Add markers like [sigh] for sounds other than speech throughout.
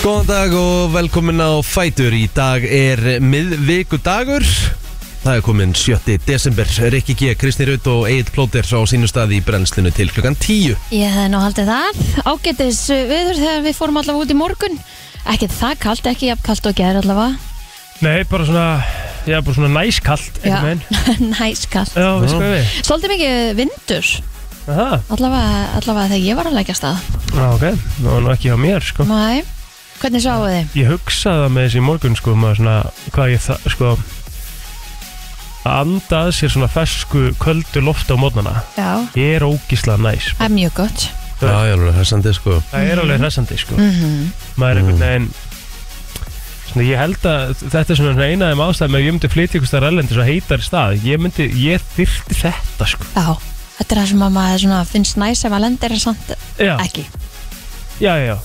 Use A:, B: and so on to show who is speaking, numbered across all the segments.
A: Góðan dag og velkomin á Fætur Í dag er miðvikudagur Það er komin 7. desember Rikki G, Kristi Raut og Egil Plóter á sínu staði í brennslinu til klukkan 10
B: Ég hefði nú haldið það ágætis viður þegar við fórum allavega út í morgun ekkert það kalt, ekki jafn kalt og gerð allavega
C: Nei, bara svona, já, bara svona næskalt einhvern
B: [laughs]
C: veginn.
B: næskalt
C: Já, við skoðum við.
B: Svolítið mikið vindur
C: Aha,
B: allavega, allavega þegar ég var að leggja af stað
C: já, ok, það var nú ekki hjá mér, sko.
B: Næ, hvernig sáu þið?
C: Ég hugsaði það með þessi í morgun, sko, maður svona, hvað ég það, sko, að anda að sér svona fersku, köldu loft á mótnana.
B: Já,
C: Ég er ógíslega næs. sko.
B: það er mjög gott
A: Já, ég alveg hressandi sko
C: Það er alveg hressandi, sko.
B: mm
C: Maður er einhvern veginn, svona, ég held að þetta er svona svona eina af þeim ástæðum ef ég myndi flytja ykkur staðar erlendis og heitar stað. Ég myndi, ég þyrfti þetta, sko.
B: Já, þetta er það sem að maður svona, finnst næs ef að lendir en samt
C: Já.
B: ekki
C: Já, já, já.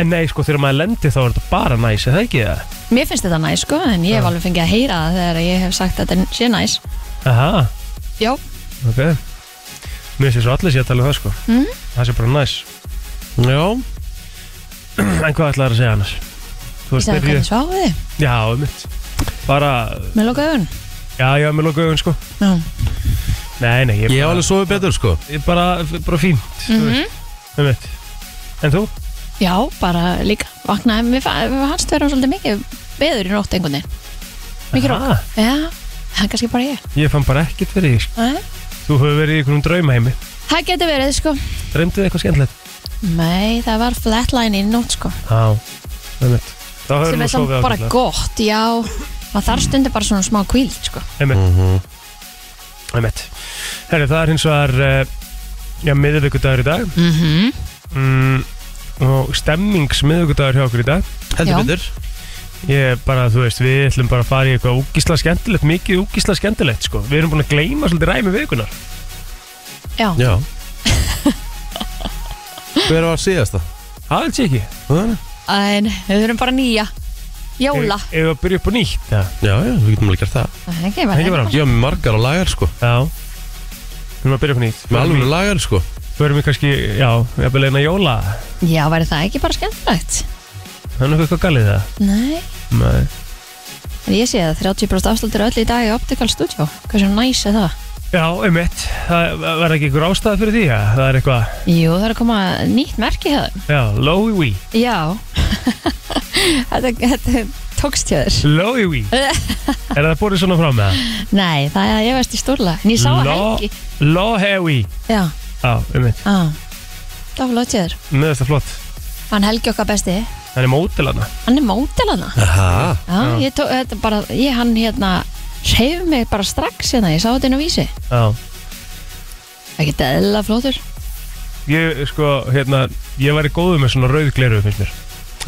C: En nei, sko, þegar maður lendir þá er þetta bara næs, er það ekki það?
B: Mér finnst þetta næs sko, en ég hef alveg fengið að heyra það þegar ég hef sagt að þetta sé næs
C: Aha,
B: Já,
C: ok. Mér sé svo allir sé að tala um það, sko.
B: Mhm.
C: Það sé bara næs.
A: Já,
C: En hvað ætlaði að segja annars?
B: ég
C: Þú
B: sagði
C: veist, þegar
B: hvernig
C: ég...
B: sáu þið
C: Já, um mitt. Bara,
B: Mér lokaði augun
C: já, já, mér lokaðu augun, sko.
B: Já,
C: Nei, nei, ég
A: ég hef
C: bara...
A: alveg sofið betur sko
C: Ég bara, bara fínt, mm þú
B: Mhm.
C: veist. Um mitt. En þú?
B: Já, bara líka vaknaði, mér fa- mér fannst vera svolítið mikið beður í nótt einhvern veginn Mikið rók
C: Ah,
B: Já, það er kannski bara ég
C: Ég fann bara ekkert fyrir því, sko.
B: Nei.
C: Þú hefur verið í einhvern draumaheimi.
B: Það getur verið sko
C: Dreymdið eitthvað skemmtilegt?
B: Nei, það var flatline í nótt sko
C: Já, um mitt. Þá hefur
B: sem
C: nú
B: er samt
C: sofið
B: bara
C: ágætlega.
B: gott, já maður þarf stundir bara svona smá kvíld sko
C: Einmitt mm -hmm. Einmitt Herri, það er hins vegar uh, Já, miðvikudagur í dag
B: mm -hmm.
C: mm, Og stemmingsmiðvikudagur hjá okkur í dag
A: Heldur
B: Já.
A: betur
C: Ég er bara, þú veist, við ætlum bara að fara í eitthvað úkisla skemmtilegt Mikið úkisla skemmtilegt, sko Við erum búin að gleyma svolítið ræmi vikunar
B: Já,
A: Já Hver var síðasta?
C: Það er ekki
A: Það?
B: en við þurfum bara nýja Jóla
C: Ef við að byrja upp á nýtt Já,
A: Já, já, við getum alveg gert það
B: Það er ekki bara hérna.
C: það ekki bara
A: Ég hef margar á lagar sko
C: Já Við erum að byrja upp á nýtt
A: Með alveg lagar sko
C: Við erum í kannski, já, við erum að leina jóla
B: Já, væri það ekki bara skemmtilegt
C: Það er nokkuð eitthvað galið það
B: Nei,
C: Nei
B: en ég sé það 30% afsláttur öll í dag í Optical Studio Hversu næs er það?
C: Já, einmitt, það verður ekki ykkur ástæða fyrir því, já, það er eitthvað,
B: Jú, það er að koma nýtt merki hjá þeim
C: já, Lói Wee.
B: Já [laughs] þetta, þetta tókst hjá þér [laughs]
C: Lóiwi Er það borðið svona fram með það?
B: Nei, það er ég veist í stúrla En ég sá að helgi
C: Lóhewi
B: Já,
C: Já, um mitt,
B: á Það var lótt hjá þér
C: með þetta flott
B: Hann helgi okkar besti
C: Hann er mótilana
B: Hann er mótelana
A: Aha,
B: Já, ég tók, þetta bara Ég hann hérna Hreyf mig bara strax hérna Ég sá þetta inn á vísi
C: Já
B: Ekki eðla flótur
C: Ég, sko, hérna, ég væri góður með svona rauð gleru, finnst mér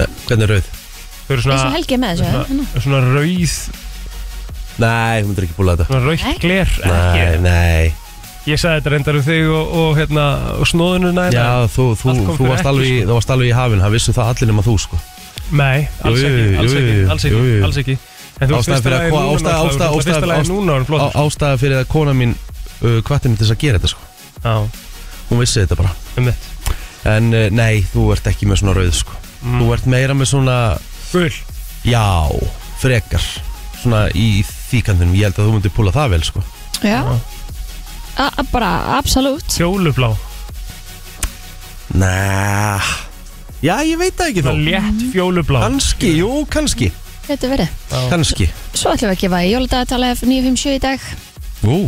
A: Eh, hvernig er rauð?
C: Þau eru
B: Eins og
C: svona,
B: helgi er með þessu hérna.
C: svona, svona rauð,
A: Nei, hún er ekki búin að þetta
C: svona rauð
B: Nei.
C: gler
A: Nei,
C: Ekki.
A: nei
C: Ég sagði þetta reyndar um þig og, og hérna, og hérna. snóðununa
A: Já, þú, þú,
C: Allt kom
A: þú
C: fyrir
A: varst
C: ekki, sko.
A: alveg, í- þú varst alveg í hafin Það vissu það allir nema þú sko
C: Nei, alls
A: Jú,
C: ekki,
A: jú,
C: alls
A: jú,
C: ekki,
A: jú,
C: alls
A: jú,
C: ekki,
A: jú.
C: alls ekki En þú
A: Ástæðan fyrir að koma- ástæða- ástæða-
C: fyrsta
A: ástæða-
C: lagi núna var hann flottur
A: Á- Ástæða fyrir að kona mín uh, Hvattir mér til þess að gera þetta sko
C: Já,
A: Hún vissi þetta bara
C: um mitt
A: En uh, nei, þú ert ekki með svona rauð sko
C: Mm.
A: Þú ert meira með svona,
C: Gull
A: já, frekar Svona í þýkandinum Ég held að þú myndir púla það vel sko
B: Já, já. A a- Bara, absolutt
C: Fjólublá
A: Næ Já, ég veit það ekki
C: Svona
A: þá
C: létt fjólublá
A: Kanski, jú, kanski
B: Þetta verið
A: Kanski
B: Svo ætlum við að gefa jóladagatala F957 í dag
A: Ú,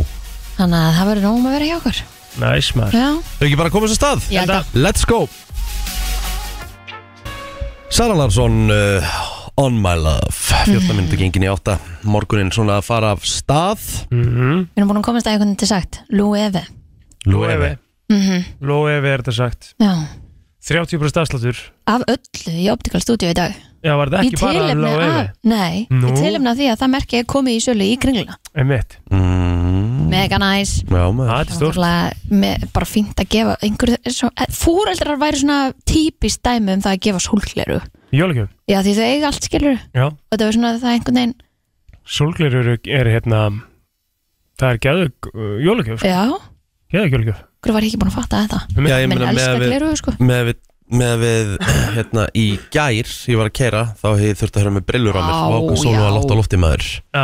B: Þannig að það verður nóg um að vera hjá okkur
C: Næs [laughs] maður
B: Já,
A: þau ekki bara að koma sér stað
B: ég held að
A: Let's go Sara Larsson uh, On my love 14 minntu gengin í 8 Morgunin svona að fara af stað
C: Mhm.
B: Við erum búin að komast að einhvern veginn til sagt Lúefi
C: Lóefi Lóefi er þetta sagt
B: Já
C: 30% afsláttur
B: Af öllu í Optical Studio í dag
C: Já, var þetta
B: Í
C: ekki bara
B: tilefni
C: Lóefi
B: af- Nei,
C: Nú.
B: í tilefni af því að það merki er komið í sölu í kringluna
C: Einmitt
A: mm,
B: Mega næs
A: Já maður
C: Það er stórt
B: Náttúrulega með- Bara fínt að gefa einhverju Fúreldrar væri svona típist dæmi um það að gefa sólgleru
C: Jólugjöf
B: Já, því þau eiga allt skilur
C: Já
B: Og þetta var svona það einhvern veginn
C: Sólglir eru er hérna Það er gæðug uh, jólugjöf
B: Já,
C: Gæðug jólugjöf
B: hver var ég ekki búin að fatta þetta
A: Já, ég
B: Menn
A: meina með
B: elska
A: að við
B: gleru, sko
A: með að við með við [clears throat] hérna í gær ég var að keira þá hef ég þurft að höra með brillur á mér
B: Á,
A: og ákveð sól
B: já.
A: var látt á lofti maður
C: Já,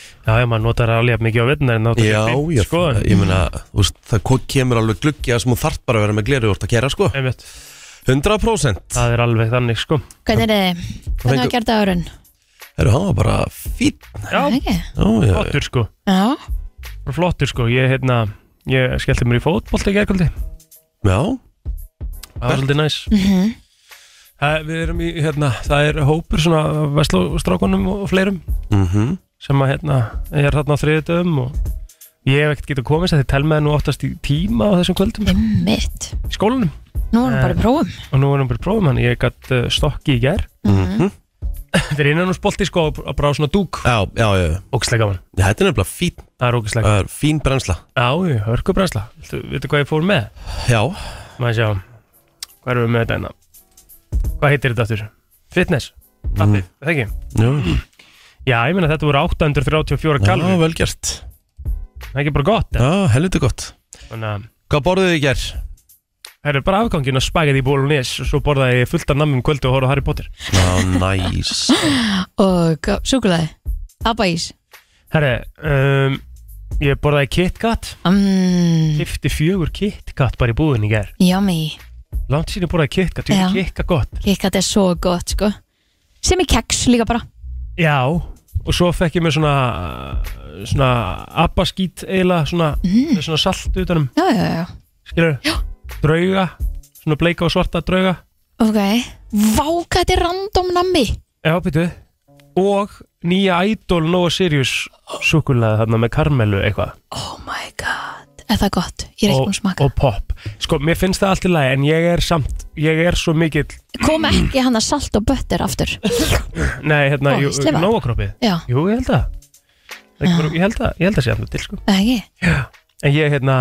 C: já, já, maður notar alveg jafn mikið á vettunar en notar
A: já,
C: ekki
A: ég,
C: beint, sko.
A: ég meina þú veist, það ko- kemur alveg gluggi að sem þú þarft bara að vera með gleru úr að keira sko
C: Einmitt,
A: 100%
C: það er alveg þannig, sko.
B: Hvernig er þið? Hvernig var
A: fengu-
B: gert árun?
A: Herru, hann var bara fín
C: Já,
B: Ekki?
A: Já, já, já.
C: flottur, sko.
B: Já,
C: Bara Flottur, sko. Ég, hérna, ég skellti mér í fótbolti í gerkvöldi.
A: já,
C: Það var svolítið næs. Það, við erum í, hérna, það er hópur svona vestlóstrákunum og fleirum
A: mhm
C: sem að, hérna, er þarna á þriðutöfum og ég hef ekkert getað komist að þið telmaði nú oftast í tíma á þessum kvöldum
B: Mhm.
C: sko,
B: einmitt
C: í skólanum
B: Nú erum við bara í prófum
C: og nú erum við bara í prófum hann. Ég gætt uh, stokki í ger. [laughs]
A: Mhm.
C: Þetta er innan úr spolti, sko, og bara- bara á svona dúk.
A: já, já, já, já.
C: Ógislega gaman.
A: Þetta er nefnilega fín,
C: Það er ógislega
A: uh, fín brennsla
C: Já, hörkubrænsla Viltu, viltu hvað ég fór með?
A: Já,
C: Maður sjá, hvað erum við með þetta enna? Hvað heitir þetta aftur? Fitness? Appið, mm. það ekki?
A: já,
C: Já, ég meina þetta voru 834
A: já
C: kalori
A: vel gert
C: Það er ekki bara gott ja.
A: Já, helviti gott
C: Þannig að
A: Hvað borðuðu þið í gær?
C: það er bara afgangin að spagið í bólunés og svo borðaði ég fullt af namnum kvöldu og horfði á Harry Potter
A: Já, næs
B: Og uh, súkulaði Abbaís
C: Herre, um, ég borðaði KitKat
B: mm,
C: Kifti fjögur KitKat bara í búðin í ger
B: Yummy
C: Langt síðan ég borðaði KitKat, ég
B: Já.
C: ja. kikka gott
B: Kikkat er svo gott sko Sem í keks líka bara
C: Já, og svo fekk ég mér svona svona abbaskít eiginlega svona, með svona salt utanum
B: Já, já, já
C: skilur,
B: Mm. Já.
C: drauga svona bleika og svarta drauga
B: Ok Vá, hvað þetta er random nammi
C: já, býtu og nýja Idol Noah Sirius súkulega þarna með karmelu eitthvað
B: Oh my god Er það gott? Ég er ekki
C: og,
B: búin að smaka
C: og pop sko, mér finnst það allt í lagi en ég er samt ég er svo mikill
B: Kom ekki hann að salt og bötter aftur
A: [laughs]
C: nei, hérna,
B: Ó,
C: jú,
B: slefa.
C: Noah kroppið
B: Já,
C: jú, ég held það Það er ekki bara- ég held að, ég held að sé alltaf til sko
B: eða ekki
C: en ég hérna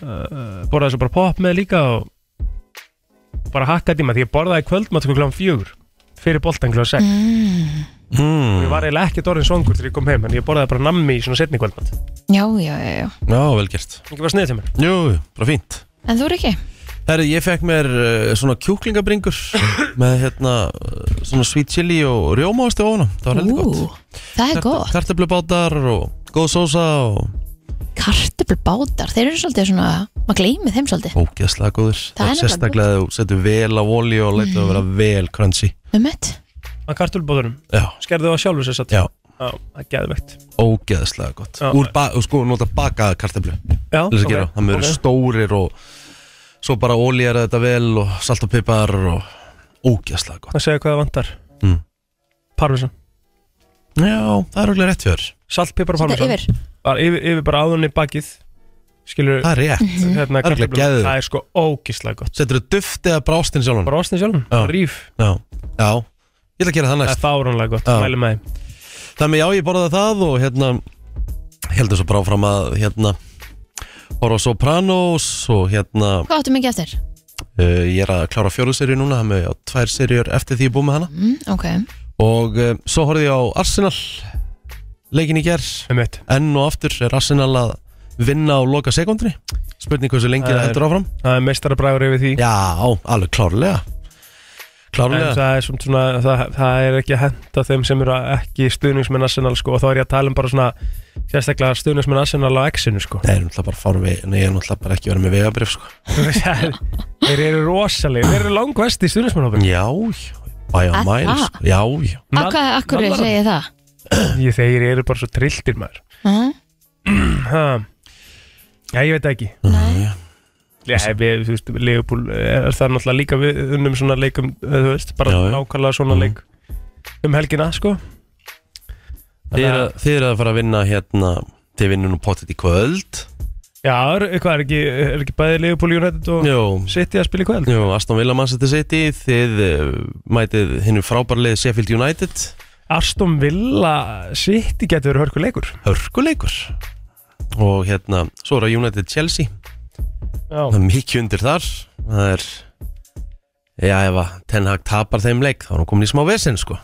C: uh, borðaði svo bara pop með líka og bara hakkaði í maður því ég borðaði kvöldmatt sko kláum fjögur fyrir boltan kláum sex
B: mm,
A: mm.
C: Ég var eiginlega ekkert orðin svangur þegar ég kom heim en ég borðaði bara nammi í svona setni kvöldmatt
B: Já, já, já, já
A: Já, vel gert
C: Ekki bara sniðið til mér
A: Jú, bara fínt
B: En þú er ekki?
A: Herri, ég fekk mér uh, svona [gasps] kjúklingabringur með hérna eh, svona sweet chili og rjómaðasti ofna Það var heldur gott
B: Það er gott
A: Kartöflubátar og góð sósa og
B: Kartöflubátar, þeir eru svolítið svona Maður gleymi þeim svolítið
A: ógeðslega góðir
B: Það er nefnilega
A: sérstaklega að þú setur vel á olíu og leitur að vera vel crunchy
B: Um mitt
C: Að kartulbóðurum,
A: Já,
C: skerðu það sjálfur sér satt
A: já,
C: það er geðvegt
A: ógeðslega gott
C: Já.
A: Úr ba og sko, nota bakaða kartöflu
C: Já,
A: til þess að gera, það eru stórir og svo bara ólýjar þetta vel og salt og pipar og ógeðslega gott
C: Það segja hvað það vantar
A: Mm.
C: Parmesan,
A: Já, það er auðvitað rétt hjá þér
C: salt, pipar og
B: Þetta
C: parmesan
B: yfir
C: Bara yfir, yfir bara áðunni bakið Skilur
A: Það er rétt
C: hérna
A: Það er
C: kartöflur.
A: ekki geðveikt.
C: Það er sko ógislega gott
A: Setur þú duft eða brástin sjálfan
C: Bara ástin sjálfum,
A: Já.
C: ríf
A: Já, já Ég ætla að gera það
C: Það
A: næst
C: er fáránlega gott,
A: Já.
C: mæli með þeim
A: Þannig já, ég borðaði það og hérna Heldur svo bara áfram að hérna Horfa á Sopranos og hérna
B: Hvað áttu mikið eftir?
A: uh, Ég er að klára fjóru serið núna Það með á tvær seriður eftir því ég er búið með hana
B: Mm, ok
A: Og uh, svo horfði ég á Arsenal Leikin í gerð
C: Einmitt.
A: enn og aftur er Arsenal að vinna á loka sekundri spurning hversu lengi
C: Það
A: það
C: er-
A: heldur áfram
C: Það er meistarabræður yfir því
A: Eh, já, alveg klárlega
C: En
A: klárlega
C: það er, svona, svona, það, það er ekki að henda þeim sem eru ekki stuðningsmenn Arsenal sko, og þá er ég að tala um bara svona sérstaklega stuðningsmenn Arsenal á X-inu sko.
A: Nei, ég er náttúrulega bara að fara við, nei, ég er náttúrulega bara ekki verið með vegabrif, sko.
C: þeir eru rosalega, þeir eru langvest í stuðningsmennhópin
A: Já, já, bæja
B: Að
A: mæl,
B: það?
A: sko. Já, já.
B: Á hvað, akkur er segið það?
C: ég, þeir eru bara svo trilltir maður
B: Uh,
C: ha. Já, ég veit það ekki
B: nei
C: Já, við, þú veist, Leopold er það náttúrulega líka við unnum svona leikum, þú veist, bara
A: Já, já.
C: nákvæmlega svona
A: Mhm.
C: leik um helgina, sko
A: Þið eru að- þið eru að fara að vinna hérna, þið vinnum nú pottet í kvöld.
C: Já, er, hvað er ekki, er ekki bæði Leopold United og
A: Jú,
C: City að spila í kvöld?
A: jú, Aston Villa mann seti seti, þið uh, mætið hinnu frábærlið Sheffield United.
C: Aston Villa City getur verið hörku leikur
A: Hörkuleikur. Og hérna, svo er að United Chelsea.
C: Já,
A: Það er mikið undir þar Það er Já, ef að Ten Hag tapar þeim leik þá er hann komin í smá vesinn, sko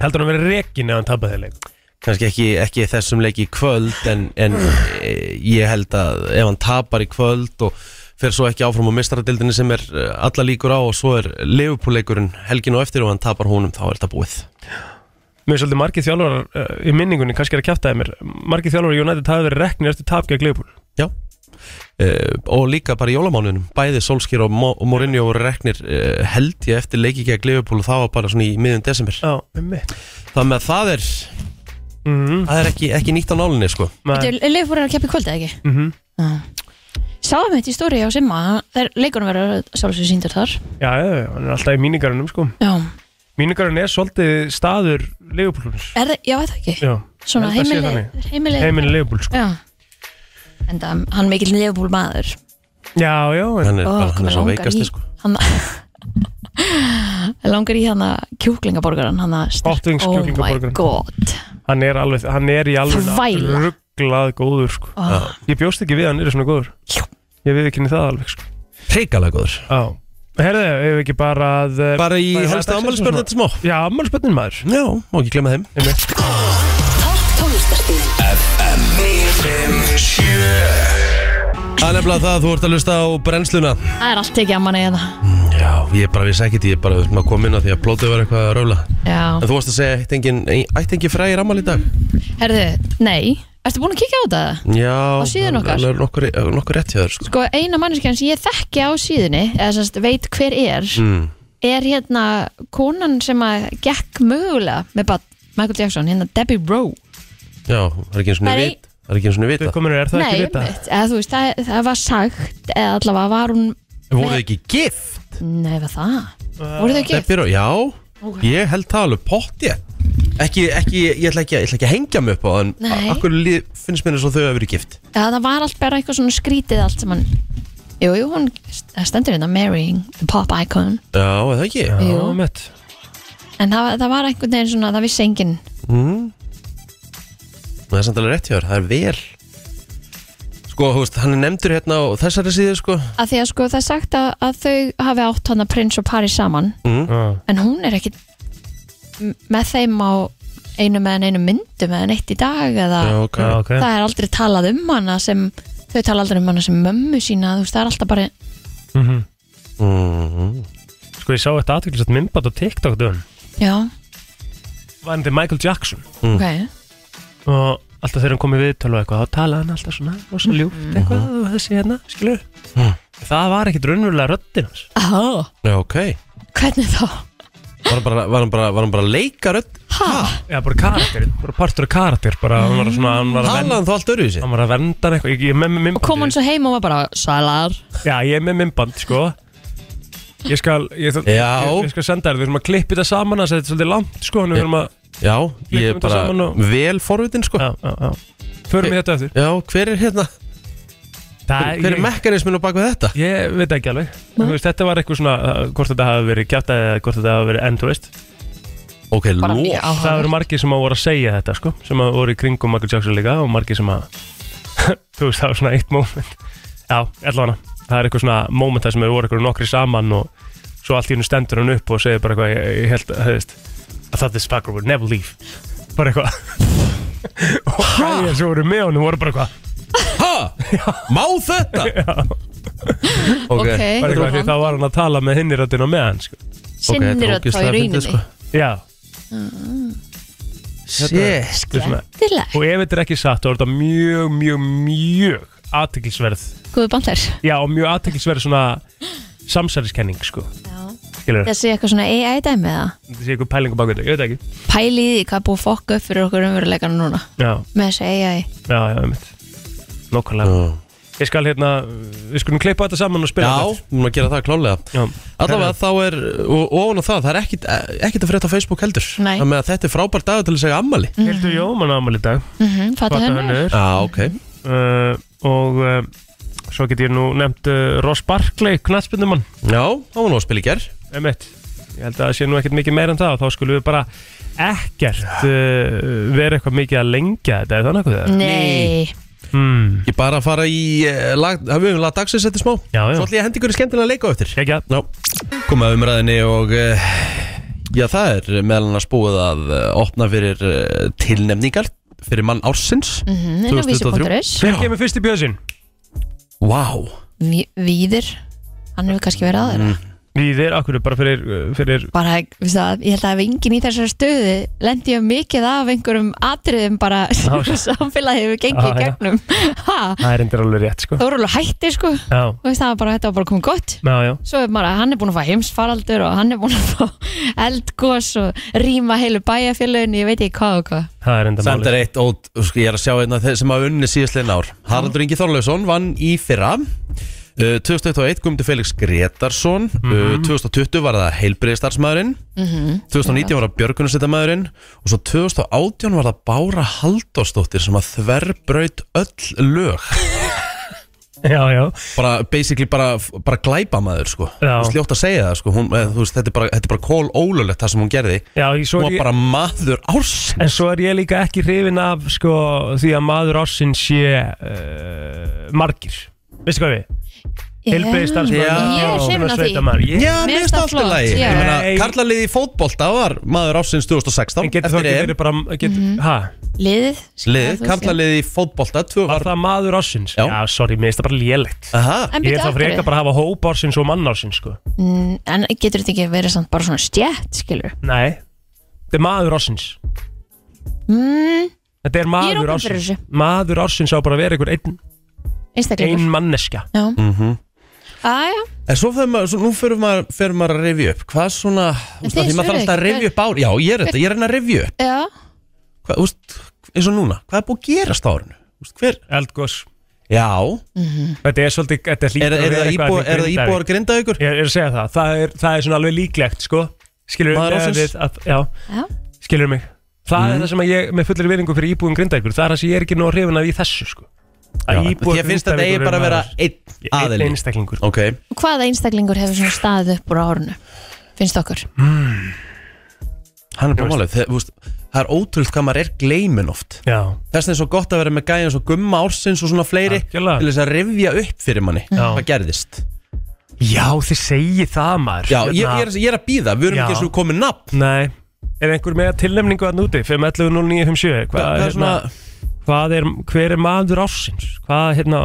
C: heldur hann verið rekin ef hann tapaði þeir leik
A: kannski ekki, ekki þessum leik í kvöld en, en eh, ég held að ef hann tapar í kvöld og fer svo ekki áfram á mistaradildinni sem er eh, alla líkur á og svo er leifupúleikurinn helgin og eftir og hann tapar húnum þá er þetta búið
C: Mér er svolítið margir þjálfarar uh, í minningunni, kannski er að kjæftaði mér Margir þjálfarar í United hafa verið reknir eftir tap gegn Leifbúl
A: Já Uh, og líka bara í jólamáninum bæði Solskýr og, Mo og Mourinho voru reknir uh, held ég eftir leiki gegn Liverpool og það var bara svona í miðjum desember
C: Já, með mitt
A: þannig að það er,
C: mm
A: það er ekki, ekki nýtt á nálinni sko.
C: -hmm.
B: Leifur er að keppa í kvöld eða ekki?
C: mhm.
B: Já. Sáðum þetta í stóri á Simma þegar leikunum verður sjálfsög síndur þar
C: Já, já, já, hann er alltaf í míningarunum sko
B: Já,
C: Míningarun er svolítið staður Leifbúlunus
B: er það, já, er það ekki?
C: Já,
B: Svona
C: Ég held að sé
B: heimileg, heimileg
C: heiminn Leifbúl sko
B: Já En það, hann er mikill leifbúl maður
C: Já, já, en,
A: hann er,
B: Ó,
A: bara, hann
B: hvað
A: er svo
B: mig langar í-
A: veikasti sko.
B: Hann [laughs] Mig langar í hann að kjúklingaborgaran hann að Oh
C: Bottvingskjúklingaborgaran.
B: my god
C: hann er alveg, hann er í alveg
B: Þvæla.
C: rugglað góður sko
B: oh.
C: Ég bjóst ekki við að hann er svona góður
B: Já.
C: Ég við ekki það alveg sko
A: hreikalega góður
C: Já Herðu, ef við ekki bara að eh,
A: bara í
C: Bara í
A: helsta
C: dagsins og
A: afmælisbörn
C: svona.
A: þetta smá
C: Já, ammálspönnin maður
A: já, má ekki glemma þeim
C: Einmitt.
A: það er nefnilega það, þú ert að lusta á brennsluna
B: Það er allt ekki að manni hérna. eða
A: já, ég bara vissi ekkert, ég bara maður kom inn á því að plótið var eitthvað að rála en
B: Já,
A: þú varst að segja, ætti engin, ætti engin frægir afmæli í dag
B: herðu, nei Ertu búin að kíkja á það?
A: já,
B: Á síðunni okkar?
A: alveg nokkur, nokkur rétt hjá þér sko.
B: Sko, eina manneskjan sem ég þekki á síðunni eða semst veit hver
A: mm.
B: er
C: Hmm.
B: er hérna konan sem að gekk mögulega með bad Michael Jackson, hérna Debbie Rowe
A: já, það er ekki eins og
B: Nei.
A: vit það er ekki eins og
C: Þið
A: vita
C: komin er það ekki
B: Nei,
C: vita
B: einmitt, eða þú veist, það, það var sagt eða allavega var hún
A: voru þið ekki gift?
B: Nei, var það?
C: Uh,
B: Voru þau gift?
A: Steppi Ró- já, ég held það alveg potti ekki, ekki, ég ætla ekki, ég ætla ekki að hengja mig upp á það en
B: Nei.
A: a- akkur lið- finnst mér eins og þau að vera gift
B: Já, það var allt bara eitthvað svona skrítið allt sem hann Jú, jú, hún það stendur hérna marrying the pop icon
A: já, eða ekki
C: Já,
B: Jú.
C: mitt
B: En það, það var einhvern veginn svona, það vissi enginn
A: mm. það er samt alveg rétt hjá þér, það er vel sko, þú veist, hann er nefndur hérna á þessari síðu sko
B: að því að sko það er sagt að, að þau hafi átt hana prins og pari saman
A: mm.
C: Já.
B: en hún er ekki m- með þeim á einu meðan einu myndum eða neitt í dag eða
A: já, ok,
C: Já, ok
B: það er aldrei talað um hana sem þau tala aldrei um hana sem mömmu sína þú veist það er alltaf bara
C: Mhm.
A: Mm.
C: Sko, ég sá þetta aðtöklisat myndbætt á TikTok dögun
B: já,
C: Var þetta Michael Jackson
A: Mm.
B: ok
C: Og alltaf þegar hann kom í viðtölu og eitthvað Þá talaði hann alltaf svona Og
A: Mhm.
C: svo ljúft eitthvað Og þessi hérna, skilur
A: Mm.
C: Það var ekkit raunverulega röddin hans
B: oh,
A: já, ok
B: hvernig þá?
A: var hann bara, var hann bara, var hann bara leikarödd
B: Ha?
C: Já, bara karakterinn Mhm. Bara partur af karakter Bara hann var svona Hann var að
A: talaði
C: venda
A: hann þá allt öruvísi
C: Hann var að venda hann eitthvað Ég ég er með
B: og kom hann
C: myndband
B: svo heim og var bara salar
C: Já, ég er með myndband, sko Ég skal Ég, ég,
A: Já.
C: ég, ég skal senda þér Við erum að klippi þetta saman Það er svolítið langt, sko En við erum að
A: já, ég
C: Klippum
A: er
C: þetta
A: bara
C: saman og-
A: vel forvitin sko já,
C: Já, já, já Förum við þetta eftir
A: hver er hérna,
C: Það,
A: hver er mekanismin á baku þetta?
C: Ég veit ekki alveg
B: Nei.
C: Þú veist, Þetta var eitthvað svona, uh, hvort þetta hafi verið kjátt eða hvort þetta hafi verið endurist
A: ok,
B: bara
A: ló,
B: mjög áhuga
C: Það eru margir sem að voru að segja þetta sko sem að voru í kringum Michael Jackson líka og margir sem að [laughs] þú veist, það var svona eitt moment Já, allavega, það er eitthvað svona moment þar sem við voru eitthvað nokkri saman og svo allt í hennu stendur hann upp og segir bara eitthvað ég, ég held að, þú veist I thought this fucker would never leave bara eitthvað [laughs] og gæðir sem voru með honum voru bara eitthvað
A: ha, má
C: [laughs]
A: þetta? ok,
B: ok,
C: bara eitthvað því
B: hann
C: þá var hann að tala með hinni röddina með hann sko
A: þetta er
B: sinnir öll þá í
A: ógeðslega fyndið,
B: rauninni
A: sko.
C: Já,
A: Mm-hmm. Shit,
C: þetta er svona
B: Dilleg,
C: og ef þetta er ekki satt þá er þetta mjög, mjög, mjög aðteklisverð
B: góðu bandar
C: já, og mjög aðteklisverð svona samsæriskenning, sko, skilur
B: Það sé eitthvað svona AI-dæmi eða
C: þetta sé eitthvað pælingu bak við þetta, ég veit það ekki
B: pæli í því hvað er búið að fokka upp fyrir okkur umveruleikana núna
C: já,
B: með þessi AI
C: já, já, einmitt nokkarlega,
A: Já,
C: ég skal hérna við skulum klippa þetta saman og spila
A: Já, við erum að gera það klálega
C: þetta já,
A: Allavega þá er, og ofan á það, það er ekkit, ekkit að frétta á Facebook heldur
B: Nei.
A: Þannig að þetta er frábær dagur til að segja ammali Já,
C: Hildur Jóman ámali í dag
B: mm -hmm, Fattu
C: Fattar
B: hennar?
C: hönnur
A: ok
C: uh, og uh, svo get ég nú nefnt uh, Ross Barkley, knallspindumann
A: Já, það var nú að spila í ger
C: Emmett, ég held að það sé nú ekkert mikið meira en það og þá skulum við bara ekkert uh, vera eitthvað mikið að lengja þetta, er það nokkuð það?
B: Nei,
C: Mm.
A: Ég bara að fara í eh, lag, hafum við lag dagsins eftir smá
C: Já, já.
A: Svo ætla ég að hendi ykkur í skemmtilega að leika á eftir
C: Kekja,
A: Já, komið að umræðinni og uh, Já, það er meðal annars búið að eh, opna fyrir eh, tilnefningar fyrir mann ársins
B: mm -hmm, inn á
A: 2023.
B: vísi.is
C: Hver kemur fyrst í bjöðsinn?
A: Vá, wow.
B: Ví- Víðir, hann hefur kannski verið aðeins mm.
C: Við er akkur bara fyrir, eh, fyrir
B: bara, veist það, ég held að ef enginn í þessari stöðu lendi ég mikið af einhverjum atriðum bara
C: Já,
B: [laughs] sem samfélagi hefur gengið í
C: Já, já.
B: gegnum ha,
C: Það er endur alveg rétt sko
B: það voru alveg hættir sko
C: Já,
B: Þú veist, það var bara, þetta var bara komið gott
C: já, já
B: svo er bara, hann er búin að fá heimsfaraldur og hann er búin að fá [laughs] eldgós og rýma heilu bæjarfélagin ég veit ekki hvað og hvað
C: Það er endur
A: Samt
C: málið
A: er eitt ót, sko, ég er að sjá einna þeir sem hafa unni síðastlegin ár Haraldur Ingi Þorlausson vann í fyrra uh, 2021 Guðmundur Felix Gretarsson
C: Mhm.
A: uh, 2020 var það heilbreyðstarfsmaðurinn 2019 var það björgunarsittamæðurinn og svo 2018 var það Bára Halldórsdóttir sem að þverbraut öll lög
C: Já, já
A: bara basically bara, bara glæpamaður sko
C: Já.
A: Þú veist, ljótt að segja það sko hún, eða, þú veist, þetta, er bara, þetta er bara kól ólulegt það sem hún gerði
C: Já, ég- svo
A: hún
C: er
A: var
C: ég
A: bara maður árs
C: En svo er ég líka ekki hrifin af sko, því að maður ásinn sé uh, margir Veistu hvað við? Heilbrigðisstarfsmaður
A: Já.
B: Ég er hrifin af því.
C: því
A: Já,
B: Mér
A: mér
B: finnst
A: finnst
B: það
A: allt í
B: flott,
A: lagi
B: já.
A: Ég meina,
C: Nei.
A: karlaliði í fótbolta var maður ásins 2016
C: En getur það
A: Eftir
C: ekki
A: EM
C: verið bara get,
B: Mhm.
C: ha,
B: liðið Já,
A: Lið,
B: þú veist,
A: karlaliði í fótbolta tvö
C: Var
A: var
C: það maður ársins?
A: Já.
C: sorry, mér finnst það bara lélegt
A: Aha,
B: já. en,
C: Ég er
B: byrju,
C: það frekar
B: af
C: bara að hafa hóp ársins og mann ársins sko.
B: hverju? Mm, en getur þetta ekki verið samt bara svona stjætt skilur
C: Nei, þetta er maður ársins
B: mm,
C: Þetta
B: er
C: er
B: opin
C: maður
B: fyrir
C: ársins
B: þessu.
C: Maður ársins á bara að vera einhver ein,
B: einstaklingur
C: ein manneska
B: Já. Æja,
A: En svo fyrir maður, svo, nú fyrir maður, fyrir maður að rifja upp Hvað svona, þú veist
B: þið
A: það, því maður þarf
B: svöruðu
A: alltaf að
B: ekki,
A: rifja upp ár Já, ég er þetta, ég er henni að rifja upp
B: já,
A: Hvað, þú veist, eins og núna, hvað er búið að gerast á árinu? Þú veist, Hver?
C: Eldgós
A: Já,
C: Þetta er svolítið, þetta er
A: er,
C: líka
A: er, það, íbúa, er það íbúar grindað ykkur?
C: Ég er að segja það, það er, það er svona alveg líklegt sko Skilur
A: Maður ársins? Mhm.
C: að, Já,
B: já
C: skilur mig Það er það sem að ég, með fullir viðingu fyrir íbúum grindækur Það er það sem ég er ekki nóg hrifin af í þessu sko
A: Já,
C: Að íbúar
A: Ég finnst þetta eigi
C: Grindavíkur
A: bara að
C: eru
A: vera
C: maður-
A: einn
C: Einn
A: aðili
C: einstaklingur
A: Ok,
B: hvaða einstaklingur hefur svona staðið upp úr á árunu finnst okkur
A: hann er bara málið Þegar- þú veist, Það er ótrúld hvað maður er gleimin oft
C: Já,
A: Þess vegna er svo gott að vera með gæja eins og gumma ársins og svona fleiri
C: Algjörlega.
A: til þess að rifja upp fyrir manni
C: Já.
A: hvað gerðist.
C: já þið segið það maður
A: Já, ég,
C: Hérna-
A: ég, er, ég er að býða, við erum
C: Já.
A: ekki eins og komið nafn.
C: Nei, er einhver með tilnefningu að núti 5.11.09.57 Hva,
A: Það er svona,
C: hérna, hvað er, hver er maður ársins hvað, hérna,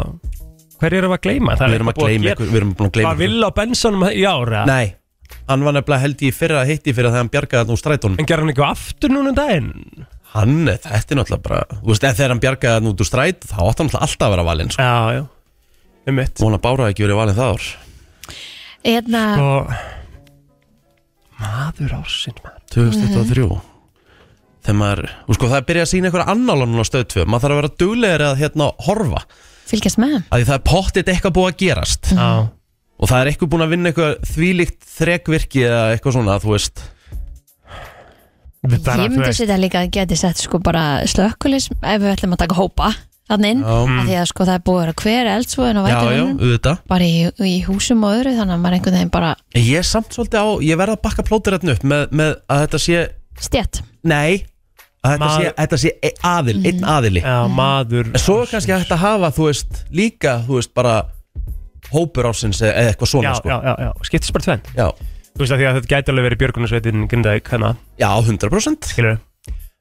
C: hver erum við að gleyma Það er
A: við erum að
C: eitthvað búið
A: gleyma
C: gera.
A: ykkur, við erum búin að gleyma
C: Var
A: ykkur.
C: vill á bensanum í ára
A: Nei, hann var nefnilega held í fyrra að hitti fyrir að hann bjargaði hann úr strætónum.
C: En gerði hann ekki aftur núna um daginn
A: Hann, þetta er náttúrulega bara, þú veist, ef þegar hann bjargaði hann út úr stræt, þá átti hann náttúrulega alltaf að vera valinn, sko.
C: Já, já, um mitt
A: Móna Bára hafi ekki verið valinn það ár.
B: Eðna,
C: Og Maður ársins maður
A: 2023 Þegar maður, og sko það byrja að sína einhverja annálanum á stöð 2 Maður þarf að vera duglegri að hérna horfa
B: fylgjast með
A: Af Því það er pottitt eitthvað búið að gerast
C: Já,
A: Og það er eitthvað búin að vinna eitthvað þvílíkt þrekvirki Eða eitthvað svona, þú veist
C: þetta
B: ég
C: er að þú
B: myndi
C: veist
B: setja líka að geti sett sko bara slökkulis ef við ætlum að taka hópa þannig inn,
A: Já.
C: Mm.
B: af því að sko það er búið að vera hver eldsvoðin og
A: Já, já,
B: vætunum
A: auðvitað
B: bara í, í húsum og öðru þannig að maður einhvern veginn bara
A: En Ég er samt svolítið á, ég verð að bakka plótir hérna upp með, með að þetta sé,
B: stjætt
A: nei Að þetta
C: Maður-
A: sé, þetta sé e- aðil, einn aðili
C: Já, maður
A: En svo er kannski hægt að hafa, þú veist, líka, þú veist, bara Hópur ásins eða eitthvað
C: Já,
A: svona, sko
C: já, já, já, skiptist bara tvenn
A: Já,
C: Þú veist að því að þetta gæti alveg verið björgunarsveitin Grindavík, hana,
A: já 100%
C: skilur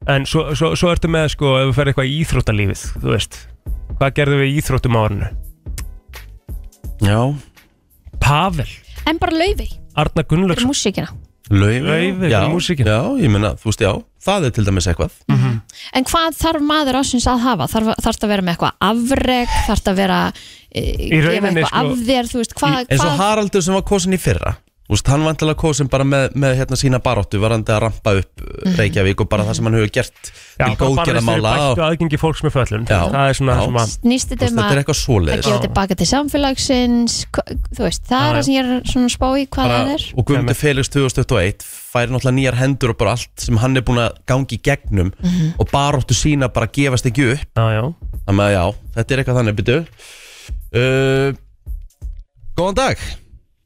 C: En svo, svo, svo ertu með, sko, ef við ferði eitthvað í íþróttalífið Þú veist, hvað gerðum við í íþróttum á árinu?
A: Já,
C: Pavel,
B: en bara laufi,
C: Arna
B: fyrir
C: Gunnlaugsson
B: músíkina
A: Lauf,
C: Lauf,
A: já,
C: fyrir músíkina.
A: já, ég meina, þú veist, já, það er til dæmis eitthvað
B: en hvað þarf maður ásins að hafa þarf, þarf það að vera með eitthvað afreg þarf það að vera e, gefa eitthvað
C: rauninni, sko,
B: af þér þú veist, hvað,
A: eins og
B: hvað
A: Haraldur sem var kosin í fyrra þú veist, hann vantilega kosin bara með, með hérna sína baróttu, varandi að rampa upp mm. Reykjavík og bara það sem hann hefur gert til
C: Já, hvað barðist fyrir
A: góðgerðamála og-
C: bættu aðgengi fólks með föllum
A: Já,
C: Það er svona
A: já.
C: sem að
B: nýst þetta
A: þú veist,
B: um
A: þetta
B: að
A: er eitthvað
B: að
A: svoleiðis
B: gefa tilbaka til samfélagsins hva- þú veist, það
C: Já,
B: er það
C: já.
B: sem ég er svona að spá í hvað
A: bara,
B: það er
A: og Guðmundur Felix 2021 fær náttúrulega nýjar hendur og bara allt sem hann er búin að gangi í gegnum og baróttu sína bara gefast ekki upp
C: Já, já,
A: þannig að já, þetta er eitthvað þannig byrju uh, Góðan dag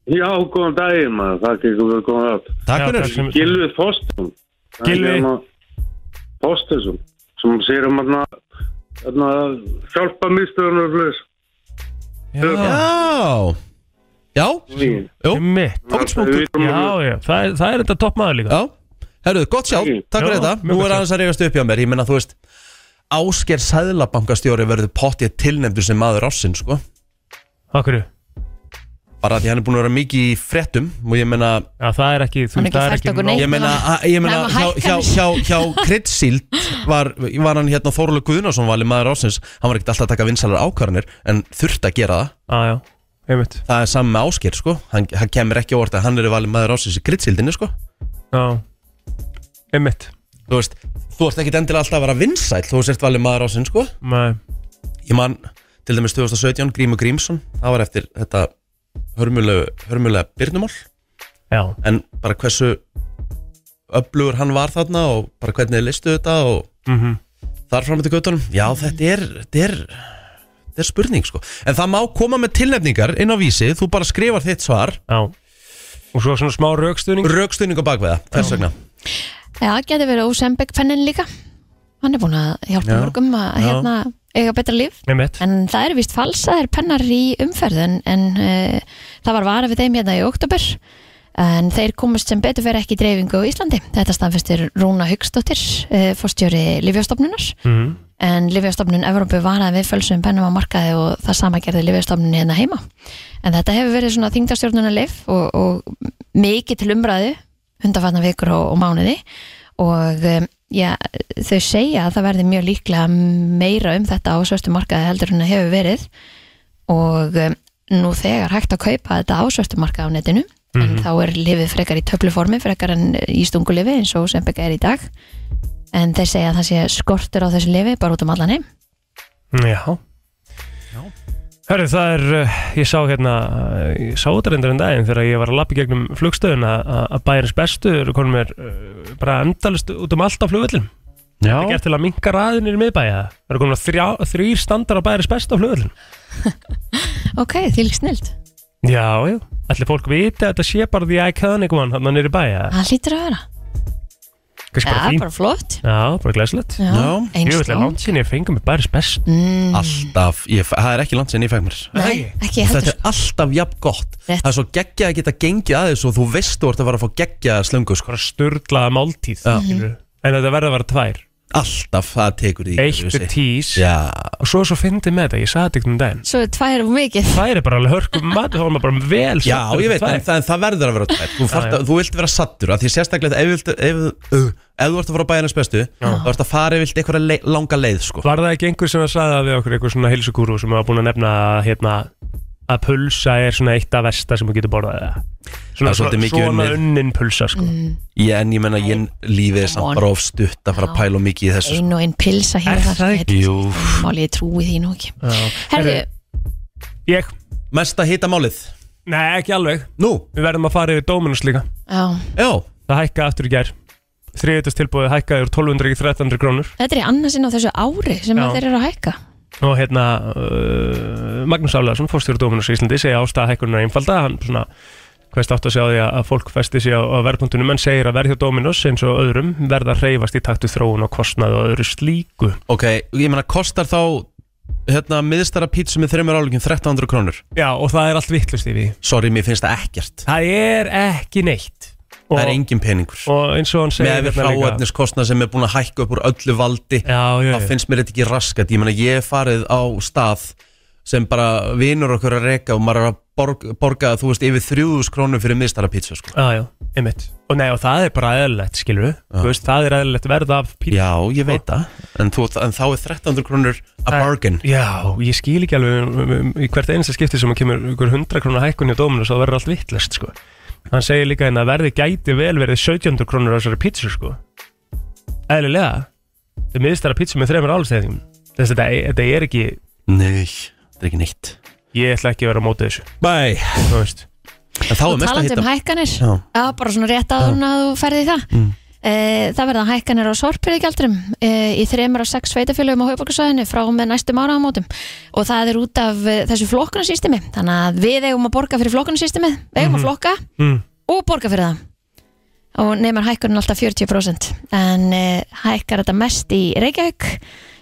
D: Já, góðan daginn maður, það ekki við góðan dag.
A: Takk
C: Já,
A: fyrir
C: takk sem-
D: Gilvi Þorstun.
C: Gylfi?
D: Þorstunsson, hérna sem sér um hérna, hérna, hjálpa miðstöðunar og flöðs.
C: já,
A: Já Já, jú,
C: mitt
A: ágætis punktur
C: Já, já, það er, það er þetta topp maður líka
A: Já, Herruð, gott sjálf,
D: Takk.
A: takk fyrir
C: Já,
A: þetta
C: mjög
A: Nú
C: gott
A: er aðeins að reyfast upp hjá mér Ég menna, þú veist, Ásker Sæðlabankastjóri verður pottið tilnefndur sem maður ásinn, sko
C: Akkur,
A: Bara því hann er búin að vera mikið í frettum Og ég menna,
C: já, það er ekki þú-
B: Hann er ekki
C: það
B: fært okkur
C: nóg-
A: ég menna,
B: Nei,
A: ég menna
B: nema
A: hjá, hjá,
B: hækkanir.
A: hjá, hjá Kryddsíld var, var hann hérna Þórulega Guðnason valið maður ásins Hann var ekkert alltaf að taka vinsalar ákvarðanir En þurfti að gera það
C: Ah, Já, já, einmitt
A: Það er saman með Ásker, sko Hann, hann kemur ekki á orð að hann er valið maður ásins í Kryddsíldinni, sko
C: Já, einmitt
A: Þú veist, þú ert ekkert endilega alltaf að vera vinsæl Þú sért valið maður ásins, sko
C: Nei,
A: ég man til dæmis 2017 Grímur Grímsson, það var eftir þetta hörmulegu, hörmulega byrnumál
C: já,
A: en bara hversu öflugur hann var þarna og bara hvernig þið listu þetta og
C: mhm
A: þar fram til göttunum, já þetta er þetta er, þetta er spurning sko en það má koma með tilnefningar inn á vísi þú bara skrifar þitt svar,
C: Já Og svo svona smá raukstuðning
A: raukstuðning á bakveða hvers vegna,
B: Já, geti verið Ósembek pennin líka Hann er búin að hjálpa
A: Já.
B: mörgum að
A: Já.
B: hérna, eiga betra líf
C: Einmitt
B: En það er vist falsaðir pennar í umferð En, en uh, það var vara við þeim hérna í oktober En þeir komast sem betur verið ekki í dreifingu á Íslandi Þetta staðfestir Rúna Haugsdóttir uh, Fórstjóri Livjastofnunar
C: Mhm.
B: en Livjastofnun Evrópu varaði við fölsum pennum á markaði og það sama gerði Livjastofnun hérna heima. En þetta hefur verið svona þingdastjórnuna og, og mikið til umræðu hundafatna vikur og, og mánuði og um, já, þau segja að það verði mjög líklega meira um þetta á svörstu markaði heldur en það hefur verið og um, nú þegar hægt að kaupa þetta á svörstu markaði á netinu en þá er lifið frekar í töfluformi frekar en eh, í stungulifi eins og sem er í dag en þeir segja að það sé skortur á þessu lifi bara út um allan heim
C: Já Já Hörru, það er, uh, ég sá hérna, uh, ég sá þetta reyndar en daginn þegar ég var að lappa gegnum flugstöðun að bæjarins bestu eru konum er uh, bara endalist út um allt á flugvöllum. Það er
E: Já,
C: gert til að minka raðinir í miðbæja. Það eru konum þrjá, þrýr standar að bæjarins bestu á flugvöllum.
B: ok, því lík snild
C: Já, já. Ætli fólk viti að þetta sé bara the iconic one hann nýri bæja.
B: það hlýtur að vera,
C: Kanski
B: ja,
C: bara Sko, fínt.
B: bara flott
C: Já, bara glæslegt.
B: já,
A: Já.
C: Ég
B: eins
C: veit að langt sín ég fengið mig bæjarins bestu.
B: mm,
A: alltaf ég, það er ekki langt sem ég fæk mér
B: nei, ekki
A: Og þetta
B: heldur
A: er alltaf jafn gott
B: Rétt.
A: það er svo geggja að geta gengið aðeins og þú veist þú ert að fara að fá geggja slöngu sko.
C: Bara sturdlaða máltíð.
A: Já.
C: skilurðu. En þetta verður að vera tvær.
A: alltaf það tekur í
C: Eitt
A: hverju
C: með
A: vissi.
C: tís.
A: Já,
C: og svo er svo fyndið með þetta, ég sagði þetta ykkur um daginn
B: svo er tvær og mikið
C: það er bara alveg hörku mat þá er maður bara vel
A: já
C: sáttur
A: ég veit,
C: við
A: en það, en það verður að vera tvær Þú, þarft
C: já.
A: að, þú vilt vera sattur, af því sérstaklega ef, þú vilt- ef, ef, ef þú ert að fara á bæjarnas bestu þá ert að fara vilt einhverja le, langa leið sko.
C: var það ekki einhver sem að sagði það við okkur einhver svona heilsugúru sem var búin að nefna að, hérna, að pulsa er svona eitt af versta sem þú getur borðað eða?
A: Það
C: svona,
A: er svolítið
C: svona,
A: mikið
C: svona
A: unnið.
C: unnin pulsa sko.
A: ég, En ég menna, ég lífið er samt bara of stutt að fara að pæla of mikið í þessu sko.
B: ein og ein pilsa
C: Er
B: hér og
C: það
B: þar.
C: ekki?
B: Jú. máli ég trúi því nú ekki herðu,
C: Herðu, ég,
A: Mesta hita málið
C: nei ekki alveg
A: Nú,
C: við verðum að fara yfir dóminus líka
B: já,
A: já,
C: það hækkaði aftur í gær þriðutast tilbúið hækkaði úr 1200 í 1300 krónur
B: þetta er í annarsinn á þessu ári sem
C: Já.
B: að þeir eru að hækka
C: og hérna uh, Magnús Álaðarsson, fórstjóri Dóminus í Íslandi segja ástæða hækkunar einfalda hann svona hverst átt að segja á því að- að fólk festi sig á, á verðbundunum en segir að verð hjá Dóminus eins og öðrum verða að reyfast í taktu þróun og kostnað og öðru slíku
A: ok Ég menna, kostar þá hérna, miðstara pítsu með þreymur álíkjum 1300 krónur
C: Já, og það er allt vittlust í því
A: Sorry, mér finnst það ekkert
C: Það er ekki neitt og,
A: Það er engin peningur
C: og eins og hann segir
A: Með
C: hérna líka-
A: ráefniskostna sem er búin að hækka upp úr öllu valdi
C: Já, já,
A: þá
C: já,
A: finnst mér þetta ekki raskat ég meina ég hef farið á stað sem bara vinur okkur að reka og maður er að borg, borga þú veist yfir 3000 krónur fyrir miðstara pizza sko.
C: já, já, einmitt Og nei, og það er bara eðlilegt, skilur Þú veist, það er eðlilegt verð af píl
A: já ég veit það en, þú, en þá er 1300 krónur a bargain
C: Já, ég skil ekki alveg um, um, um, í hvert einasta skipti sem að kemur ykkur 100 krónar hækkun hjá dóminu svo verður allt vittlust sko. Hann segir líka hérna að verði gæti vel verið 1700 krónur á þessari pítsu sko. Eðlilega Þau miðstara pítsu með þreymur álstæðingum Þess að þetta, þetta er ekki
A: nei þetta er ekki neitt
C: Ég ætla ekki að vera á móti þessu
A: bæ
C: Þú veist
A: en þá er
B: og
A: mest að
B: talandi um
A: hitta
B: hækkanir
A: Já.
B: já, bara svona rétt áður en að þú ferði það mm. það verða hækkanir á sorpirðigjaldrum e, í þremur og sex sveitafélögum á höfuborgarsvæðinu frá og með næstum áramótum og það er út af eh, þessu flokkunarsýstemi þannig að við eigum að borga fyrir flokkunarsýstemi við eigum að flokka
C: Mm.
B: og borga fyrir það eh, og nefnir hækkunin alltaf 40% en e, hækkar þetta mest í Reykjavík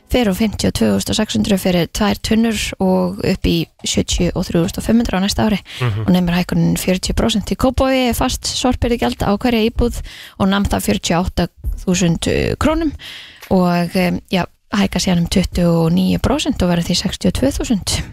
B: fer úr 52.600 fyrir tvær tunnur og upp í 73.500 á næsta ári og nefnir hækunin 40% í Kópói fast sorpyrðigjald á hverja íbúð og namn það 48.000 krónum og em, já, hækka síðan um 29% og verður því 62.000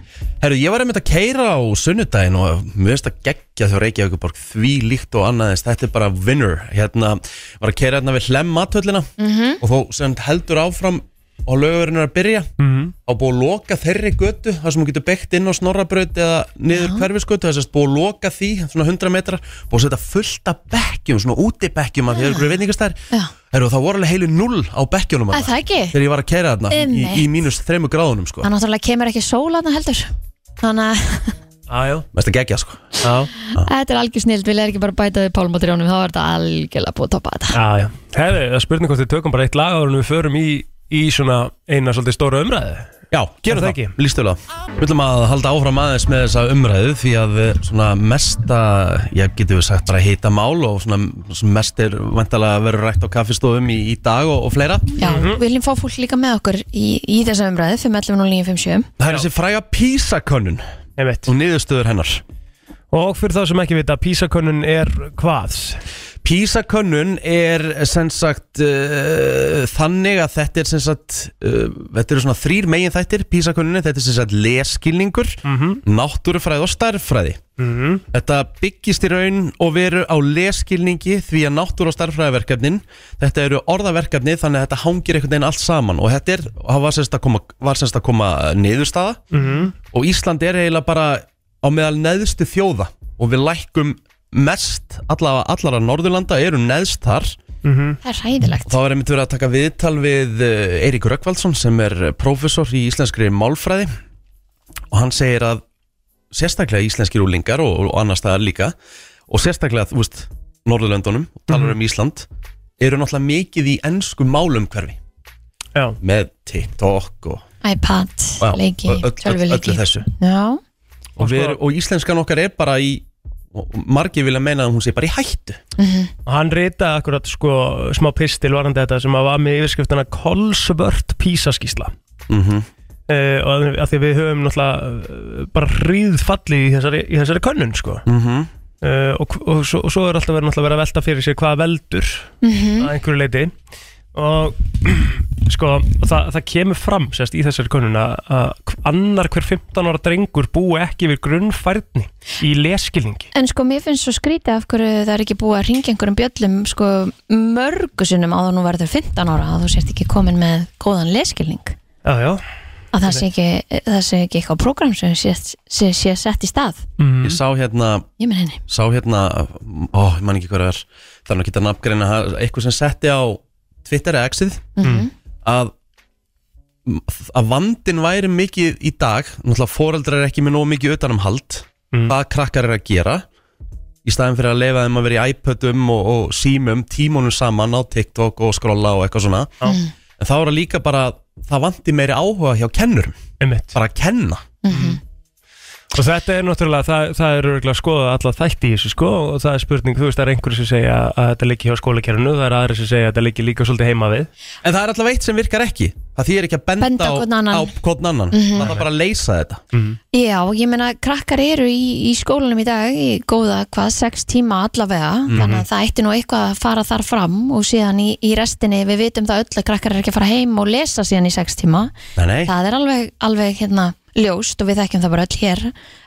A: Herru, ég var einmitt að keira á sunnudaginn og mér finnst að gegja þjó Reykjavíkuborg því líkt og annaðist, þetta er bara winner hérna, var að keira hérna við hlemmatöllina
B: Mhm.
A: -hmm. og þó sem heldur áfram og lögurinn er að byrja mm -hmm. á búið að loka þeirri götu þar sem hún getur byggt inn á snorrabraut eða niður ja. hverfisgötu, þess að búið að loka því svona 100 metrar, búið að setja fullt af bekkjum, svona útibekkjum að því eru veitingastær,
B: Já.
A: herru, það voru alveg heilu null á bekkjunum
B: Það er það
A: þarna
B: ekki
A: þegar ég var að keira þarna í, í
B: Einmitt.
A: mínus 3 gráðunum sko.
B: Það náttúrulega kemur ekki sól aðna heldur Þannig að
C: Aðjó,
A: mest að gegja sko
C: aðjó
B: þetta er algjör snild Vil ég ekki bara bæta þið pálum á trjónum Þá er þetta algjörlega búið að toppa þetta
C: Aðjó, það er spurning hvort við tökum bara eitt lag áður en við förum í, í svona eina svolítið stóra umræði
A: Já,
C: Er
A: gerum
C: það
A: það,
C: ekki?
A: það. lístulega Við ætlum að halda áfram aðeins með þessa umræðu því að eh, svona mesta ég getur við sagt bara hýta mál og svona, svona mest er vantalega að vera rætt á kaffistofum í, í dag og, og fleira
B: Já, við viljum fá fólk líka með okkur í, í þessa umræði 511 og 957
A: Það er þessi fræga písakönnun
C: Einmitt.
A: og niðurstöður hennar
C: Og fyrir þá sem ekki vita, písakönnun er hvað?
A: Písakönnun er sem sagt uh, þannig að þetta er sem sagt uh, þetta eru svona þrýr megin þættir písakönnunni, þetta er sem sagt leskilningur náttúrufræði og starffræði
C: Mhm.
A: Þetta byggist í raun og veru á leskilningi því að náttúr og starffræðaverkefnin þetta eru orðaverkefni þannig að þetta hangir einhvern veginn allt saman og þetta er, það var semst að koma, var semst að koma niðurstaða -hmm. og Ísland er eiginlega bara á meðal neðstu þjóða og við lækkum mest allavega allara Norðurlanda eru neðst þar Mhm.
B: Það er ræðilegt
A: Þá er einmitt verið að taka viðtal við eh, Eirík Rökkvaldsson sem er eh, prófessor í íslenskri málfræði og hann segir að sérstaklega íslenskir úlingar og, og annars staðar líka og sérstaklega þú veist, Norðurlöndunum og talar um Ísland eru náttúrulega mikið í ennsku málumhverfi
C: Já,
A: með TikTok og,
B: iPad,
A: Já,
B: leiki,
A: öll- öll-
B: tölvuleiki
A: öllu þessu.
B: Já,
A: og, við erum- og íslenskan okkar er bara í og og margir vilja meina að hún sé bara í hættu
C: og hann ritaði akkurat sko smá pistil varandi þetta sem að var með yfirskriftina Kolsvört písaskísla
A: mm
C: uh, og að, að því við höfum náttúrulega eh, bara ríðfalli í þessari, í þessari könnun sko
A: Mhm.
C: uh, og, og, svo, og svo er alltaf verið náttúrulega verið að velta fyrir sér hvað veldur að einhverju leiti og [clears throat] sko og það, það kemur fram sérst í þessari könnun að- að annar hver 15 ára drengur búi ekki við grunnfærni í leskilningi
B: en sko mér finnst svo skrítið af hverju það er ekki búið að ringja einhverjum bjöllum sko mörgu sinnum á það nú verður 15 ára að þú sért ekki komin með góðan leskilning
C: Já, já
B: að það sé ekki, það sé ekki eitthvað program sem sé, sé, sé sett í stað
A: ég sá hérna
B: ég menn henni
A: sá hérna, ó, ég man ekki hvað það er það er nú ekki að nafngreina það, eitthvað sem setti á Twitter eða X-ið að að vandin væri mikið í dag náttúrulega foreldrar er ekki með nógu mikið utanumhald
C: Mm.
A: hvað krakkar er að gera í staðin fyrir að leifa þeim að vera í iPodum og, og símum, tímunum saman á TikTok og skrolla og eitthvað svona
C: Já.
A: en þá er það líka bara, það vandi meiri áhuga hjá kennurum,
C: einmitt
A: bara að kenna
C: Og þetta er náttúrulega, það, það er örgulega að skoða alla þætti í þessu sko og það er spurning, þú veist, það er einhverju sem segja að þetta liggi hjá skólakerfinu, það er aðri sem segja að þetta liggi líka svolítið heima við.
A: En það er alltaf eitt sem virkar ekki Það þýðir ekki að benda,
B: Benda á hvorn annan. Mhm. Mm.
A: á hvorn annan. Það er bara að leysa þetta
B: Já, ég meina krakkar eru í, í skólanum í dag í góða hvað, sex tíma allavega þannig að það ætti nú eitthvað að fara þar fram og síðan í, í restinni við vitum það öll að krakkar er ekki að fara heim og lesa síðan í sex tíma
A: Nei, nei,
B: það er alveg, alveg hérna ljóst og við þekkjum það bara öll hér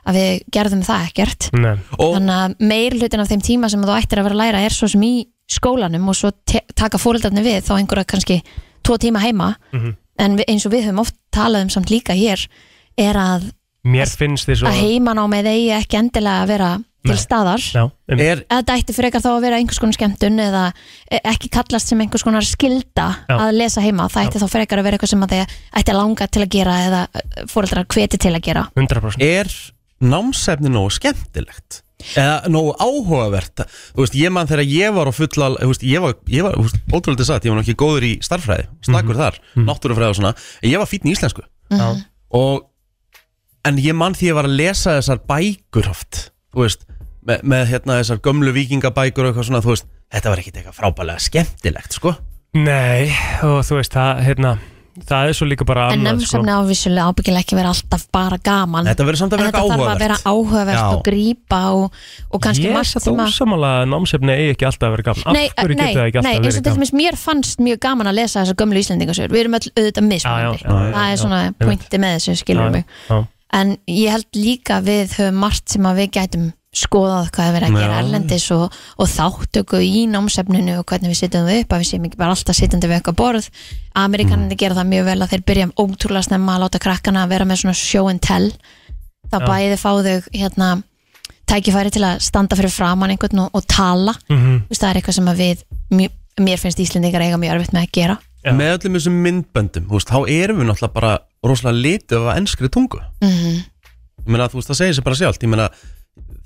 B: að við gerðum það ekkert
C: Nei.
A: og
B: þannig að meir hlutin af þeim tíma sem þú ættir að vera að læra er svo sem í skólanum og svo te- taka fóreldarnir við þá einhverja kannski tvo tíma heima en við, eins og við höfum oft talað um samt líka hér er að
C: Mér finnst þið svo...
B: að heimanámið eigi ekki endilega að vera til staðar
C: Já, um,
A: er,
B: að þetta ætti frekar þá að vera einhvers konar skemmtun eða eh, ekki kallast sem einhvers konar skilda
C: Já.
B: að lesa heima, það ætti þá frekar að vera eitthvað sem að þið ætti að langa til að gera eða fóreldrar hveti til að gera
C: 100%.
A: er námsefni nógu skemmtilegt eða nógu áhugavert Þú veist, ég mann þegar ég var á fulla þú veist, ég var, ég var þú veist, ótrúlega sagt, ég var nú ekki góður í starffræði stakur þar, náttúrufræði og svona en ég var fínn í íslensku
B: Mhm.
C: Já.
A: og, en ég mann því ég var að lesa þessar bækur oft þú veist, með, með hérna þessar gömlu vikingabækur og eitthvað svona, þú veist þetta var ekkit eitthvað frábælega skemmtilegt, sko
C: Nei, og þú veist, það, hérna, það er svo líka bara
B: En
C: annað sko.
B: nefnsefni á vissulega ábyggilega ekki vera alltaf bara gaman
A: Þetta verður samt að
B: Mhm.
A: vera
B: En þetta
A: eitthvað
B: þarf að vera
A: áhugavert
B: áhugavert
A: Já.
B: og grípa og, og kannski
C: Ég er
B: margt
C: satt
B: sem að
C: ósamála að námsefni eigi ekki alltaf að vera gaman
B: Nei,
C: Af hverju
B: nei,
C: getur það ekki
B: nei,
C: alltaf að
B: eins
C: vera
B: og til
C: gaman?
B: dæmis mér fannst mjög gaman að lesa þessar gömlu Íslendingasögur Við erum öll auðvitað mismunandi
C: Já, já, já, já,
B: Það
C: já,
B: er svona
C: já,
B: pointi með þessu skilur mig
C: já.
B: En ég held líka við höfum margt sem að við gætum skoðað hvað er verið að gera erlendis og, og þáttöku í námsefninu og hvernig við sitjum við upp að við séum ekki bara alltaf sitjandi við eitthvað borð Amerikanandi
C: Mm.
B: gera það mjög vel að þeir byrja ótrúlega snemma að láta krakkana að vera með svona show and tell þá
C: Já.
B: bæði fá þau hérna tækifæri til að standa fyrir framann einhvern og, og tala
C: Mhm.
B: Þú veist, það er eitthvað sem að við mjö, mér finnst Íslendingar eiga mjög erfitt með að gera
C: Já.
A: Með öllum þessum myndböndum, þú veist, þá erum við náttúrulega bara rosalega litið af enskri tungu
B: mm
C: Mhm.
A: Ég meina, þú veist, það segir sér bara sjálft Ég meina,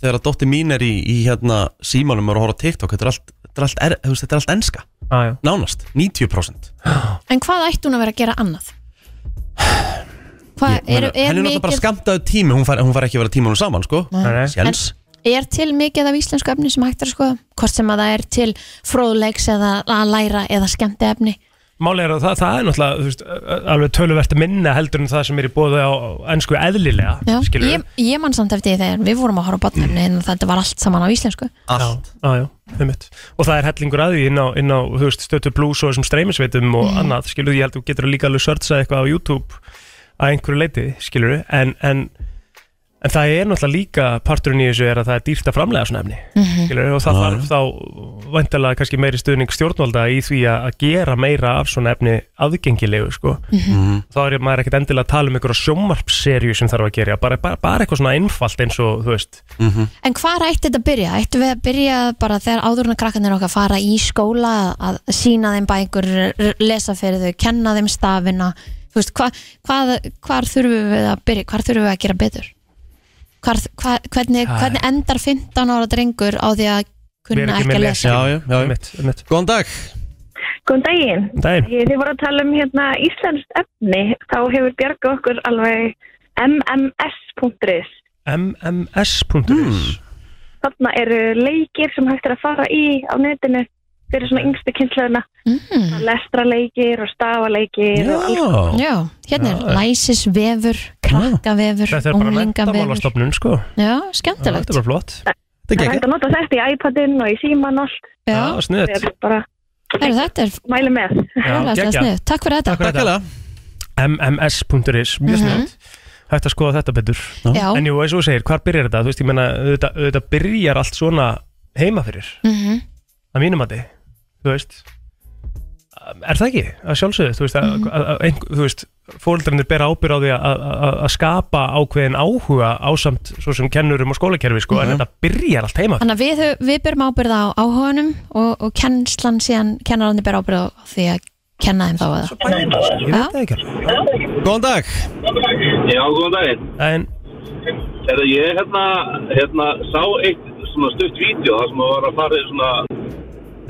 A: þegar að dóttir mín er í, í hérna símanum og er að horfa á TikTok Þetta er allt, þetta er allt, er, þú veist, þetta er allt enska,
C: Já, Ah, já.
A: nánast, 90%
B: En hvað ætti hún að vera að gera annað?
A: [sighs]
B: Hvað,
A: Ég
B: er,
A: meina,
B: er,
A: Henni er náttúrulega bara
B: mikið,
A: skamtaðu tími, hún fær, hún fær ekki að vera tímanum saman, sko
B: Mm.
C: Nei, nei.
A: Sjens,
B: er til mikið af íslensku efni sem hægt er að skoða? Hvort sem að það er til fróðleiks eða að læra eða skemmti efni
C: Máli er að það, það er náttúrulega þú veist, alveg töluvert minna heldur en það sem er í bóði á ennsku eðlilega
B: Já,
C: skilur
B: ég, ég mann samt eftir því þegar við vorum að
A: Mm.
B: horfa á botnefni en þetta var allt saman á íslensku
A: allt
C: Já, já, einmitt. Og það er hellingur að því inn á, inn á þú veist, stötu plus og þessum streymisveitum
B: Mhm.
C: og annað, skilur, ég held að þú getur líka alveg sörtsað eitthvað á YouTube að einhverju leiti, skilur, en, en, en það er náttúrulega líka parturinn í þessu er að það er dýrt að framlega svona efni,
B: Mhm.
C: skilur, og það
A: Já,
C: þarf þá væntalega kannski meiri stuðning stjórnvalda í því að að gera meira af svona efni aðgengilegu, sko.
B: Mhm.
A: Mhm.
C: Þá er maður ekkert endilega að tala um einhverja sjómarpserju sem þarf að gera, bara, bara, bara eitthvað svona einfalt eins og, þú veist,
B: En hvar ætti þetta að byrja? Ættu við að byrja bara þegar áðurinn að krakkanir okkar fara í skóla að sína þeim bækur, r- lesa fyrir þau, kenna þeim stafina Þú veist, hva, hvað, hvar þurfum við að byrja, hvar þurfum við að gera betur? Hvar, hva, hvernig,
C: Já,
B: hvernig endar 15 ára drengur á því að
C: Vera
B: kunna
C: ekki
B: ekki
C: með
B: að lesa?
A: Já, já, já, já.
C: einmitt, einmitt.
A: Góðan dag
F: Góðan daginn.
C: Dæin.
F: Ég, þið voru að tala um hérna íslenskt efni, þá hefur bjarga okkur alveg mms.is.
C: mms.is
F: Þarna eru leikir sem hægt er að fara í á netinu fyrir svona yngstu kynnslöðuna.
B: Mm,
F: Lestra leikir og stafa leikir og alls.
A: Já,
B: já, hérna
C: Já, já.
B: er læsisvefur, krakkavefur,
C: Þetta er bara
B: unglingavefur
C: menntamálastofnun sko
B: Já,
C: Þetta
B: skemmtilegt
C: er bara flott
A: þetta
F: Það
A: er
F: er
A: ekki
F: hægt að nota þetta í iPadin og í síman og allt.
B: Já,
C: Já, sniðt
F: Ég er bara
B: Heru, þetta er
F: mæli með.
B: fræðilega snið Takk fyrir þetta
A: Takk hella
C: mms.is,
B: Mhm.
C: mjög sniðt Hægt að skoða þetta betur
B: Já,
C: En jú, eins og þú segir, hvar byrjar þetta? Þú veist, ég meina, auðvitað auðvitað byrjar allt svona heima fyrir
B: mhm
C: að mínum að Þú veist Er það ekki? Að sjálfsögðu, þú veist, að,
B: Mhm.
C: mm. að, að, einhver- þú veist fóreldrandir bera ábyrð á því að, að, að- að skapa ákveðin áhuga ásamt svo sem kennurum og skólakerfi
B: Mhm.
C: sko, en þetta byrjar allt heima fyrir.
B: Þannig að við, höf- við byrjum ábyrða á áhuganum og, og kennslan síðan kennarandi byrja ábyrða á því að kenna þeim þá að það.
C: Ég veit það ekki
A: Góðan dag
D: Já, góðan daginn.
C: En,
D: Þegar ég hérna, hérna sá eitt svona stutt vídeo þar sem að var að fara í svona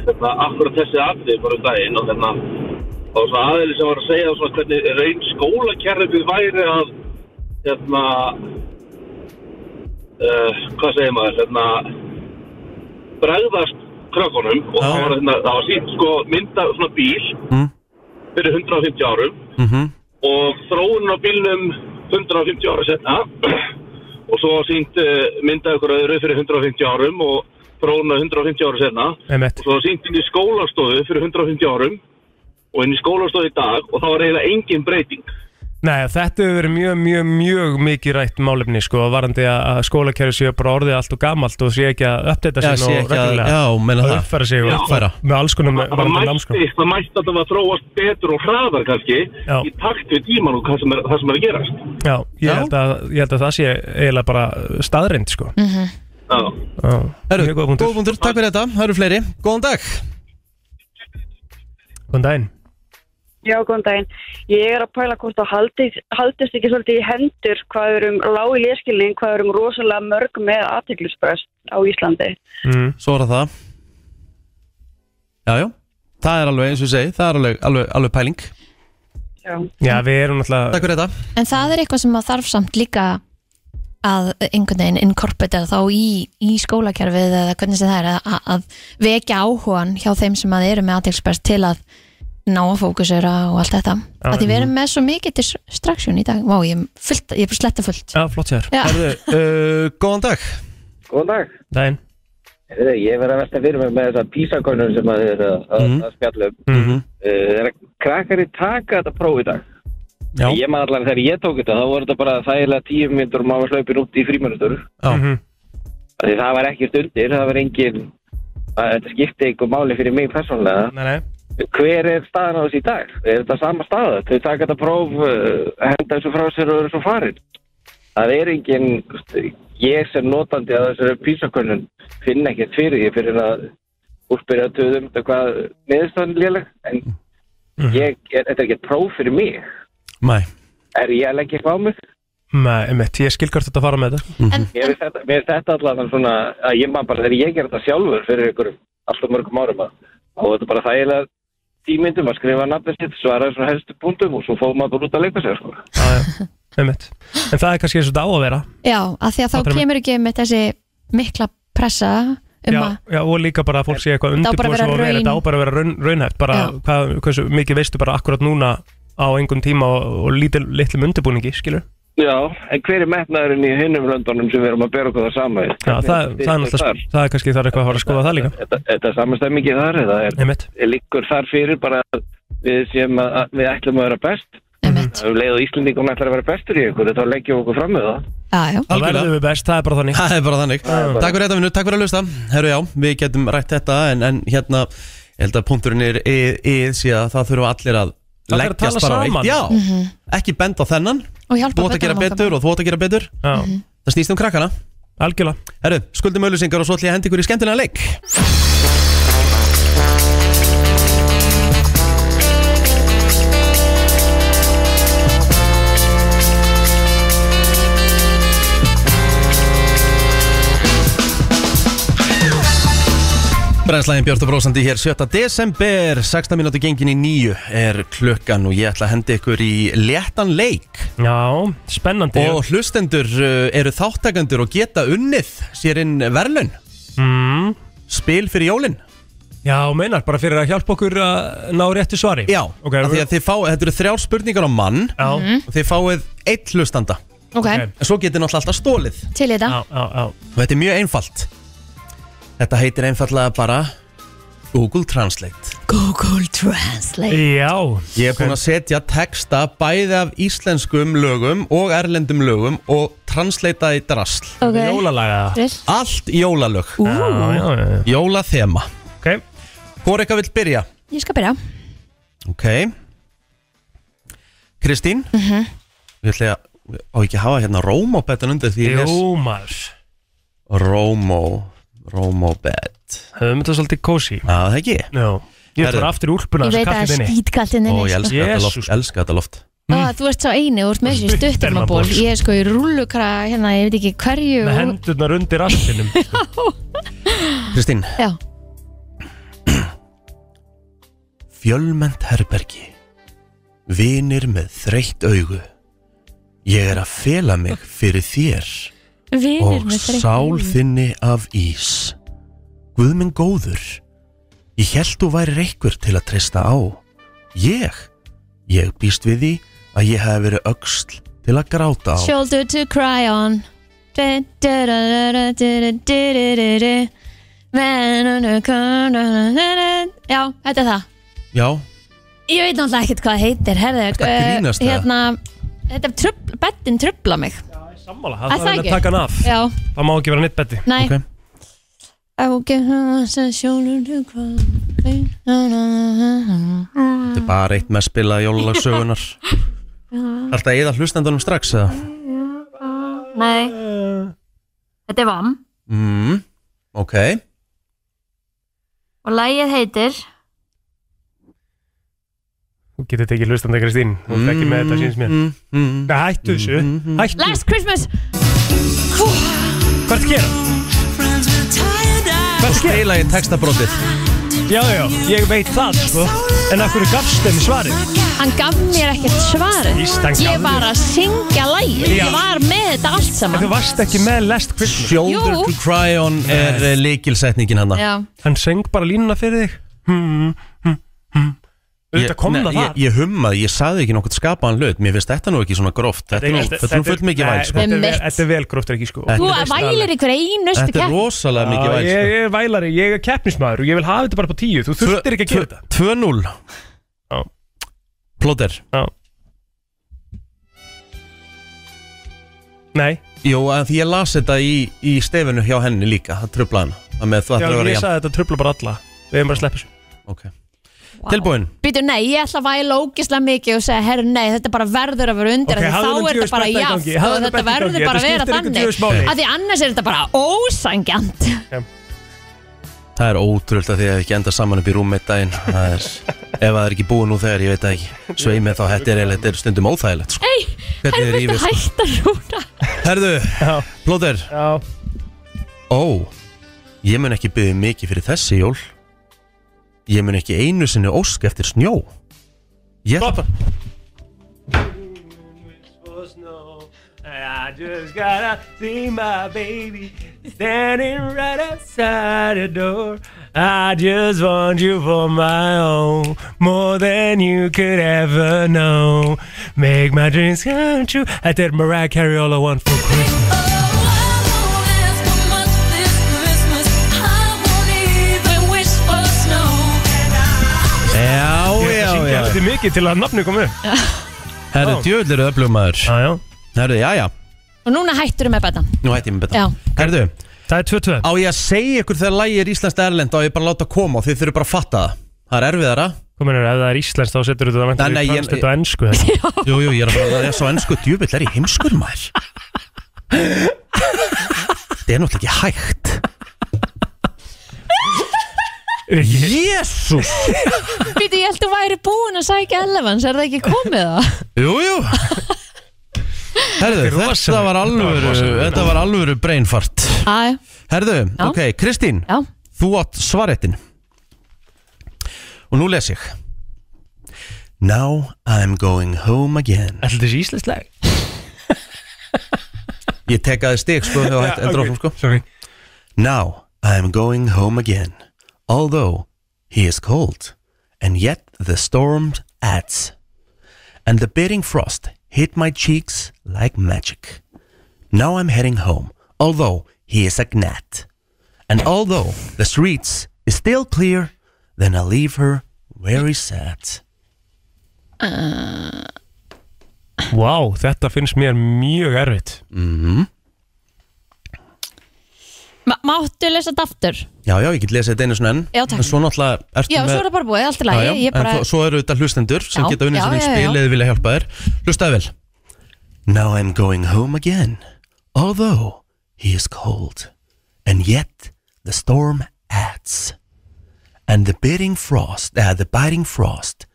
D: hérna, akkurat þessi atrið bara um daginn og hérna og svona aðeins sem var að segja svona hvernig reyn skólakerfið væri að hérna uh, hvað segir maður hérna bregðast krökkunum og það var, hérna, það var sínt sko mynda svona bíl
A: Mm.
D: fyrir 150 árum
A: Mhm.
D: og þróun á bílnum 150 ára setna og svo sínt uh, myndað ykkur öðru fyrir 150 árum og þróun á 150 ára setna
C: einmitt
D: og svo sínt inn í skólastofu fyrir 150 árum og inn í skólastofu í dag og það var eiginlega engin breyting
C: Nei, þetta hefur verið mjög, mjög, mjög mikið rætt málefni sko, varandi að að skólakerfi séu bara orðið allt og gamalt og séu ekki að uppdata
A: Já,
C: sig
A: sé
C: nú
A: ekki að,
C: reglulega
A: já, meina
C: að
A: það
C: uppfæra sig og
D: Já.
A: Uppfæra.
C: með alls konar með-
D: það
C: varandi námskrá
D: mætti, það mætti að það var þróast betur og hraðar kannski
C: Já.
D: í takt við tíman og hvað sem er, það sem er að gerast
C: Já, ég
A: Já.
C: held, að, ég held að það sé eiginlega bara staðrind sko mm.
D: Já.
C: Já,
A: Herru,
C: mjög góð punktur
A: góð punktur, takk fyrir þetta, það eru fleiri Góðan dag
C: Góðan daginn
F: Já, góðan daginn. Ég er að pæla hvort það haldist, haldist ekki svolítið í hendur hvað við erum lág í leskilning, hvað við erum rosalega mörg með aðteglisbrest á Íslandi.
C: mm.
A: Svo er það Já, já, það er alveg eins og ég segi Það er alveg, alveg, alveg pæling
F: Já.
C: Já, við erum náttúrulega
A: Mm. Takk fyrir þetta
B: En það er eitthvað sem að þarf samt líka að einhvern veginn inkorportera þá í, í skólakerfið eða hvernig sem það er að, að vekja áhugan hjá þeim sem að eru með aðtilsperst til að ná að fókusera og allt þetta að því við erum með svo mikið distraction í dag Vá, ég er, fullt, ég er bara sletta fullt
C: Já, flott sér
B: Já,
A: [laughs] Herðu, uh, góðan dag
G: Góðan dag.
C: Dæin
G: Heyrðu, Ég verði að velta fyrir mig með þessar písakonur sem að þið eru að- að að spjalla um.
A: Mhm.
C: mm -hmm.
G: Uh, Það er að krakkari taka þetta próf í dag.
C: Já.
G: Ég maður allavega þegar ég tók þetta, þá voru þetta bara þægilega tíu myndur og maður hlaupin út í fríminutur.
C: Mhm.
G: Því það var ekkert undir, það var engin, að þetta skipti einhver máli fyrir mig persónlega.
C: Nei, nei
G: Hver er staðan á þessu í dag? Er þetta sama staða? Þau taka þetta próf, uh, henda þessu frá sér og eru svo farin. Það er engin, ég sem notandi að þessari písakonun finn ekkert fyrir því fyrir að úrspyrja töðum þetta hvað meðstæðan léleg, en
C: Mhm.
G: ég, er, þetta er ekkert próf fyrir mig.
A: Mæ,
G: Er ég að leggja eitthvað á mig?
C: Nei, einmitt, ég skil hvert þetta að fara með þetta sko.
B: en,
G: Mér
B: en,
G: finnst þetta, mér finnst þetta allavega svona að ég maður bara þegar ég ger þetta sjálfur fyrir einhverjum alltaf mörgum árum að þá er þetta bara þægilega tímyndum að skrifa nafnið sitt, svara svona helstu punktum og svo fóðum maður bara út að leika sér sko.
C: Já,
A: [laughs]
C: já, einmitt En það er kannski eins og þetta á að vera
B: já, að því að þá
C: Fattar mig.
B: kemur ekki með þessi mikla pressa um
C: já,
B: að
C: já, og líka bara að fólk sé eitthvað
B: á bara að
C: undirbúið
B: vera
C: sem á að vera
B: raun-
C: Þetta á bara að vera raun, raunhæft bara
B: Já.
C: hvað, hversu mikið veistu bara akkurat núna á engum tíma og, og lítil, litlum undirbúningi, skilur
G: Já, en hver er metnaðurinn í hinnum löndunum sem við erum að bera okkur það sama í?
C: Já, það, það, er náttúrulega,
G: Þar?
C: það er kannski þar eitthvað að fara að skoða það líka
G: Þetta, þetta er samastemmingi þar eða er,
C: Einmitt,
G: er líkur þar fyrir bara að við séum að, að við ætlum að vera best
B: einmitt,
G: um leið og Íslendingum ætlar að vera bestur í einhverju þá leggjum við okkur fram með það
C: Mhm.
B: já, já,
C: það
A: Algjörlega.
C: verðum við best, það er bara þannig
A: [laughs] það er bara þannig Takk fyrir þetta vinnu, takk fyrir að hlusta Herru já, við getum rætt þetta en, en hérna, ég held að punkturinn er yð, yð síðan að það þurfa allir að
C: Það þarf að
A: leggjast
C: tala
A: bara á
C: saman.
A: eitt Já, ekki benda á þennan
B: og hjálpa
A: Þú átt að gera
B: börnunum okkar.
A: Mhm. betur og þú átt að gera betur
C: Já,
B: Mhm.
A: Það snýst um krakkana
C: algjörlega
A: Herru, skuldum auðlýsingar og svo ætlum ég að henda ykkur í skemmtilega leik Brænslægin Björn Brósandi hér 7. desember, 16 minúti gengin í nýju er klukkan og ég ætla að henda ykkur í léttan leik
C: Já, spennandi
A: Og hlustendur uh, eru þáttakendur og geta unnið sér inn verðlun
C: mm,
A: Spil fyrir jólin
C: Já, meinar, bara fyrir að hjálpa okkur að ná réttu svari
A: Já,
C: Ok,
A: af því að þið fáið, þetta eru þrjár spurningar á mann
C: Já,
B: Mhm.
A: Og þið fáið eitt hlustanda
B: ok,
C: Ok.
A: En svo getið náttúrulega alltaf stólið
B: til í þetta
C: já, já, já
A: Og þetta er mjög einfalt Þetta heitir einfallega bara Google Translate
B: Google Translate
C: Já,
A: Ég er búinn að setja texta bæði af íslenskum lögum og erlendum lögum Og translata í drasl
B: ok,
C: jólalaga það.
B: Til.
A: Allt jólalög
B: Ú,
C: Já, já, já, já.
A: Jólathema
C: Ok,
A: Hvor eitthvað vill byrja?
B: ég skal byrja
A: Ok Kristín mm -hmm. Við ætla að á ekki að hafa hérna Rómobet undir því ég les
C: jú maður
A: Rómó Rómobet
C: Höfum þetta svolítið kósi
A: Já það ekki
C: Já, ég
A: Herðu.
C: ætla aftur í úlpuna
B: ég
C: þessu
B: veit að það
C: kallið
B: er
C: þinni
B: skítkallinn
A: Ó ég
B: inni,
A: elska þetta
B: sko.
A: loft
C: Jesús.
A: Elska þetta loft
B: Á, þú ert sá eini, þú ert með þessi stuttermaból
C: Stuttermaból.
B: ég er sko í rúllukra, hérna, ég veit ekki hverju
C: Með hendurnar undir
B: [laughs]
C: rastinum
A: Kristín
B: já,
A: Fjölmennt herbergi Vinir með þreytt augu Ég er að fela mig fyrir þér
B: vinir
A: Og
B: með þreytt
A: sál
B: augu.
A: þinni af ís Guð minn góður Ég held þú væri reykkur til að treysta á Ég Ég býst við því að ég hef verið öxl til að gráta á
B: Shoulder to cry on Du- du- du- du- du- du- du- du- du- du. Men on a corner- Já, þetta er það
A: Já,
B: Ég veit náttúrulega ekkert hvað það heitir herðu,
A: Ertu að
B: eh,
A: grínast, eða?
B: hérna, Þetta er trubl, bettin trubla mig
C: Sammála,
B: Að
C: það
B: það
C: þarf að
B: ekki?
C: taka hann af
B: Já,
C: Það má ekki vera neitt betti
B: næ
A: Ok.
B: I will give her a shoulder to cry on.
A: þetta er bara eitt með spilað jólalagssögunar Alltaf eða hlustendunum strax eða?
B: Nei
H: Mm.
B: Þetta er Vam
A: Mm, ok
B: og lægið heitir
C: Þú getur þetta ekki hlustandi Kristín Þú ert ekki með þetta síns mér
A: mm, mm.
C: Nei, hættu þessu Hættu,
B: Last Christmas
C: hvað er að gera?
A: Hvað spila ég textabrótið?
C: Já, já, ég veit það, sko En af hverju gafst þeim svarið?
B: Hann gaf mér ekkert svarið
C: Víst, hann gaf
B: Ég var
C: þér.
B: að syngja lægið
C: Já.
B: Ég var með þetta allt
C: Þú
B: saman
C: varst ekki með Last Christmas
A: Shoulder
B: Jú.
A: to cry on eh, er líkilsetningin hann
B: Já,
C: Hmm, Hann söng bara línuna fyrir þig hmm. auðvitað komna
A: Nei,
C: það
A: ég, ég hummaði, ég saði ekki nokkert skapaðan hlut Mér finnst þetta nú ekki svona gróft Þetta er nú, þetta er nú full mikið væl sko.
C: Nei, þetta er
B: Einmitt.
C: vel- Þetta er vel gróft ekki sko
B: Þú
C: Veist það alveg.
B: vælir ykkur einustu
A: Þetta er
B: kepp
A: rosalega
C: Já,
A: mikið sko. væl
C: ég, ég er vælari, ég er keppnismæður og ég vil hafa þetta bara på tíu, þú þurftir ekki að gera þetta
A: 2-0
C: Já.
A: Plóter
C: Nei,
A: Jú, að því ég las þetta í, í stefinu hjá henni líka Það tröfla hana Það með það
C: já,
A: þarf að vera
C: ég
A: jafn
C: sagði þetta trubla bara alla Við erum bara að sleppa þessu
A: okay. Tilbúin
B: Býtu, nei, ég ætla að væla ógislega mikið og segja, herru, nei, þetta bara verður að vera undir
C: Ok,
B: okay,
C: hafðu nú
B: þá er
C: djöfis
B: þetta bara
C: betta í
B: jaft
C: gangi,
B: og
C: hafðu nú
B: þetta
C: betta í
B: verður
C: gangi,
B: bara
C: þetta
B: að vera
C: skiptir ykkur
B: þannig
C: djöfis máli.
B: af því annars er þetta bara ósangjant
A: Það er ótrúld að því að ekki enda saman upp í rúm eitt daginn Það er, Ef það er ekki búið nú þegar, ég veit það ekki Sveimið þá, þetta er, eiginlega- þetta er stundum óþægilegt sko.
B: Nei,
A: Hvernig
B: herru,
A: er
B: þetta
A: yfir sko.
B: hættar núna
A: Herðu,
C: Já.
A: plóter
C: Já,
A: Ó, ég mun ekki byggja mikið fyrir þessi jól Ég mun ekki einu sinni ósk eftir snjó Ég ætla bara
C: I just gotta see my baby Standing right outside the door I just want you for my own More than you could ever know Make my dreams come true Þetta er Mariah Carey All I Want For Christmas
A: Já, já,
C: Ég
A: já
C: gæti mikið til að nafnu komu upp
A: Herðu, djöðlir eru öflugum maður
C: Já, já
A: Herðu, já, já,
B: og núna hættur með betan
A: nú hætti ég mig betra
B: Já.
A: Herðu,
C: Það er 2-2
A: á ég að segja ykkur þegar lægi er Íslands Erlend á ég bara að láta koma og þið þurfið bara að fatta það Það er erfiðara
C: Komin er, ef það er íslensk þá setur þetta
A: Nei, nei,
C: væntanlega í
A: ég-
C: franskt þetta á ennsku þetta.
A: Jú, jú, ég er að bara, það er svo ennsku djöfull er ég heimskur maður Þetta er náttúrulega ekki hægt
C: Rikki,
A: Jésús
B: Býtu, ég held að þú væri búin að sækja elefans er það ekki komið það?
A: Jú, jú Herðu,
C: Þetta er
A: þetta
C: rosalegt.
A: var
C: Þetta
A: alvöru
C: var rosalegt.
A: Þetta var alvöru brainfart
B: Æ,
A: Herðu,
B: Já.
A: ok, Kristín
B: já,
A: Þú átt svaretin Og nú les ég Now I'm going home again
C: Ætli þessi íslensk lag?
A: Ég tek að þið stig sko,
B: [laughs]
A: þegar hægt endur áfram sko
C: Sorry
A: Now I'm going home again Although he is cold And yet the storm adds And the biting frost hit my cheeks like magic Now I'm heading home Although he is a gnat And although the streets is still clear Then I leave her very sad
C: Vá, þetta finnst mér mjög erfitt
B: Ma máttu lesa þetta aftur?
A: Já, já, ég get lesið þetta einu svona enn
B: Já, takk.
A: En svo náttúrulega ertu
B: Já,
A: með
B: svo er það bara búið, allt í
A: Já, já,
B: lagi ég bara,
A: en þó, svo eru þetta hlustendur sem
B: Já,
A: geta unnið
B: já,
A: sér í
B: já,
A: spil
B: já.
A: eða vilja hjálpa þér Hlustaði vel Now I'm going home again Although he is cold And yet the storm adds And the biting frost uh, The biting frost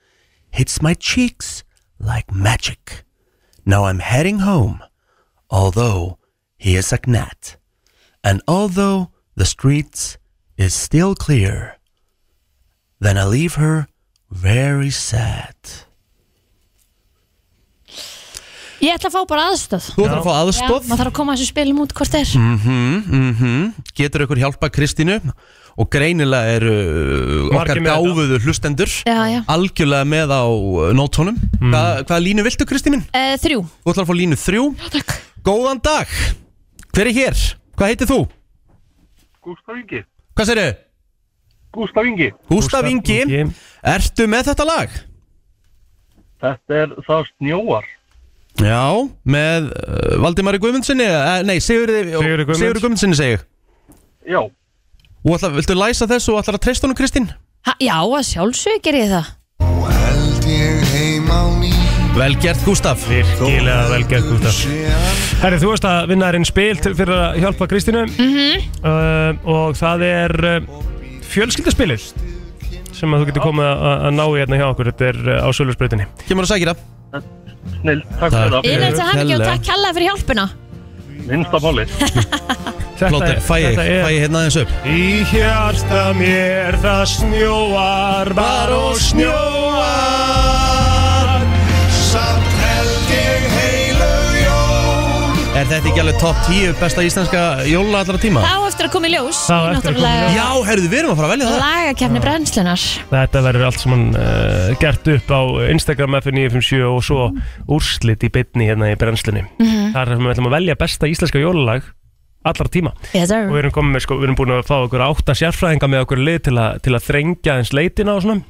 A: Hits my cheeks like magic Now I'm heading home Although he is a gnat And although the streets is still clear Then I leave her very sad
B: ég ætla að fá bara aðstöð
A: Þú þarf að fá
B: Já, maður
A: aðstof
B: þarf að koma þessu spilum út hvort er
A: Mm. Mhm, Getur ykkur hjálpa Kristínu Og greinilega eru uh, okkar
C: Margir með þetta.
A: gáfuðu hlustendur
B: Já, já.
A: Algjörlega með á uh, nótunum Hva, Hvaða línu viltu Kristín minn?
B: Eh, Þrjú,
A: Þú ætlar að fá línu þrjú
B: takk
A: Góðan dag Hver er hér? Hvað heitir þú?
D: Gústaf Ingi
A: Hvað segirðu?
D: Gústaf Ingi
A: Gústaf Ingi Ertu með þetta lag?
D: Þetta er það snjóar
A: Já, með uh, Valdimari Guðmundssoni uh, Nei, Sigurði
C: Sigurði Guðmunds.
A: Sigurði Guðmundssoni segi ég.
D: Já
A: Og ætlar, viltu læsa þessu og ætlar að treysta honum Kristín?
B: ha, Já, að sjálfsög ger ég það
A: Vel gert Gústaf
C: Virkilega vel gert út af Herri, þú veist að vinna þér inn spil til- fyrir að hjálpa Kristínu uh, Og það er uh, fjölskyldaspilið sem að þú getur komið að- að að ná í hérna hjá okkur Þetta er uh, á Sölursbreytinni
A: Kemur að sækja það
D: Snill, takk
A: Takk.
D: fyrir það
B: Ég nefndi að hann ekki og
A: Kærlega.
B: takk kalla fyrir hjálpina
D: Minnsta máli
A: Plóter, fæ ég, fæ ég hérna aðeins upp
C: Í hjarta mér það snjóar bara og snjóar
I: Samt held ég heilu jól
A: Er þetta ekki alveg top 10 besta íslenska jóla allra tíma?
B: Þá eftir að koma í ljós í
C: Það á eftir að koma í
B: náttúrulega
A: Já, herðu, við erum að fara að velja það
B: Lagakefni brennslunar
C: Þetta verður allt sem hann uh, gert upp á Instagram F957 og svo úrslit í beinni hérna í brennslunni. Þar erum við ætlum að velja besta íslenska jólalag allar tíma.
B: Yes
C: Og
B: sir
C: við erum, komin með, sko, við erum búin að fá okkur átta sérfræðinga með okkur lið til, að til að þrengja eins leitina og svona.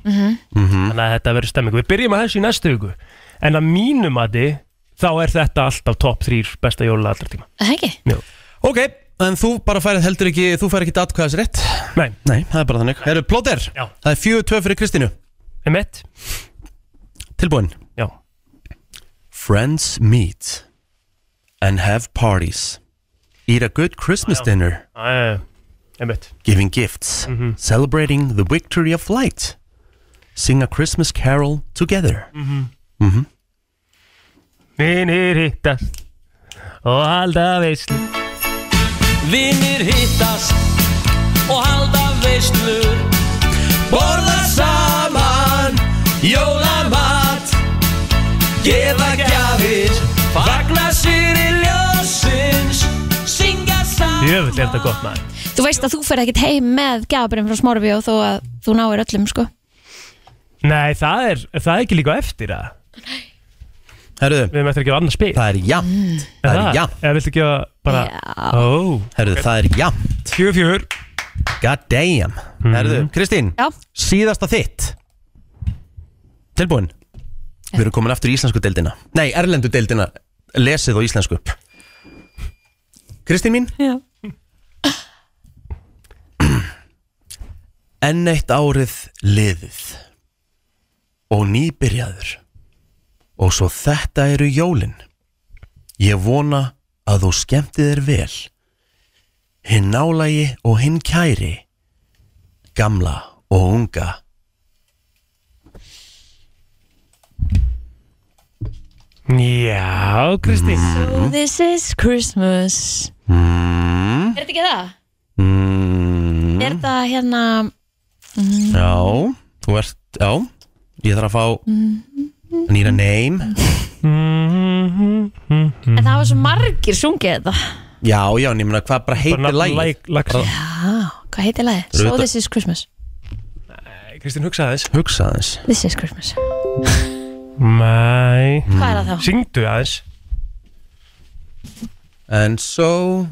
C: Þannig að þetta verður stemming. Við byrjum að þessu í næstu hugu. En að mínum að þið, þá er þetta alltaf top 3 besta jólalag allar tíma.
B: Það ekki
A: Ok, en þú bara færið heldur ekki, þú færið ekki atkvæðis rétt
C: Nei,
A: Nei, það er bara þannig Herru, plóter,
C: Já.
A: það er 4-2 fyrir Kristínu
C: er mitt?
A: Tilbúin
C: Já.
A: Friends meet and have parties Eat a good Christmas
C: Já.
A: dinner
C: Er mitt?
A: giving gifts,
I: Mhm.
A: celebrating the victory of light, sing a Christmas carol together.
I: Mhm.
C: Vinir hittast og halda veislu
I: Vinnir hittast og halda veislur Borða saman jólamat Gefa gjafir Fagna sér í ljósins Syngja saman
C: Jöfull er þetta gott maður
B: Þú veist að þú fer ekkit heim með gafabrinn frá Smárbjó þó að þú náir öllum sko
C: Nei, það er, það er ekki líka á eftir að
A: Herruðu,
C: Við möttum ekki á annað spil
A: það er jafnt, það er jafnt,
C: Eða viltu ekki að bara
B: Já.
C: Ó,
A: herruðu, það er jafnt,
C: fjögur fjögur
A: god damn. Herruðu, Kristín,
B: Já,
A: síðasta þitt, tilbúin. Við erum komin aftur í íslensku deildina, nei, erlendu deildina, lesið á íslensku. Kristín mín,
B: já
A: enn eitt árið liðið og nýbyrjaður og svo þetta eru jólin ég vona að þú skemmti þér vel hinn nálægi og hinn kæri gamla og unga
C: Já, Kristín
B: This is Christmas Er þetta ekki það?
A: mm,
B: Er þetta hérna
A: já, þú ert, já ég þarf að fá nýra name
B: En það var svo margir sungið þetta
A: já, já, en ég meina hvað bara
C: Bara
A: heitir
C: nafn
A: lægið
C: læg- lags-
B: Já, hvað heitir lagið?
A: Rauða-
B: So this is Christmas
C: Nei, Kristín, hugsaði þess
A: hugsa aðeins
B: This is Christmas Mm.
C: Nei
B: Hvað er það þá?
C: Syngdu aðeins
A: and so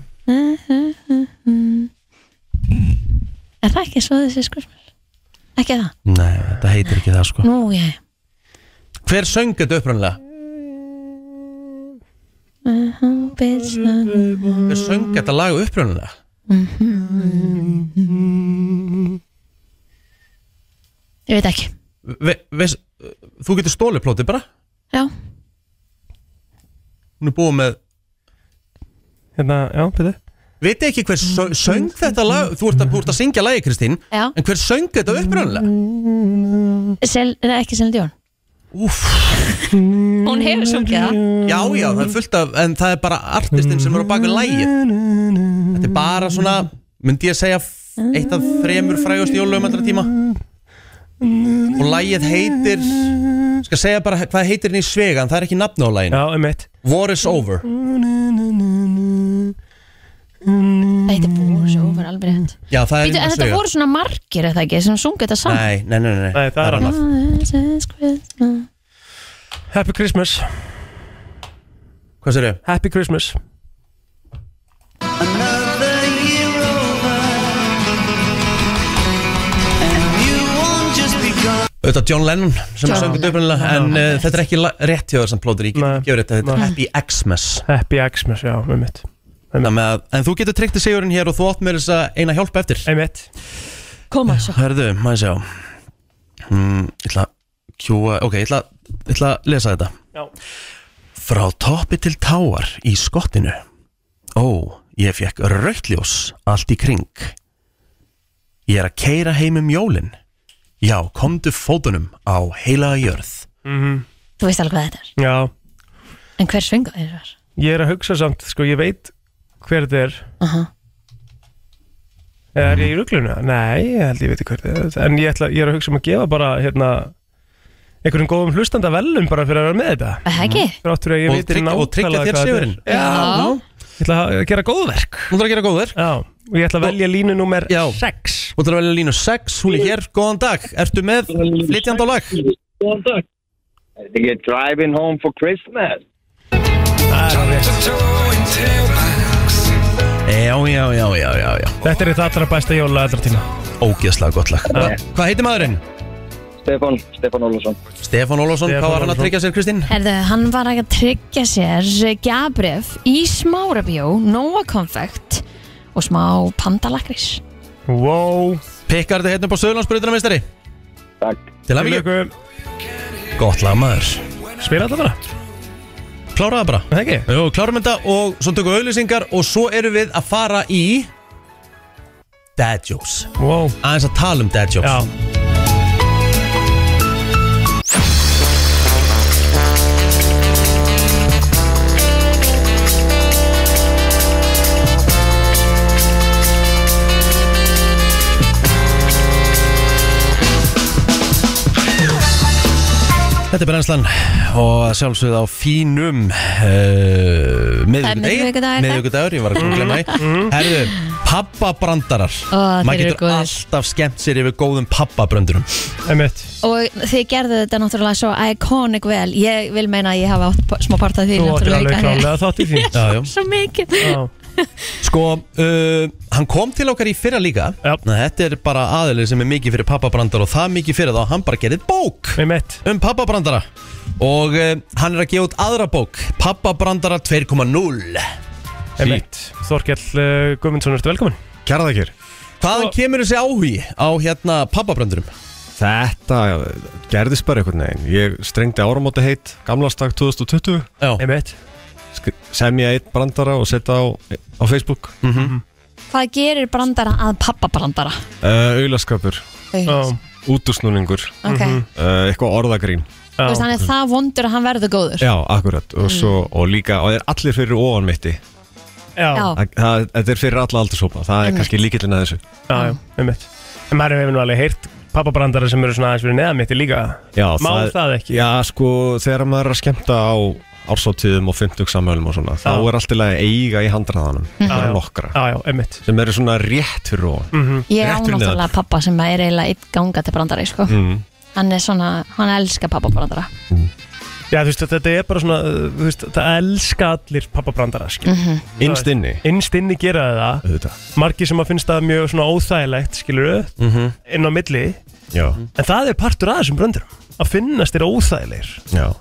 B: Er það ekki So this is Christmas? Ekki það?
A: nei, þetta heitir ekki það sko
B: Nú, ég
A: hver söng þetta upprannlega?
B: Business
A: Hver söng þetta lag uppröðuna?
B: Ég veit ekki
A: Ve, veist, þú getur stólið plótið bara
B: Já,
A: Hún er búið með
C: Hérna, já, betur
A: Vitið ekki hver sö- söng þetta lag Þú ert að, þú ert að syngja lagi Kristín
B: já
A: En hver söng þetta uppröðuna?
B: Sel, nei, ekki Selin Dion
A: Úf,
B: [laughs] Hún hefur sungið það
A: já já, það er fullt af En það er bara artistinn sem er á bak við lagi Þetta er bara svona Myndi ég segja f- eitt af þremur frægust jólum allra tíma Og lagið heitir Skal segja bara hvað heitir henni í svega En það er ekki nafn á laginu
C: Já, er mitt
A: War is over
B: Það heitir Bórs over alveg rétt
A: Já, það er
B: Býtu,
A: inni í
B: en þetta
A: Svega.
B: voru svona margir eða ekki sem sungið þetta saman
A: Nei, nei, nei, nei,
C: Nei, það er annað
B: This is Christmas.
C: Happy Christmas
A: Hvað sér ég?
C: Happy Christmas
A: auðvitað John Lennon sem
B: John
A: John söngur
B: Lennon.
A: döfnilega en uh, þetta er ekki la- rétt hjá þessum plótur ég get
C: Nei.
A: ekki gefur þetta, þetta er
C: Nei.
A: Happy Xmas
C: Happy Xmas, já, er mitt
A: Þannig að, en þú getur tryggt í sigurinn hér og þú átt mér þess að eina hjálpa eftir
C: Er mitt
B: Koma svo
A: Hörðu, maður sjá mm, Ég ætla að kjúa, ok, ég ætla, ég ætla að lesa þetta
C: Já.
A: Frá toppi til táar í skottinu Ó, ég fekk rauðljós allt í kring Ég er að keira heim um jólin Já, komdu fótunum á heila jörð
B: Þú veist alveg hvað þetta er
C: Já,
B: En hver svinga þeir var?
C: ég er að hugsa samt, sko, ég veit hver þetta er
B: Aha.
C: Eða er ég í ruglunu? Nei, ég held ég veit ekki hver það er En ég, ætla, ég er að hugsa um að gefa bara hérna einhverjum góðum hlustanda velum bara fyrir að vera með þetta
B: Það ekki?
C: Þráttur að ég
A: Og
C: veit
A: tryggja- og tryggja þér sigurinn.
C: Já, já. Ég ætla að gera góðverk
A: Þú ætlar að gera góður
C: Já, og ég ætla að velja línu númer
A: Já.
C: 6
A: Þú ætlar að velja línu 6, hún er hér, góðan dag Ertu með flytjandi á lag?
G: Er þetta ekki Driving Home for Christmas?
A: Já, já, já, já, já, já
C: Þetta er eitt allra besta jóla allra tíma
A: Ógeðslega gott lag
C: Já.
A: Ah. Hvað heitir maðurinn?
G: Stefan, Stefan Ólafsson
A: Stefán Ólafsson,
C: Stefán
A: hvað var hann að
C: Ólafsson.
A: tryggja sér, Kristín?
B: Herðu, hann var að tryggja sér gjabref í smárabjó, nóa konfekt og smá pandalakris.
C: Wow,
A: Pikkar þetta hérna upp á Söðurlandsbrutina, meistari
G: Takk
A: Til að mikið
C: Lugum.
A: Gott lag, maður
C: spila þetta bara
A: Kláraðu það bara
C: Það ekki?
A: Jú, klárum þetta og svo tökum við auðlýsingar og svo erum við að fara í Dad Jokes
C: Wow,
A: Aðeins að tala um Dad Jokes
C: já
A: Þetta er Brennslan og að sjálfsögðu á fínum uh,
B: miðvikudagur, það.
A: miðvikudagur, ég var að glemma í
C: Mm,
A: Herðu, pappabrandarar
B: Ó, þeir
A: Maður
B: eru
A: getur
B: góðir.
A: alltaf skemmt sér yfir góðum pappabrandurum
C: Emmett
B: Og þið gerðu þetta náttúrulega svo iconic vel. Ég vil meina að ég hafa átt p- smá part af því
C: Þú áttir alveg
B: náttúrulega.
C: klálega þátt í því
A: Já, já.
B: [laughs] Svo mikið.
C: Já,
A: Sko, uh, hann kom til okkar í fyrra líka
C: Já.
A: Ná, Þetta er bara aðilið sem er mikið fyrir pappabrandar og það mikið fyrir þá, hann bara gerði bók
C: Emmett
A: um pappabrandara og uh, hann er að gefa út aðra bók Pappabrandara 2.0
C: Emmett Þorkell uh, Guðmundsson, ertu velkomin
J: Kæra þakir
A: Hvaðan
C: Sko-
A: kemur þessi áhugi á hérna pappabrandurum?
J: Þetta gerðist bara einhvern veginn Ég strengdi áramóti heitt Gamlastak 2020
A: Já,
C: Emmett
J: skri- Semja eitt brandara og setja á, á Facebook
C: Mm.
B: Hvað gerir brandara að pappabrandara?
J: uh, Aulaskapur,
C: Já, mhm.
B: Ok,
J: útúrsnúningur uh, Eitthvað orðagrín
B: þú veist, hann er það vondur að hann verður góður.
J: Já, akkurat og, svo, og líka, og það er allir fyrir ofan mitti
C: Mm. já,
B: Já,
J: Það- það- Þetta er fyrir alla aldurshópa Það er
B: Einmitt.
J: kannski líkillin að þessu
C: já, já, Emmett En maður hefur nú alveg heyrt pappabrandara sem eru svona aðeins fyrir neðan mitti líka
J: Já,
C: Má það ekki?
J: Já, sko, þegar maður er að skemmta á ársáttíðum og fimmtugsamölum og svona, þá
C: Já. Mhm.
J: er alltaf að eiga í handraðanum bara
C: Já, já.
J: nokkra,
C: Já, já, Emmett
J: sem eru svona rétt fyrir ofan
B: ég
J: rétt
B: á
J: fyrir
B: náttúrulega pappa sem er eiginlega eitt ganga til brandari, sko.
J: mm.
B: Hann er svona, hann elskar pappabrandara.
C: Já, þú veist, þetta er bara svona, uh, þú veist, það elska allir pappabrandara, skil.
B: Mhm.
J: Innst inni
C: Innst inni gera þau það,
J: auðvitað.
C: margir sem að finnst það mjög svona óþægilegt, skilur
J: Mhm.
C: inn á milli,
J: Já,
C: en það er partur af þessum brandurum, að finnast þér óþægilegir
J: já,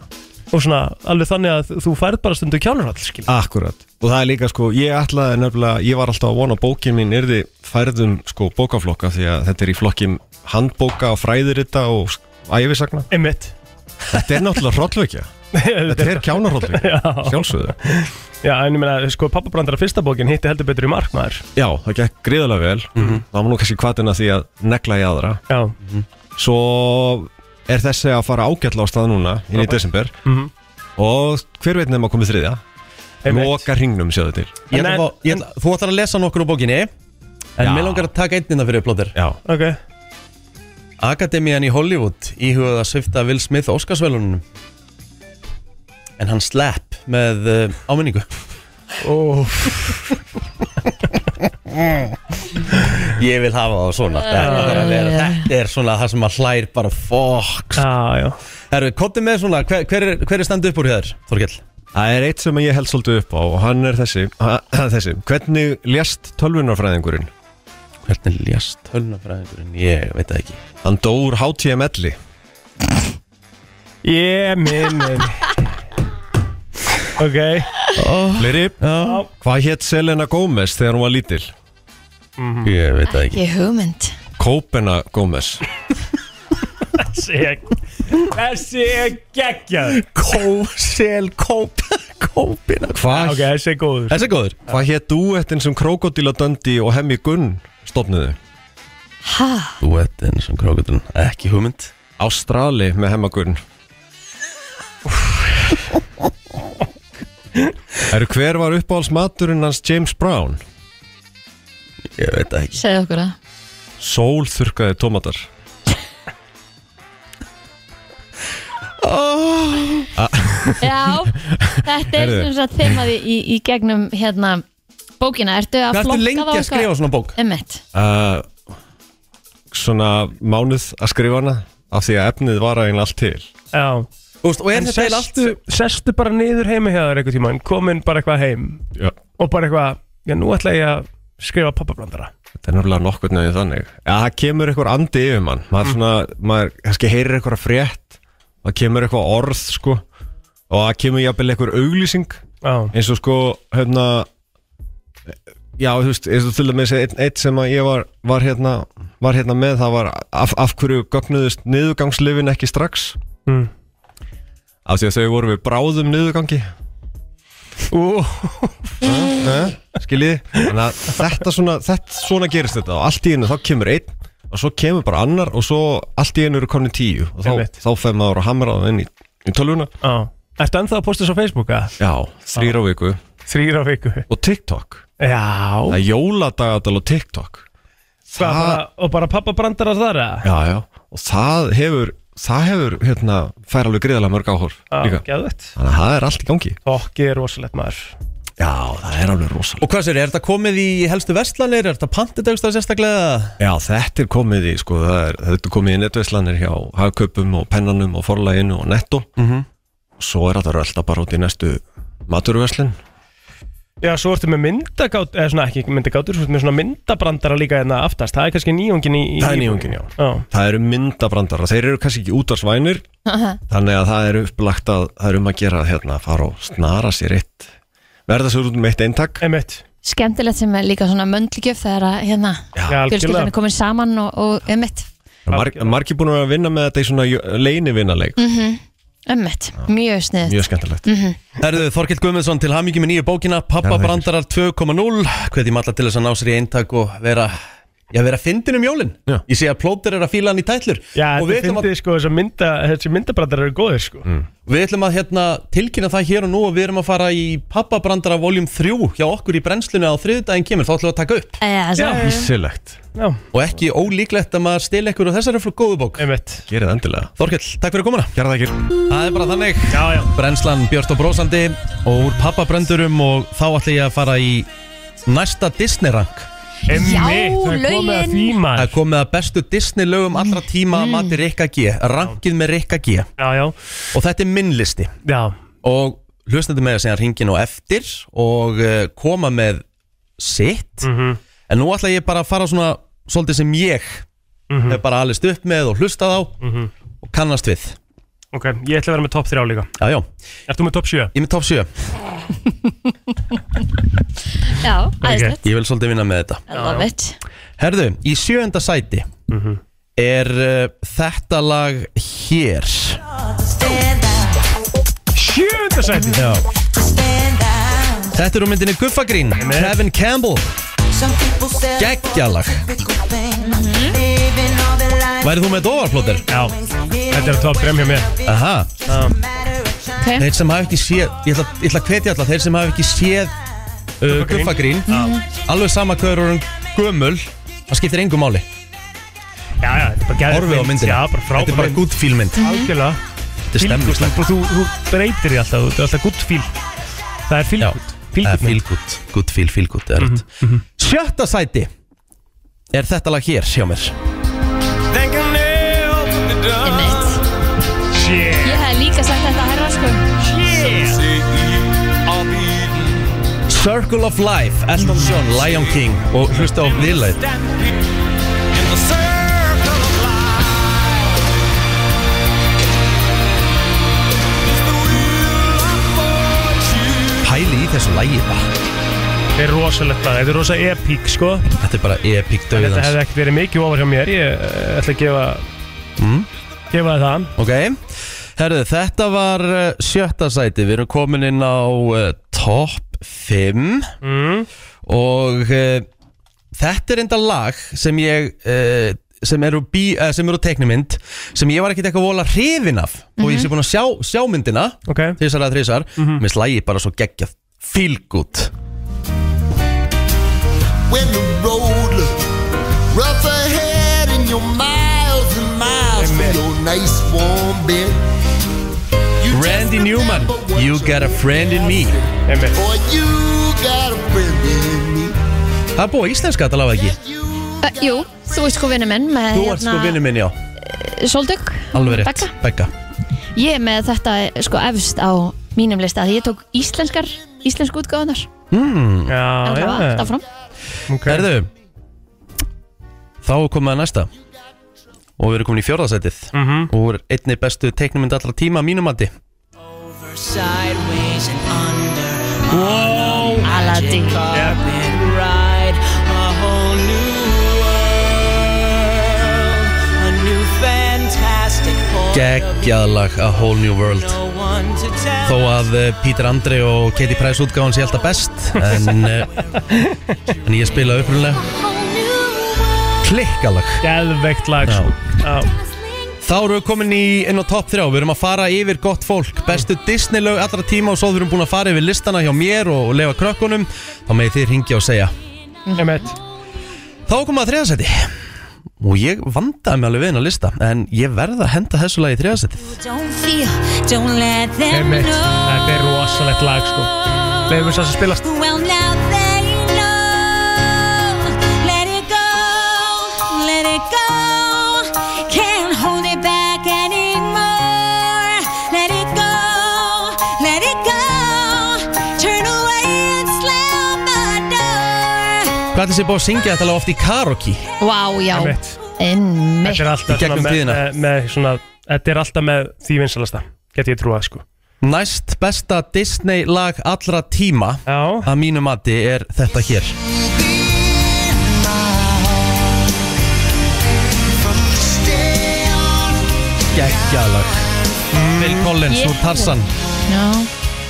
C: og svona alveg þannig að þú færð bara stundu kjálurhall, skilur.
J: akkurat Og það er líka sko, ég ætlaði nefnilega Ég var alltaf að vona að bókin mín yrði færðum sko bókaflokka Því að þetta er í flokkim handbóka og fræðurita og æfisagna
C: Einmitt.
J: Þetta er náttúrulega hrollvekja Þetta er kjánarhrollvekja, sjálfsögðu
C: Já, en ég meina, sko, pappabrandara fyrsta bókin hitti heldur betur í markmaður.
J: Já, það gekk gríðarlega vel Það var nú kannski hvatina því að negla í aðra
C: Já,
J: Svo er þessi að fara ágætla á stað núna inn í desember
C: Mhm.
J: og hver veit nema komið þriðja Loka hringnum sjáðu til
A: Ég
C: En-
A: ætla að fá, ég ætla, þú ætlar að lesa nokkur úr bókinni En
J: Já.
A: mér langar að taka einnina fyrir plóðir
J: Já,
C: Ok,
A: Akademían í Hollywood íhugað að svifta Will Smith Óskarsvelunum En hann slapp með uh, áminningu Ég vil hafa það svona Þetta þarf að vera- þetta er svona það sem að hlær bara fokk
C: já, já.
A: Herru, komdu með svona, hver, hver, er- hver er standu upp úr hér, Þorkell?
J: það er eitt sem ég held svolítið upp á og hann er þessi, [clears throat] hann er þessi. Hvernig lést tölvunarfræðingurinn?
A: Hvernig ljast tölnafræðingurinn? Ég veit það ekki
J: Hann dór HTML-i
C: Ég minn, minn. Ok.
J: Fleiri,
A: Já.
J: hvað hétt Selena Gomez þegar hún var lítil?
A: Ég veit það ekki
B: Ég hugmynd.
J: Kópena Gomez
C: Þessi er Þessi er geggjað
A: Kósel, kóp, kópina
J: Hvað
C: Ah, Ok, þessi er góður
A: Þessi er góður
J: hva hétt duettin sem Krokodila Dundee og Hemmi Gunn stopnuðu?
B: Ha,
A: Þú ert eins og krókutun, ekki hugmynd
J: Ástrali með Hemma Gunn Eru hver var uppáhalds maturinn hans James Brown?
A: Ég veit það ekki
B: segðu okkur það.
J: Sólþurkaði tómatar
B: Já, þetta er
J: Heyrðu.
B: sem sagt þeimaði í, í gegnum hérna bókina, ertu að
A: Hvað
B: flokka
A: ertu lengi að skrifa svona bók?
B: Emmett,
J: uh, Svona mánuð að skrifa hana Af því að efnið var eiginlega allt til
C: Já,
A: Þú veist, Og er
C: en
A: þetta eiginlega allt
C: sestu, sestu bara niður heimi hjá þér einhvern tímann, komin bara eitthvað heim
J: Já.
C: og bara eitthvað, já nú ætla ég að skrifa pappabrandara
J: Þetta er nefnilega nokkur nefnir þannig Já, það kemur eitthvað andi yfir mann Maður svona, maður kannski heyrir eitthvað frétt Það kemur eitthvað orð, sko Og það kemur jafnvel eitthvað auglýsing
C: Já,
J: eins og sko hérna já þú veist eins og til dæmis einn ein sem að ég var, var hérna var hérna með það var af, af hverju gögnuðust niðurgangslifin ekki strax
C: Mm.
J: af því að þau voru við bráðum niðurgangi
C: ú,
J: eh, skiljiði þannig að þetta svona þetta svona gerist þetta og allt í einu þá kemur einn og svo kemur bara annar og svo allt í einu eru komin tíu og þá,
C: Einmitt.
J: þá fer maður að hamra það inn í, í tölvuna
C: já Ertu ennþá að posta þessu á Facebooka?
J: já þrýra viku
C: Þrýra á viku
J: og TikTok það
C: Já,
J: er jóladagadal og TikTok
C: Hvað, bara, og bara pappabrandarar þar eða?
J: já, já. og það hefur það hefur, hérna, fær alveg greiðlega mörg áhor
C: Já,
J: líka,
C: geðvægt
J: þannig að það er allt í gangi
C: Fokki er rosalegt maður
J: já, það er alveg rosalega
A: Og hvað sér, er þetta komið í helstu verslanir? Er þetta pantidagstað sérstaklega?
J: já, þetta er komið í, sko, það er, þetta er komið í netveislanir hjá hagkaupum og pennanum og forlæginu og netto
C: Mhm.
J: og svo er þetta rölda bara út í næstu maturverslin
C: Já, svo ertu með myndagátur, eða svona ekki myndagátur, svo ertu með svona myndabrandara líka hérna aftast, það er kannski nýjungin í... í
J: Það er nýjungin, já. það eru myndabrandara, þeir eru kannski ekki útvarsvænir þannig að það er upplagt að það er um að gera, hérna, að fara og snara sér eitt, verða sér út með eitt eintak
C: Emmett,
B: skemmtilegt sem er líka svona möndlugjöf þegar að hérna
C: já,
B: fjölskyldan er komin saman og, og Emmett,
J: Mar margir búin að vera að vinna með þetta í svona leinivinnaleg,
B: Emmett, mjög Mhm. snið
J: mjög skemmtilegt
A: Herðu Þorkild Guðmundsson til hamingi með nýju bókina Pappa
J: Kærar
A: Brandarar 2.0 Hvernig maður til þess að ná sér í eintak og vera Já, vera fyndin um jólin
J: Já.
A: Ég sé að plóter er að fíla hann í tætlur
C: Já,
A: Og við
C: þetta
A: ætlum, að,
C: fyndið sko, þessar mynda, þessi myndabrandarar eru góðir sko.
A: við ætlum að hérna, tilkynna það hér og nú Og við erum að fara í Pappa Brandara voljum 3 Hjá okkur í brennslunni á þriðdægin kemur Þá ætlum við að taka upp
B: Eh, Emmett,
J: Ísilegt,
C: Já,
A: Og ekki ólíklegt að maður stila ykkur Og þessar er frá góðu bók
C: Emmett.
J: gerið það endilega
A: Þorkild, takk fyrir komuna
J: Gerða það ekki
A: Það er bara þannig
C: Já, já.
A: Brennslan Björst og Brósandi Og úr Pappa Brandurum Og þá ætlum ég að fara í næsta Disney-rank
C: Emmett, það er komið að
B: lögin.
C: því
A: Það er
C: maður.
A: komið að bestu Disney lögum allra tíma mm. Mati Rikka G, rankið með Rikka G
C: Já, já,
A: Og þetta er minn listi
C: já,
A: Og hlustandi með að segja hringin og eftir Og uh, koma með sitt
C: Mhm.
A: En nú ætla ég bara að fara svona Svolítið sem ég mm Hef bara alist upp með og hlustað á Og kannast við
C: ok, ég ætla að vera með topp 3 líka.
A: Já, já,
C: Ert þú með topp 7?
A: ég er með top 7
B: já, æðislegt
A: Ég vil svolítið vinna með þetta
B: I love it
A: Herðu, í sjöunda sæti Er uh, þetta lag hér
C: Sjönda sæti!
A: Já Þetta er úr myndinni Guffagrín Kevin Campbell Geggjalag Værið þú með dovarplóter?
C: Já, þetta er topp 3 hjá mér.
A: Aha
B: okay.
A: Þeir sem hafa ekki séð Ég ætla, ég ætla að hvetja alla Þeir sem hafa ekki séð uh, Guffagrín Alveg sama hver og gömul Það skiptir engum máli
C: Já, já, þetta er bara gæðið.
A: Orfið á myndina
C: Já,
A: Þetta
C: bara
A: er
C: frábæð
A: bara
C: mynd.
A: gútt fílmynd
C: Algjörlega.
A: Þetta er
C: Feel good,
A: stemmislegt
C: Þú, þú breytir því alltaf, þú er alltaf gutt fíl Það er
A: Já, Eh,
C: fílgút
A: það er
C: Fílgút
A: fílgútt Gútt fíl, fílgútt mm
C: Mhm,
A: -hmm. Sjötta sæti Er þetta lag hér hjá mér?
B: Emmett
C: Shit
B: Ég hef líka sagt þetta að herra sko
A: Circle of Life, Elton John, Lion King og hlusta á viðlæð Pæli í þessu lægi bara
C: Þetta er rosalegt að, þetta er rosa epík sko
A: Þetta er bara epic
C: Þetta
A: döðans
C: hefði ekkert verið mikið ofar hjá mér Ég eh, ætla að gefa
A: Mm.
C: Gefa það það
A: Ok, herðu þetta var eh, sjötta sæti Við erum komin inn á uh, top 5
C: mm.
A: og uh, þetta er enda lag sem ég uh, sem eru, bí, uh, sem eru teiknumynd sem ég var ekkert eitthvað vola hrifin af og ég sé búin að sjá, sjá myndina
C: Ok,
A: þrísar að þrísar, mm -hmm. minnst lagið bara svo geggjað fílgút
K: When the road looks rough ahead and you're miles and miles from your nice warm bed,
A: Randy Newman You got a friend in me
C: einmitt.
K: Boy, you got a friend in me.
A: Það er búið á íslenska þetta laga ekki
K: You
B: Uh, jú, þú ert sko vinnu minn með
A: Þú ert sko vinnu minn, já,
B: Soldug
A: alveg rétt
B: Hérna- Begga.
A: Begga
B: Ég er með þetta sko efst á mínum lista því ég tók íslenskar, íslensku útgáðunar
C: Já,
B: en það var
C: Ah, já,
B: alltaf fram
C: ok
A: Herðu Þá er komið að næsta Og við erum komin í fjórðasætið mm -hmm. Úr einni bestu teiknumynd allra tíma að mínum mati
I: Sideways and under
B: Aladdin
I: carpet ride a whole new world a new fantastic point
A: Geggjaðlag A Whole New World
I: no one to tell
A: Þó að eh, Peter Andre og Katie Price útgáðan sé alltaf best En, eh, en ég spila upprunlega Klikkalag
C: Geðveikt lag
A: Já.
C: sko. Já,
A: Þá erum við komin í inn á topp 3 Við erum að fara yfir gott fólk Bestu Disney lög allra tíma og svo þurfum búin að fara yfir listana hjá mér og, og lefa krökkunum Þá megið þið ringja og segja
C: einmitt
A: Þá komum við að þriðasæti Og ég vandaði mig alveg við hennar lista En ég verð að henda þessu lagi í þriðasætið
C: Einmitt, þetta er rosalegt lag sko Leifum við þess að spilast
A: Hvað ætlis ég búið að syngja þetta lag oft í karaoke?
B: Vá, já,
C: Einmitt,
B: einmitt
C: þetta er alltaf
A: Í gegnum
C: svona með,
A: tíðina.
C: með, eh, með svona Þetta er alltaf með því vinsalasta Get ég trúað sko
A: Næst besta Disney lag allra tíma
C: Já,
A: Að mínu mati er þetta hér Gekkjalag Phil Collins úr Tarzan
B: Já,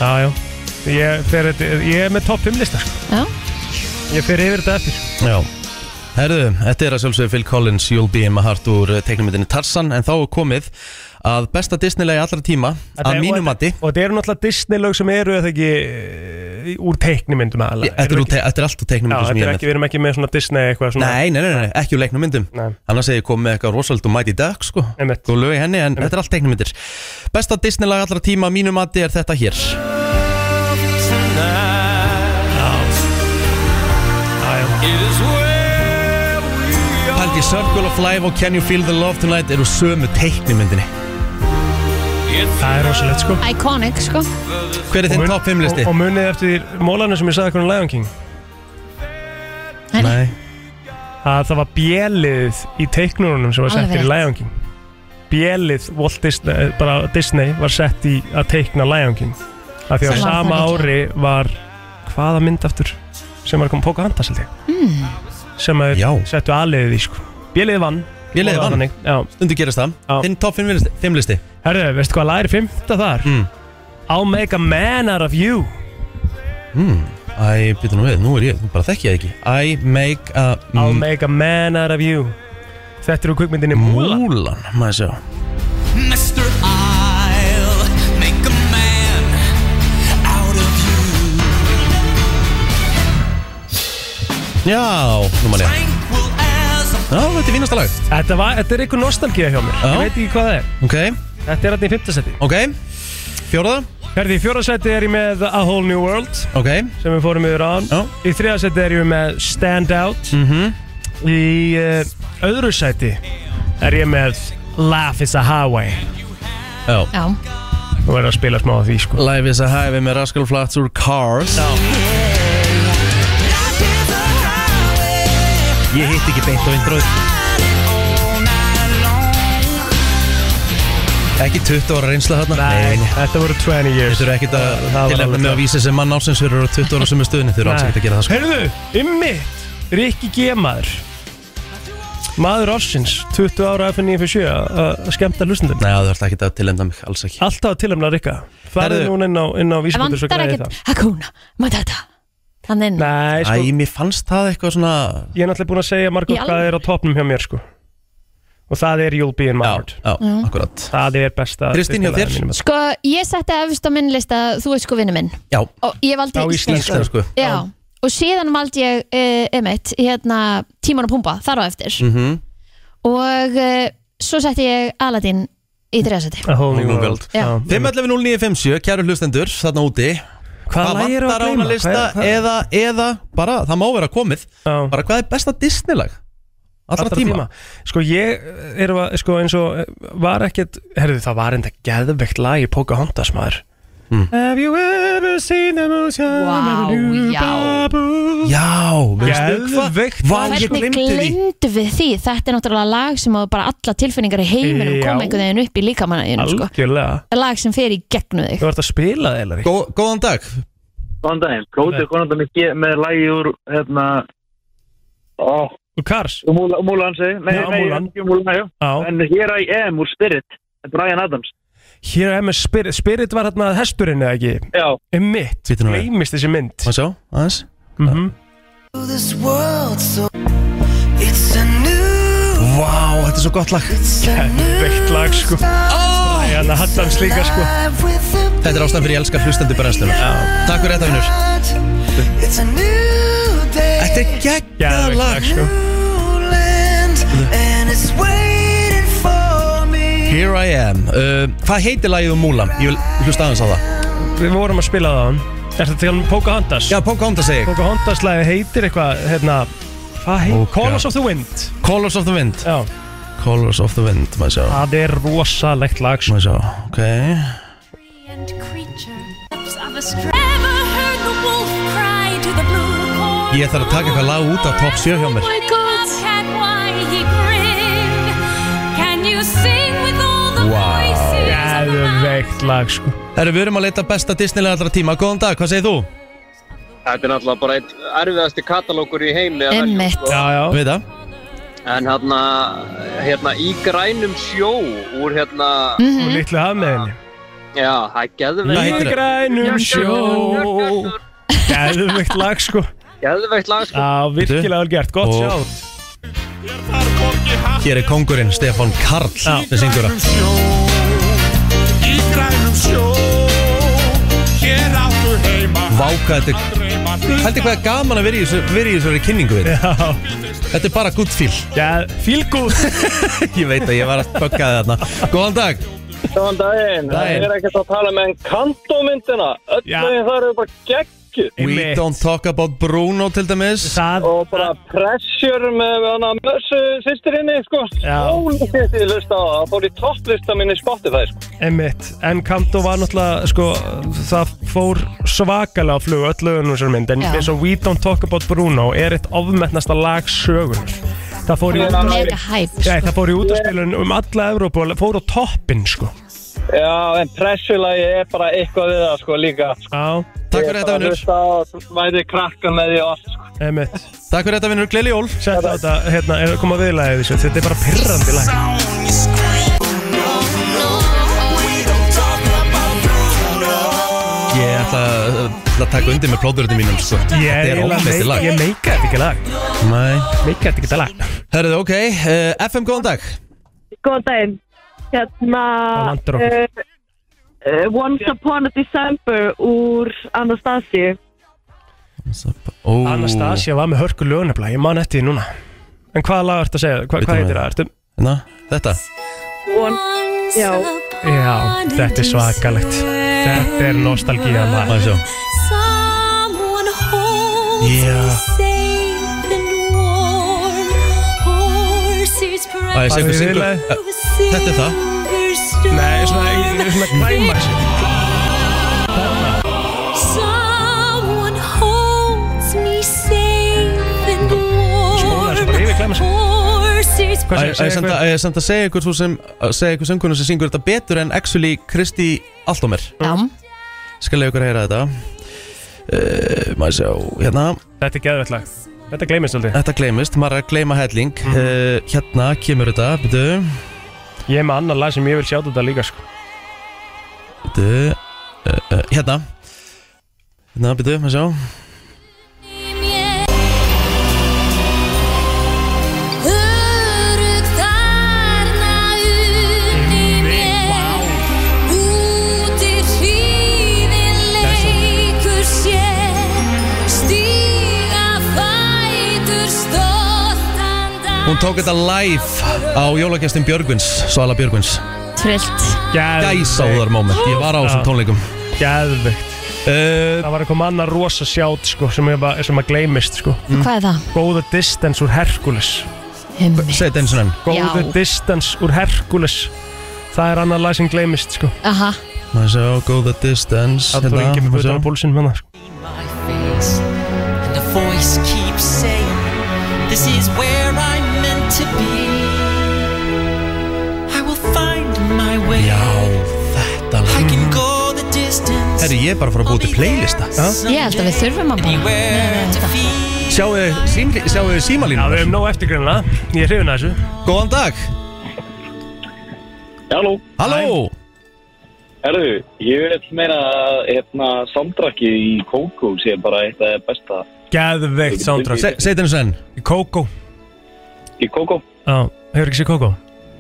C: já, já Ég, fer, þetta- ég er með topp 5 lista sko
B: já,
C: Ég fer yfir þetta eftir
A: Já Herðu, þetta er að sjálfsögðu Phil Collins You'll Be In My Heart úr teknumyndinni Tarzan En þá er komið að besta Disneylagi allra tíma
C: Þetta
A: Að
C: er-
A: mínu
C: og-
A: mati
C: Og þetta eru náttúrulega Disney lög sem eru eða ekki eh, Úr teiknimyndum aðalega.
A: Þetta er
C: Eru
A: úr te- þetta er allt úr
C: Já,
A: teknumyndum sem
C: þetta
A: ég
C: er
A: er
C: ekki,
A: með
C: við erum ekki með svona Disney eitthvað svona
A: Nei, nei, nei, nei, ekki úr leiknumyndum
C: Nei.
A: Annars hefði ég komið með eitthvað rosalit og Mighty Duck sko
C: Einmitt.
A: Góð lög í henni, en þetta er allt teknumyndir Besta Disneylag allra tíma að mínu mati er þetta hér Paldi Circle of Life og Can You Feel the Love Tonight eru sömu teiknumyndinni
C: Það er rosalegt sko
B: iconic sko
A: Hver er
C: Og
A: þinn
C: mun-
A: top 5 listi?
C: og, og munið eftir mólanu sem ég sagði hvernig Lion King
A: Nei,
C: að það var bjelið í teiknunum sem var
B: Alveg
C: settir í
B: rétt.
C: Lion King bjelið Walt Disney, eh, bara Disney var sett í að teikna Lion King af því að
B: Sem var
C: sama
B: það
C: ári var hvaða mynd aftur sem var komið Póka Handas held ég
B: Hmm.
C: mm. sem að
A: Já.
C: þeir settu aðliðið í sko bjelið vann
A: ég leiði
C: Og
A: vann,
C: þannig, já.
A: stundu gerast það
C: Já.
A: Þinn top 5 listi, 5 listi.
C: herðu, veistu hvað lagir fymta þar
A: Mm.
C: I'll make a man out of you
A: Æ, byrja nú við, nú er ég, nú bara þekki ég ekki I make a
C: I'll make a man out of you þetta eru kvikmyndinni Múla
A: Múlan, maður sjá
I: Mr. I'll make a man out of you
A: Já, nú man ég
I: tranquil as a
A: Já, þetta er vínasta lag
C: þetta, var, þetta er eitthvað nostalgíða hjá mér
A: Já.
C: ég veit ekki hvað það er
A: Ok,
C: þetta er alltaf í fymtasetti
A: ok Fjóraða,
C: Herði, í fjórðarsætti er ég með A Whole New World
A: ok
C: sem við fórum yfir án
A: Já. Mhm.
C: Í þriðarsætti er ég með Stand Out -hmm. Í uh, öðru sæti er ég með Laugh is a Highway
A: Já
B: Já,
C: Nú er að spila smá af því sko
A: Life is a highway með Rascal Flats úr Cars Ég hitt ekki beint á vindróð Ekki 20 ára reynsla þarna nei.
C: þetta voru 20 years
A: Þú eru ekkert að
C: Það
A: tilhæmna
C: var alveg
A: með að
C: klart.
A: vísa sem mann ásins fyrir 20 ára sem er stöðinni Þú eru alls
C: Nei.
A: ekkert að gera það sko
C: Heyrðu, ymmit, Rikki G. maður Maður ársins, 20 ára FN957 að skemmta hlustundum
A: Nei, þú ert ekki að tilhæmna mig, alls ekki
C: Alltaf að tilhemna Rikka Farðu
A: Herðu.
C: núna inn á, inn á
B: það
C: vísbútur svo
B: vantar
C: græði
B: ekkert
C: það
B: Hakuna, Matata Þannig,
C: Nei, sko,
A: Æ, mér fannst það eitthvað svona
C: Ég er náttúrulega búin að segja
B: Í
C: Margot
B: alvöru?
C: hvað er á topnum hjá mér sko Og það er You'll Be In My
A: Já,
C: Heart
A: já, akkurat
C: Það er besta
A: Kristín, hjá
C: besta
A: þér?
C: lagið mínum.
B: sko ég setti efst á minn lista þú ert sko vinnu minn
A: Já,
B: og ég valdi sko.
C: Á sko.
B: íslensku.
A: íslensku
B: Já, og síðan valdi ég uh, emitt, hérna,
A: Mm.
B: tíman og pumpa þar á eftir
A: Mhm.
B: og uh, svo setti ég Aladdin í þriðasetti
C: A whole
E: New
C: new
E: world.
C: world Já.
A: 5.11.09.57, kæru hlustendur, þarna úti
C: Hvað
A: Hvað
C: lag eru að
A: vantar á
C: gleyma?
A: hana lista
C: Hvað- hvað-
A: eða, eða bara, það má vera komið
C: Já.
A: Bara hvað er besta Disney-lag? Allra, tíma,
C: Sko ég er að, sko eins og eh, var ekkert, herðu það var enda geðveikt lag í Pocahontas maður
A: Hmm.
C: Have you ever seen the moon shine
B: Vá,
C: on a new
B: já.
C: babu?
A: Já, veistu hvað?
C: Geðveikt
A: Vá,
C: lag.
A: ég
B: Hvernig
A: gleymdi því.
B: gleymdu við því? Þetta er náttúrulega lag sem að bara alla tilfinningar í heiminum
C: Já.
B: koma einhvern veginn upp í líkamannaðinu sko.
C: Algjörlega
B: Lag sem fer í gegnum þig
C: Þú ert að spila það eða
A: Gó, góðan dag
G: Góðan daginn, Plóti konandan með, ge- með lægi úr, hérna, ó,
C: Þú kars?
G: úr Múla- Múlan segi, nei,
C: Já,
G: nei,
C: Múlan.
G: ekki úr Múlan, já,
C: Já
G: en hér að ég úr Spirit, Brian Adams,
C: Hér er með Spirit, Spirit var hérna hesturinn eða ekki
G: já,
C: Um mitt,
A: Bíddu nú við.
C: gleymist þessi mynd
A: Má sjá, aðeins
C: Mhm.
I: This world, so it's a new,
A: Vá, þetta er svo gott lag
I: it's a
C: Geðveikt lag sko
I: oh,
C: Ég hann að hatt hans líka sko
A: Þetta er ástæðan fyrir ég elska hlustandi brennslunar Takk fyrir þetta, vinnur
I: It's a new day
A: Þetta er geggjað lag
C: Geðveikt lag sko
I: new land, and it's waiting for me
A: Here I am uh, Hvað heitir lagið um Múlan? Ég vil hlusta aðeins á það
C: Við vorum að spila það á hann Er þetta til hann Pocahontas?
A: Já, Pocahontas segi ég.
C: Pocahontas lagi heitir eitthvað hérna Hvað heitir?
A: Pocah-
C: Colors of the Wind
A: Colors of the Wind
C: Já
A: Colors of the Wind, maður sjá
C: Það er rosalegt lag sko
A: Maður sjá, ok
H: and creature steps of a str- Ever heard the wolf cry to the blue corn? Oh
A: Ég þarf að taka eitthvað lag út af top 7 hjá mér
H: My God, cat, why he grinned? Can you sing with all the
A: Wow.
H: voices of the
C: Geðveikt lag sko
A: Herru, við erum að leita besta Disneylega allra tíma Góðan dag, hvað segir þú?
G: Þetta er náttúrulega bara einn erfiðasti katalókur í heimi að velja,
B: Einmitt.
C: Já, já
A: Við það?
G: en hérna, hérna í grænum sjó úr hérna,
A: Mhm.
C: Og litlu hafmeðinni
G: já, það er
A: Nei.
G: geðveikt,
A: heitir
C: Í
A: það?
C: grænum sjó Geðveikt lag sko
G: geðveikt lag sko.
C: Já, virkilega vel gert, gott
A: Og-
C: sjátt
A: Hér er kongurinn Stefan Karl
C: Já.
A: sem syngur það Váka, þetta er Heldur hvað er gaman að vera í þessu- vera í þessari kynningu við
C: Já,
A: Þetta er bara good feel [laughs]
C: já, feel good
A: Ég veit að ég var að bögga þið þarna Góðan dag
G: Góðan
A: Daginn.
G: daginn, það er ekkert að tala með en kantómyndina, öll
C: Já.
G: lögin þar eru bara geggjur
A: We
C: Einmitt.
A: don't talk about Bruno til dæmis
C: Það,
G: og bara pressure með hana mössu sýstirinni, sko.
C: Já.
G: Ólega þetta ég hlusta á, það fór í topplista minni Spotify, sko.
C: emitt En Kanto var náttúrulega, sko Það fór svakalega á flug öll lögunum sér mynd En
B: Já.
C: eins og We Don't Talk About Bruno er eitt ofmennasta lag sögunar Það fór í
B: Mega sko. hæp
C: Já, það fór í útaspilun um alla Evrópu og fór á toppinn, sko
G: Já, en pressulagi er bara eitthvað við það, sko, líka.
C: Já,
A: Takk fyrir þetta vinnur
G: Hlusta á, þú væri krakka með því oft, sko.
C: emitt
A: Takk fyrir þetta vinnur, gleðli jól
C: Sett á þetta, hérna, er að koma viðlagið þessu Þetta er bara pirrandi lag
A: Ég ætla að, ætla að taka undir með plóðurðum mínum sko.
C: Ég er
A: Þetta er
C: eiginlega
A: ómestið
C: meik-
A: lag
C: Ég meika þetta ekki lag
A: Nei.
C: Meika þetta ekki þetta lag
A: Herðu, ok, uh, FM góðan dag
F: Góðan daginn. Hérna,
C: Það landar okkur.
F: eh, eh, Once Upon a December úr Anastasíu.
A: Ó.
C: Anastasia var með hörku lögnefla, ég man eftir því núna En hvaða lag ertu að segja? Hva,
A: Bíddu
C: hvað
A: nú
C: heitir
A: við.
C: það? Ertu?
A: Na, Þetta
F: Von- já.
C: Já, þetta er svakalegt Þetta er nostalgían lag
A: Má ég sjá.
H: Someone holds
A: Já.
H: me safe and warm Horses
A: Á, ég sé
C: Farðu
A: einhver
C: í
A: syngur
C: viðlagið.
A: Eh, Þetta er það.
C: Nei, svona, ég er svona klæma
H: Someone holds me safe and
C: Skóla, þessu
H: warm
C: bara yfir klæma sig.
H: Horses
C: Hvað
A: Á, ég- á, Ég
C: segir
A: samt að-
C: það?
A: á, ég samt að segja ykkur svo sem að segja ykkur söngurinn sem syngur þetta betur en actually Kristi Altomer
B: Já,
A: Skal leiða ykkur að heyra þetta Uh, maður sjá, hérna
C: Þetta er geðvett lag Þetta gleymist aldrei
A: Þetta gleymist, maður er að gleyma helling
C: Mhm.
A: uh, Hérna kemur þetta, byrju
C: Ég er með annan lag sem ég vil sjá þetta líka sko.
A: Byrju uh, uh, Hérna Hérna, byrju, maður sjá
H: Örugg þarna unni mér Úti hrífin leikur sér Stíga fætur stoltan dag
A: Hún tók þetta live á jólagestin Björgvins, Svala Björgvins
B: trillt
A: Gæsáðar moment, ég var á þessum
C: Já.
A: tónleikum Eh,
C: Gæðvegt Það var eitthvað manna rosa sjátt sko, sem, ég bara- sem að gleymist sko.
B: Hvað er það?
C: Góða distance úr Herkules
A: Segð eins og enn
C: Góða
B: Já.
C: distance úr Herkules Það er annar lag sem gleymist sko.
B: Aha,
A: Maður sjá, go the distance
C: Það er
A: hérna,
C: ekki með
A: maður sjá.
C: butan á púlsinn með það sko.
L: face, and a voice keeps saying, This is where I'm meant to be. I will find my way.
A: Já, þetta
L: I
A: lag
L: can go the distance.
A: Herri, ég er bara að fara að búið til playlista
B: ég held að við þurfum að bara
L: Where to feel.
A: Sjáu þið
C: Já, við
A: símalínum
C: hefum nóg eftirgrunna Ég er hrifin að þessu
A: Góðan dag
G: Halló
A: Halló
G: Herðu, ég vil meina að hérna, samdrakki í Kókó sé bara eitt af það besta
C: Gæðvegt soundtrack
A: Se- Segð eins og enn
C: Í Kókó
G: í Kókó.
C: Já, hefur ekki séð Kókó?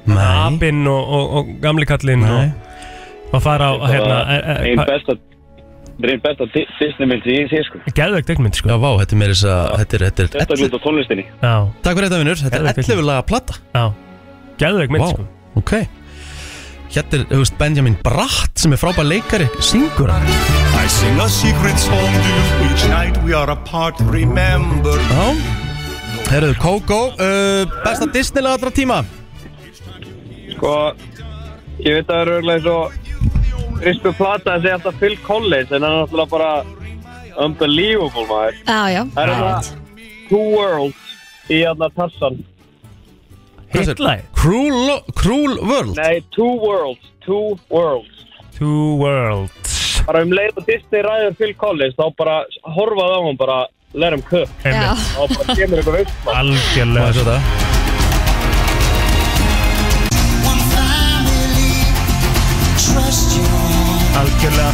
A: Nei
C: Abinn og, og, og gamli kallinn
A: Nei.
C: og, og fara á hérna,
G: Einn besta, þetta er einn besta Di- Disneymynd sem ég sé sko.
C: Gæðvegt degmynd sko
A: Já, vá, þetta er meira þess að Þetta er, þetta er
G: Þetta er
A: 11
G: hlut á tónlistinni.
C: Já,
A: Takk fyrir þetta, vinnur Þetta er
C: Geðveikt,
A: 11 laga platta
C: já Gæðvegt mynd
A: Vá,
C: sko
A: ok Hérna er, þú veist, Benjamin Bratt sem er frábær leikari Syngur hann
H: I sing a secret song to you each night we are apart. Remember.
A: Já Herruðu, Kókó uh, Besta Disney laga allra tíma
G: Sko, ég veit að það er örglega svo Rispu Plata að segja alltaf Phil Collins en hann er náttúrulega bara unbelievable maður.
B: Já, já,
G: Það er
B: alright.
G: hérna Two Worlds í hérna Tassan.
C: Hitlæg
A: Cruel, Lo- Cruel World
G: Nei, Two Worlds, Two Worlds.
C: Two Worlds
G: Bara um leið og Disney ræður Phil Collins þá bara horfaði á hann bara let him cook.
B: já,
C: Einmitt,
G: Þá bara kemur eitthvað veist maður.
A: Má ég sjá
C: algjörlega
A: þetta?
C: Algjörlega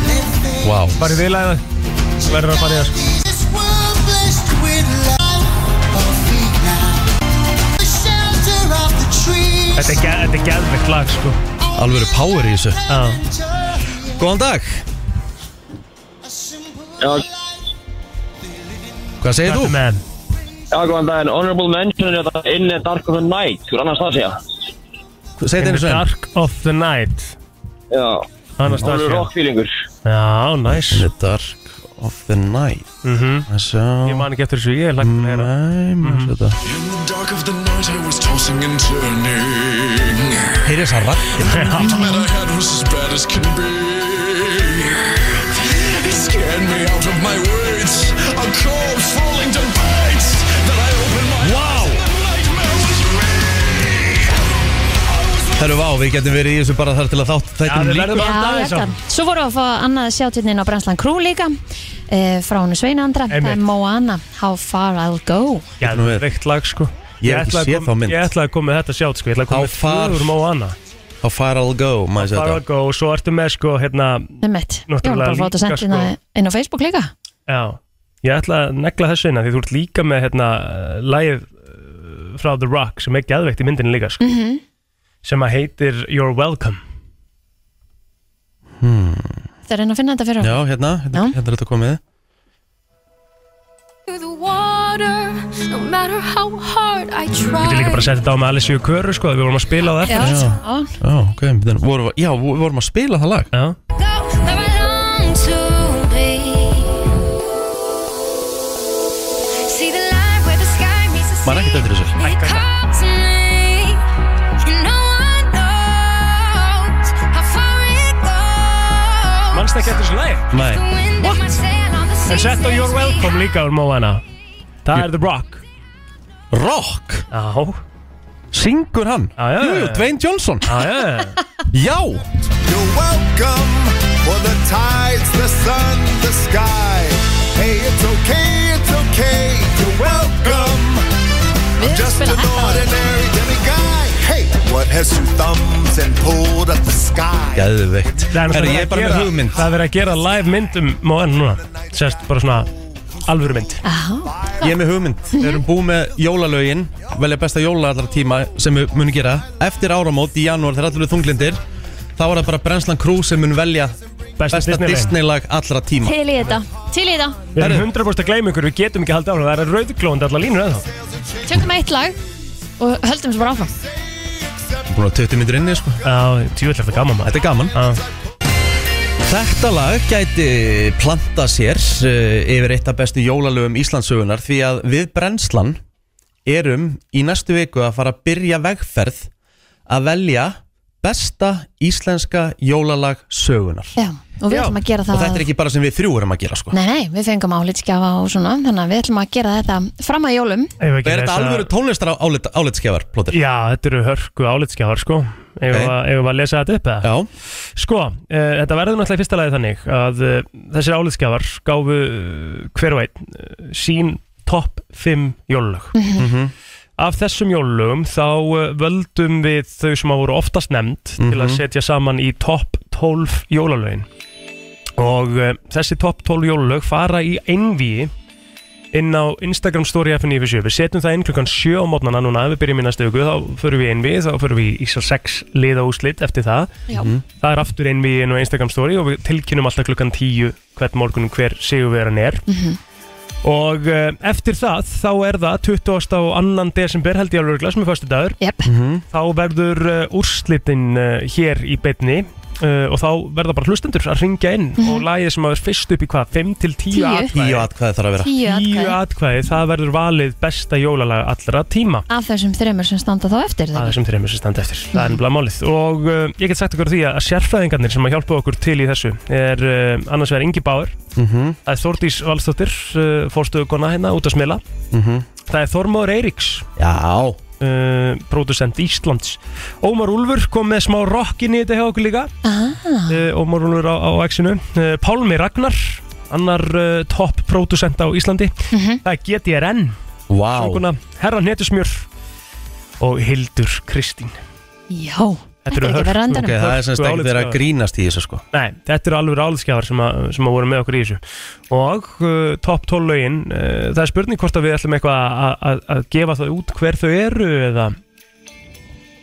A: Vá
C: Farið við lagið það Verður að fara í það sko Þetta er, geð- þetta er gæðvegt lag sko
A: Alvöru power í þessu
C: Já
A: Góðan dag
G: Já,
A: Hvað segir
C: Þetta
A: þú?
C: er menn
G: já, góðan daginn. Honorable mention er þetta In the Dark of the Night. Þú er annars það segja?
A: Segð
C: In
A: eins
C: the
A: og enn
C: dark of the night
G: Já.
C: Anastasia
G: Hún er rockfílingur.
C: Já, næs
A: In the dark of the night
C: Mhm.
A: Það sjá
C: Ég Mhm. man ekki eftir þessu, ég er lagt að heyra
A: Nei, maður sjá þetta
H: In the dark of the night I was tossing and turning.
A: Heyrðu þess að rattir
H: That I had was as bad as can be. It scared me out of my words. A corpse falling to bites. Then I opened my
A: Vá
H: nightmare was
A: Herru, vá, við getum verið í þessu bara þar til að þátt Þættum
C: við
A: líka
C: verðum
B: já,
C: að
B: ég
C: daga
B: held að.
C: þessu
B: Svo vorum við að fá annað sjáttirnin á Brenslan Krú líka eh, frá hún Sveinandra, það er
C: Einmitt.
B: Moana How Far I'll Go
C: Gæðveikt lag sko
A: Ég hef ekki
C: ætlaði að
A: séð
C: koma-
A: þá mynd.
C: Ég ætlaði að koma með þetta sjátt sko Ég ætlaði að
A: Á
C: koma með
A: far-
C: fjögur Moana
A: Á far I'll go, maður sjá
C: Far
A: þetta
C: I'll Go og svo ertu með sko hérna
B: Nemmett, ég
C: Náttúrulega
B: var bara að fá þetta
C: líka,
B: sendt inn,
C: sko.
B: á- inn á Facebook líka
C: Já Ég ætla að negla þessu inn af Því þú ert líka með hérna eh, Lagið eh, frá The Rock Sem er gæðveikt í myndinni líka sko Sem að heitir You're Welcome
B: Það er einn að finna þetta fyrir
A: Já, hérna, hérna,
B: Já.
A: hérna er þetta komið
M: Through the water, no matter how hard I
C: Þú getur líka
M: try.
C: bara að setja þetta á með Alice í Köru sko Við vorum að spila á það
B: Já,
C: eftir.
A: Já.
B: já.
A: Já, ok, við vorum, já, við vorum að spila það lag
C: Já
M: Go where I long to be. See the line where the sky meets the sea.
A: Maður er ekkert eftir þessu
M: It calls me, and no one knows how far it goes.
C: Manst ekki eftir þessu lagi?
A: Nei,
M: The wind in my sail on the sea
C: En sett á "Oh, You're
M: sends me
C: Welcome líka úr Moana Það er The Rock
A: Rock,
C: Já
A: syngur hann
C: Já, já,
A: Jú, jú,
C: já.
A: Dwayne Johnson
C: Já, já, já
A: Já,
H: You're welcome for the tides, the sun, the sky. Hey, it's okay, it's okay. You're welcome. I'm just an ordinary demiguy. Hey, what has two thumbs and pulled up the sky?
A: geðveikt
C: Það er
A: Herri,
C: náttúrulega
A: ég er bara með
C: verið að gera-
A: hugmynd
C: Það er verið að gera live mynd um Móen núna Sérst bara svona alvöru mynd
A: Ég er með hugmynd Við erum búið með jólalögin Velja besta jóla allra tíma sem við munum gera Eftir áramót í janúar þegar allir eru þunglindir Þá er það bara Brenslan Crew sem mun velja
C: Besta
A: Besta
C: Disney mynd
A: Disney-lag allra tíma
B: Til í þetta, til í þetta
C: Við erum 100% að gleyma ykkur Við getum ekki haldið áfram Það er rauðklónd allar línur eða
B: Tökum eitt lag og höldum svo bara áfram
A: Búin búin að 20 myndir inni sko.
C: Já, tjúvill eftir gaman maður
A: Þetta er gaman
C: Já,
A: Þetta lag gæti planta sér uh, yfir eitt af bestu jólalögum Íslandsögunar því að við brennslan erum í næstu viku að fara að byrja vegferð að velja besta íslenska jólalag sögunar
B: Já, og við ætlum að gera það
A: og þetta er ekki bara sem við þrjú erum að gera sko.
B: Nei, nei, við fengum álitskjafa og svona þannig að við ætlum að gera þetta fram að jólum
C: Eigum við
A: Er
C: ekki að
A: þetta
C: lesa-
A: alveg tónlistar álitskefar, Plóter?
C: Já, þetta eru hörku álitskjáðar sko Ef
A: Ok.
C: við okay. að lesa þetta upp eða?
A: Já,
C: Sko, uh, þetta verður náttúrulega í fyrsta lagi þannig að uh, þessir álitskjáðar gáfu uh, hver og einn uh, sín topp 5 jólulög Af þessum jólulögum þá uh, völdum við þau sem að voru oftast nefnd til að setja saman í topp 12 jólalögin og uh, þessi topp 12 jólulög fara í einvíi inn á Instagram story FNF7 við setjum það inn klukkan 7 á mótnana núna ef við byrjum í næstu viku, þá förum við einvíi þá förum við í Ísar 6 liða úslit eftir það
B: Já,
C: það er aftur inn við inn á Instagram story og við tilkynum alltaf klukkan 10 hvern morgun hver sigurveran er
B: Mhm.
C: og uh, eftir það þá er það 20. og 2. desember held ég alveg örugglega, sem er fyrstu dagur
B: jep,
C: þá verður uh, úrslitin uh, hér í betni uh, og þá verða bara hlustendur að ringja inn og lagið sem að er fyrst upp í hvað 5 til 10
B: Mhm. Tíu.
A: í
C: atkvæði
A: og hvað þarf að vera
B: tíu
C: 10
B: atkvæði
C: atkvæði, það verður valið besta jólalaga allra tíma
B: af þessum þreymur sem standa þá eftir
C: að
B: þeir
C: þessum þreymur sem standa eftir það er nefnilega málið og uh, ég get sagt okkur því að sérfræðingarnir sem að hjálpa okkur til í þessu er uh, annars vegar Ingi Báður það er Þórdís Valstóttir uh, fórstöðugona hérna út að smila það er Þormóður Eiríks
A: Já,
C: uh, producent Íslands Ómar Úlfur kom með smá rockin í þetta hjá okkur líka
B: ah,
C: uh, Ómar Úlfur á, á X-inu uh, Pálmi Ragnar annar uh, topp producent á Íslandi það er GTRN
A: vá
C: sönguna, Herra Netusmjör og Hildur Kristín
B: Já, þetta er
C: eru
B: ekki
C: hörku,
B: verið andanum
A: Ok, það er sem
C: Hörku
A: stegt verið að
C: álitsgjafar.
A: grínast í þessu sko
C: Nei, þetta eru alveg álskjáðar sem, að- sem að voru með okkur í þessu og uh, topp 12 lögin uh, það er spurning hvort að við ætlum eitthvað að- að- að gefa það út hver þau eru eða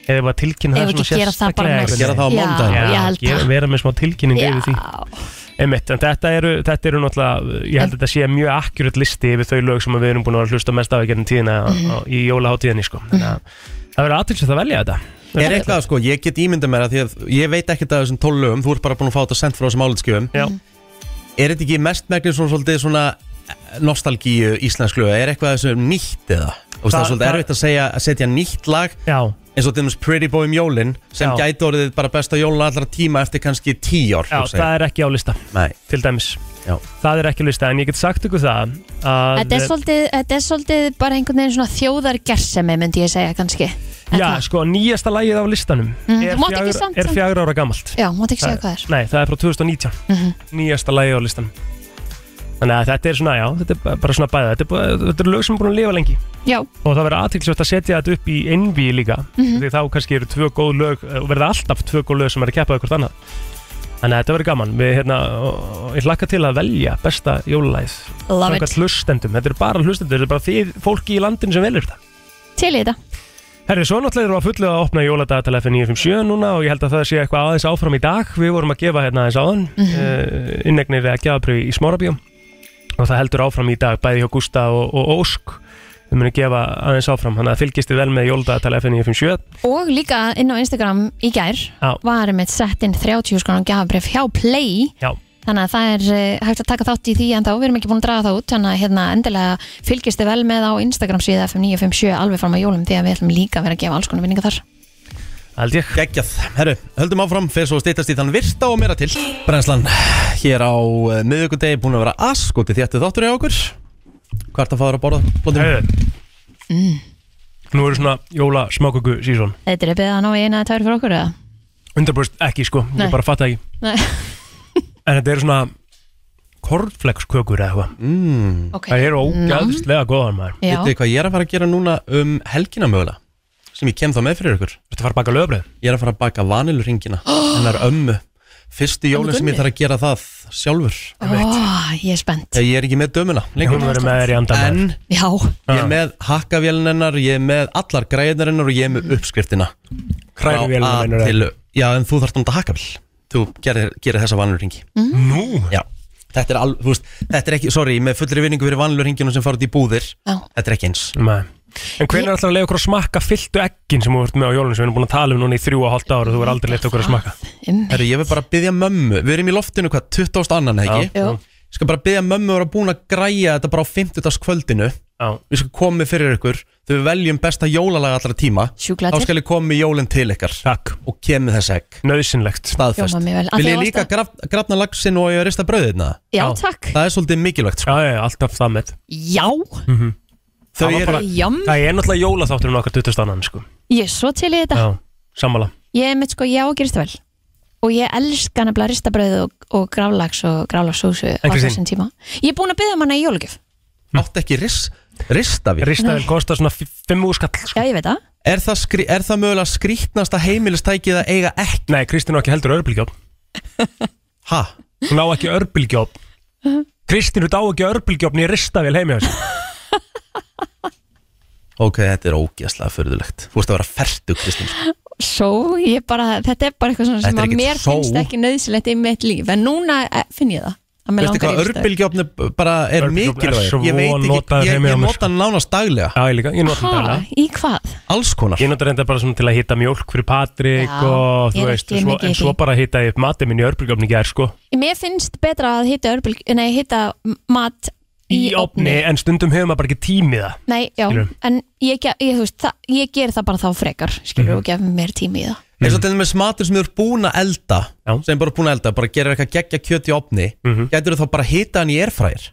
C: eða bara tilkynna
B: Ef
C: það
B: ekki
C: svona
B: gera það bara
C: sérstaklega
B: næst
A: Gera það á
B: Já,
A: mánudaginn.
B: ég
C: Já,
B: held
C: gera,
B: það
C: vera með smá tilkynning yfir því
B: Já,
C: Einmitt, en þetta eru, þetta eru náttúrulega, ég held að þetta sé mjög akkurat listi yfir þau lög sem við erum búin að vera að hlusta mest á í gerðin tíðina mm
B: Mhm.
C: í jólaháttíðinni sko. þannig að það verður aðtilsett að velja þetta
A: Er eitthvað sko, ég get ímyndað mér að því að ég veit ekkert að þessum tólugum, þú ert bara búin að fá þetta sendt frá þessum álitskjöfum
C: Já.
A: Er þetta ekki mest megnir svona svolítið svona eh, nostalgíu íslensku lög, er eitthvað þessu nýtt eða? Þú veist það
C: Það-
A: er svolítið
C: það-
A: erfitt að segja að setja nýtt lag
C: Já,
A: eins og til dæmis Pretty Boy um jólin sem
C: Já.
A: gæti orðið bara besta jólun allra tíma eftir kannski tíu ár
C: já
A: hugsa ég.
C: það er ekki á lista
A: Nei,
C: til dæmis
A: Já.
C: það er ekki á lista en ég get sagt ykkur það að
B: þetta er svolítið, þetta er svolítið bara einhvern veginn svona þjóðargersemi myndi ég segja kannski Er
C: já,
B: það?
C: sko, nýjasta lagið á listanum
B: Mm,
C: er,
B: þú mátt ekki
C: fjögur-
B: samt-
C: er fjagra ára gamalt
B: Já, mátt ekki segja hvað það er
C: nei, það er frá 2019
B: Mhm.
C: nýjasta lagið á listanum þannig að þetta er svona, já, þetta er ba- bara svona bæða þetta er, bara- þetta er lög sem er búin að lifa lengi
B: Já,
C: og það verður aðtilsvægt að setja þetta upp í einví líka
B: Mhm.
C: því þá kannski eru tvö góð lög eh, og verða alltaf tvö góð lög sem er að keppa ykkur annað þannig að þetta verður gaman við, hérna, og- og ég hlakka til að velja besta jólalæð
B: love it
C: samkvæmt hlustendum, þetta eru bara hlustendur þetta er bara þið, fólki í landinu sem velur þetta
B: Til í þetta
C: Herri, svo náttúrulega erum við að fullu að opna jóladagatala F957 núna og ég held að það sé eitthvað aðeins áfram í dag við vorum að gefa hérna aðeins áðan mm -hmm. uh, innegnir eða gjafabrið í Smárabíum og það heldur áfram í dag bæði hjá Gústa og, og Ósk við munum gefa aðeins áfram þannig að fylgist þið vel með jóladagatala F957
B: Og líka inn á Instagram í gær
C: Já.
B: var mitt sett inn 30 skonar gafabrif hjá Play
C: Já.
B: þannig að það er eh, hægt að taka þátt í því en þá, við erum ekki búin að draga það út þannig að hérna, endilega fylgist þið vel með á Instagram síða FM957 alveg fram að jólum því að við ætlum líka að vera að gefa alls konar vinninga þar
C: held ég
A: geggjað Herru, höldum áfram, fyrir svo að stýttast í þann virta og meira til Brennslan, hér á uh, miðvikudegi búin að vera askoti þéttu þáttur hjá okkur Hvað ertu að fá þér að borða? Blóndum?
C: Herri, nú eru svona jóla smáköku sísón
B: Þetta er beðið að ná í eina eða tvær fyrir okkur eða?
C: 100% ekki sko,
B: Nei.
C: ég bara fatta ekki [laughs]
B: Nei,
C: en þetta eru svona kornflekskökur eða eitthvað
B: ok Mm.
C: það eru ógæðslega góðar maður
B: Já,
A: Vitið þið hvað ég er að fara að gera núna um helgina mögulega sem ég kem þá með fyrir ykkur
C: Þetta fara að baka lögbröð
A: Ég er að fara að baka vanilurringina hennar ömmu Fyrstu jólinn sem ég þarf að gera það sjálfur
B: Ó, ég er spennt
A: Þegar ég er ekki með dömuna lengur
C: Hún verður með þér í andan
A: En
B: Já,
A: ég er með hakkavélin hennar Ég er með allar græðnar hennar og ég er með uppskriftina Frá
C: Hræðuvélina
A: A
C: meinar
A: til Ö. Já, en þú þarft um þetta hakkavél Þú gerir, gerir þessa vanilurringi
B: Mm.
C: Nú
A: Já Þetta er, al, þú veist, þetta er ekki, sorry, með fullri vinningu fyrir vanilurringinu sem fara út í búðir
B: já,
A: Þetta er ekki eins
C: Nei En hvernig er alltaf að leiða okkur að smakka fylltu eggin sem þú ert með á jólunum sem við erum búin að tala um núna í þrjú og hálft ára og þú er aldrei leitt okkur að smakka
A: Herru, ég vil bara byggja mömmu Við erum í loftinu hvað, 20. annan ekki?
B: Já. Jú.
A: Ég skal bara byggja mömmu að vera búin að græja þetta bara á 50. kvöldinu
B: Ah.
C: Já.
A: Við skal komið fyrir ykkur Þegar við veljum besta jólalaga allra tíma Þá
B: Sjúklega til.
A: skal ég komið jólinn til ykkar
C: Takk,
A: Og kemið þess egg
C: nöðsynlegt
A: Staðfest
B: Hljómar mjög vel. Af
A: Vil
B: því
A: ég
B: að
A: líka
B: varstu-
A: graf, grafna lagsin og ég rista brauðina
B: Já,
C: Já.
B: takk
A: Það er svolítið mikilvægt sko.
C: Já, já, alltaf það með
B: Já,
A: Þau
C: Það var
A: eru
C: bara-
B: jam,
C: Það er náttúrulega jólaþátturinn okkar 20. annan sko.
B: ég er svo til í þetta
C: Já, sammála
B: Ég er mitt sko, já, gerist það vel Og ég elska nefnilega ristabröð og, og grálags og grálagsósu á
C: Kristín?
B: þessum tíma Ég er búin að byggja manna í jólugjöf
A: átt ekki ris, ristavél
C: Ristavel kostar svona 5 úrskall sko.
B: Já, ég veit það
A: er það, skri, er það mögulega skrítnasta heimilistækið að eiga ekki?
C: Nei, Kristín á ekki heldur örbylgjóp
A: Ha?
C: Hún á ekki örbylgjóp
B: Uh-huh.
C: Kristín, þú á ekki örbylgjóp nýja ristavel heim hjá þessu
A: Ok, þetta er ógeðslega förðulegt Þú veist að vera ferdu, Kristín sko.
B: Svo, ég bara, þetta er bara eitthvað svona sem
A: Þetta er
B: að
A: ekkert
B: mér
A: só.
B: finnst ekki nöðsilegt í mitt líf En núna eh, finn ég það að mig
A: Veistu
B: langar
A: hvað,
B: í ristavél.
A: örbylgjófni bara er
C: Örbylgjuofn er
A: mikilvægir
C: svo
A: Ég veit ekki,
C: notaður
A: ég, ég
C: heima hjá mér, sko.
A: nota hann nánast daglega
C: Já, ég líka, ég nota þetta
B: Ha,
C: alveg.
B: í hvað?
A: Alls konar
C: Ég nota reynda bara svona til að hita mjólk fyrir Patrik
B: Já, ég
C: og þú
B: er
C: veist,
B: ekki
C: svo,
B: mikið í
C: en svo
B: því.
C: bara hita ég upp matið minn í örbylgjófni gær sko
B: Mér finnst betra að hita, örbylg, nei, hita m- mat
C: í opni, en stundum hefur maður bara ekki tími í það
B: Nei, já,
C: Skilurðu?
B: en ég, ge- ég, þú veist, það, ég ger það bara þá frekar skilur
A: Mhm.
B: og gef mér tími í það
A: eins og til dæmis matur sem þú eru búin að elda
C: Já.
A: sem bara búin að elda, bara gerir eitthvað geggja kjöt í opni mm
C: Mhm.
A: þú þá bara hita hann í erfræðir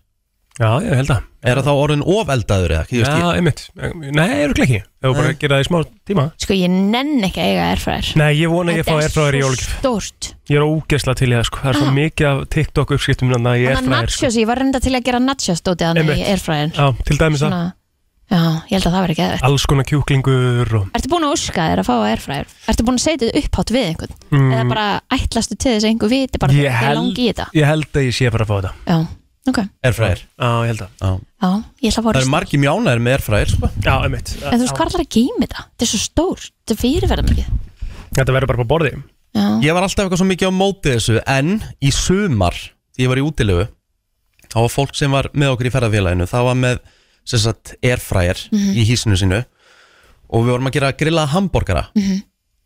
C: Já, ég held að
A: er það þá orðin ofeldaður eða ekki, Ég veist,
C: Já, einmitt, nei, eru ekki Ef þú bara
A: Nei.
C: gera það í smá tíma
B: Sko, ég nenn ekki að eiga erfræðir
C: Nei, ég vona að ég fá erfræðir í jólugjöf
B: stórt
C: Ég er ógeðslega til í það sko, það er svo
B: Ah.
C: mikið af TikTok uppskiptum þannig að
B: Þannig
C: ég er
B: að
C: fræðir sko.
B: nachos, ég var reynda til að gera nachos stótið þannig í
C: Einmitt.
B: erfræðin
C: Já, til dæmis að
B: Svona, já, ég held að það verði ekki eða
C: alls konar kjúklingur og
B: Ertu búin að óska þér að fá erfræðir? Ertu búin að segja þetta upphátt við einhvern? Eða
C: mm,
B: bara ætlastu til þess að einhver viti bara ég
C: Ég held-
B: langi í þetta?
C: ég held að ég sé að fara að fá þetta
B: Já, ok,
A: erfræðir
C: Já, ég held að
B: já, ég ætla
A: það
B: að fóra
A: eru margi mjánaðir með erfræðir sko.
C: Já, einmitt
B: En þú veist, hvað ætlar að geima þetta? Þetta er svo stórt, þetta fyrirverða mikið
C: Þetta verður bara på borði
B: Já,
A: ég var alltaf eitthvað svo mikið á móti þessu en í sumar, því ég var í útilegu þá var fólk sem var með okkur í ferðarfélaginu það var með sem sagt, erfræðir í hísinu sínu og við vorum að gera grillaða hambúrgara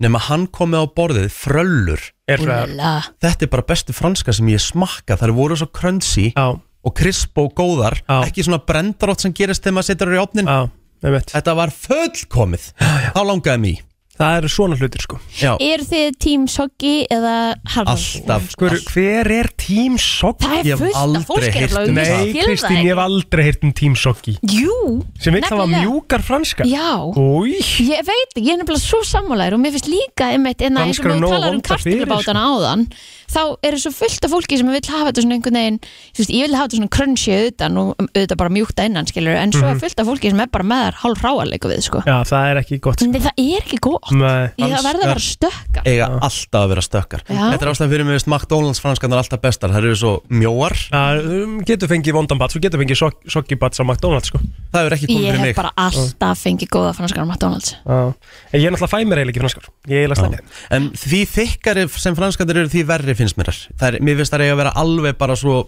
A: nema hann komið á borðið fröllur
C: Er það
B: úlala
A: þetta er bara bestu franska sem ég smakka þar voru svo crunchy
C: Já,
A: og krisp og góðar
C: Já.
A: ekki svona brendarótt sem gerist þegar maður setur þær í opnin
C: já, einmitt
A: þetta var fullkomið þá langaði mig í.
C: Það eru svona hlutir sko
A: já,
B: Er þið tím soggi eða harðan?
A: alltaf
C: Hver, hver er Team Soggy?
B: Það
A: Ég
B: er
A: hef
B: fullt
A: aldrei
B: af
A: heyrt
B: fólk hérna
A: um
B: og ég
C: Nei,
B: skil það
C: Kristín, ég hef
B: ekki.
C: aldrei heyrt um Team Soggy
B: Jú,
C: sem vill hafa
B: Nefnilega.
C: mjúkar franska
B: já
C: Új,
B: Ég veit, ekki, ég er nefnilega svo sammálaður og mér finnst líka einmitt en að eins og
C: Danskar
B: við
C: nógu
B: talaðum um
C: vondar fyrir,
B: kartöflubátana áðan þá eru svo fullt af fólki sem vil hafa þetta svona einhvern veginn þú veist, ég vil hafa þetta svona crunchy auðan og auðvitað bara mjúkta innan skilur en svo er fullt af fólki sem er bara með þær hálf ráarleika við sko.
C: já, það er ekki gott sko.
B: Nei, það er ekki gott
C: Nei,
B: Ég það verða að vera stökkar
A: eiga alltaf að vera stökkar
B: Já.
A: þetta er ástæðan fyrir mig veist McDonalds franskarnar alltaf bestar það eru svo mjóar
C: Já, um, getur fengið vondan bats og getur fengið sokkibats á McDonalds sko.
A: það hefur ekki komið
B: Ég
A: fyrir mig
B: hef bara alltaf fengið góða franskar á McDonalds
C: en ég er náttúrulega fæ mér eiginlega ekki franskar ég er eiginlega slæmið
A: en því þykkari sem franskarnar eru því verri finnst mér þær Það er, mér finnst það eiga að vera alveg bara svo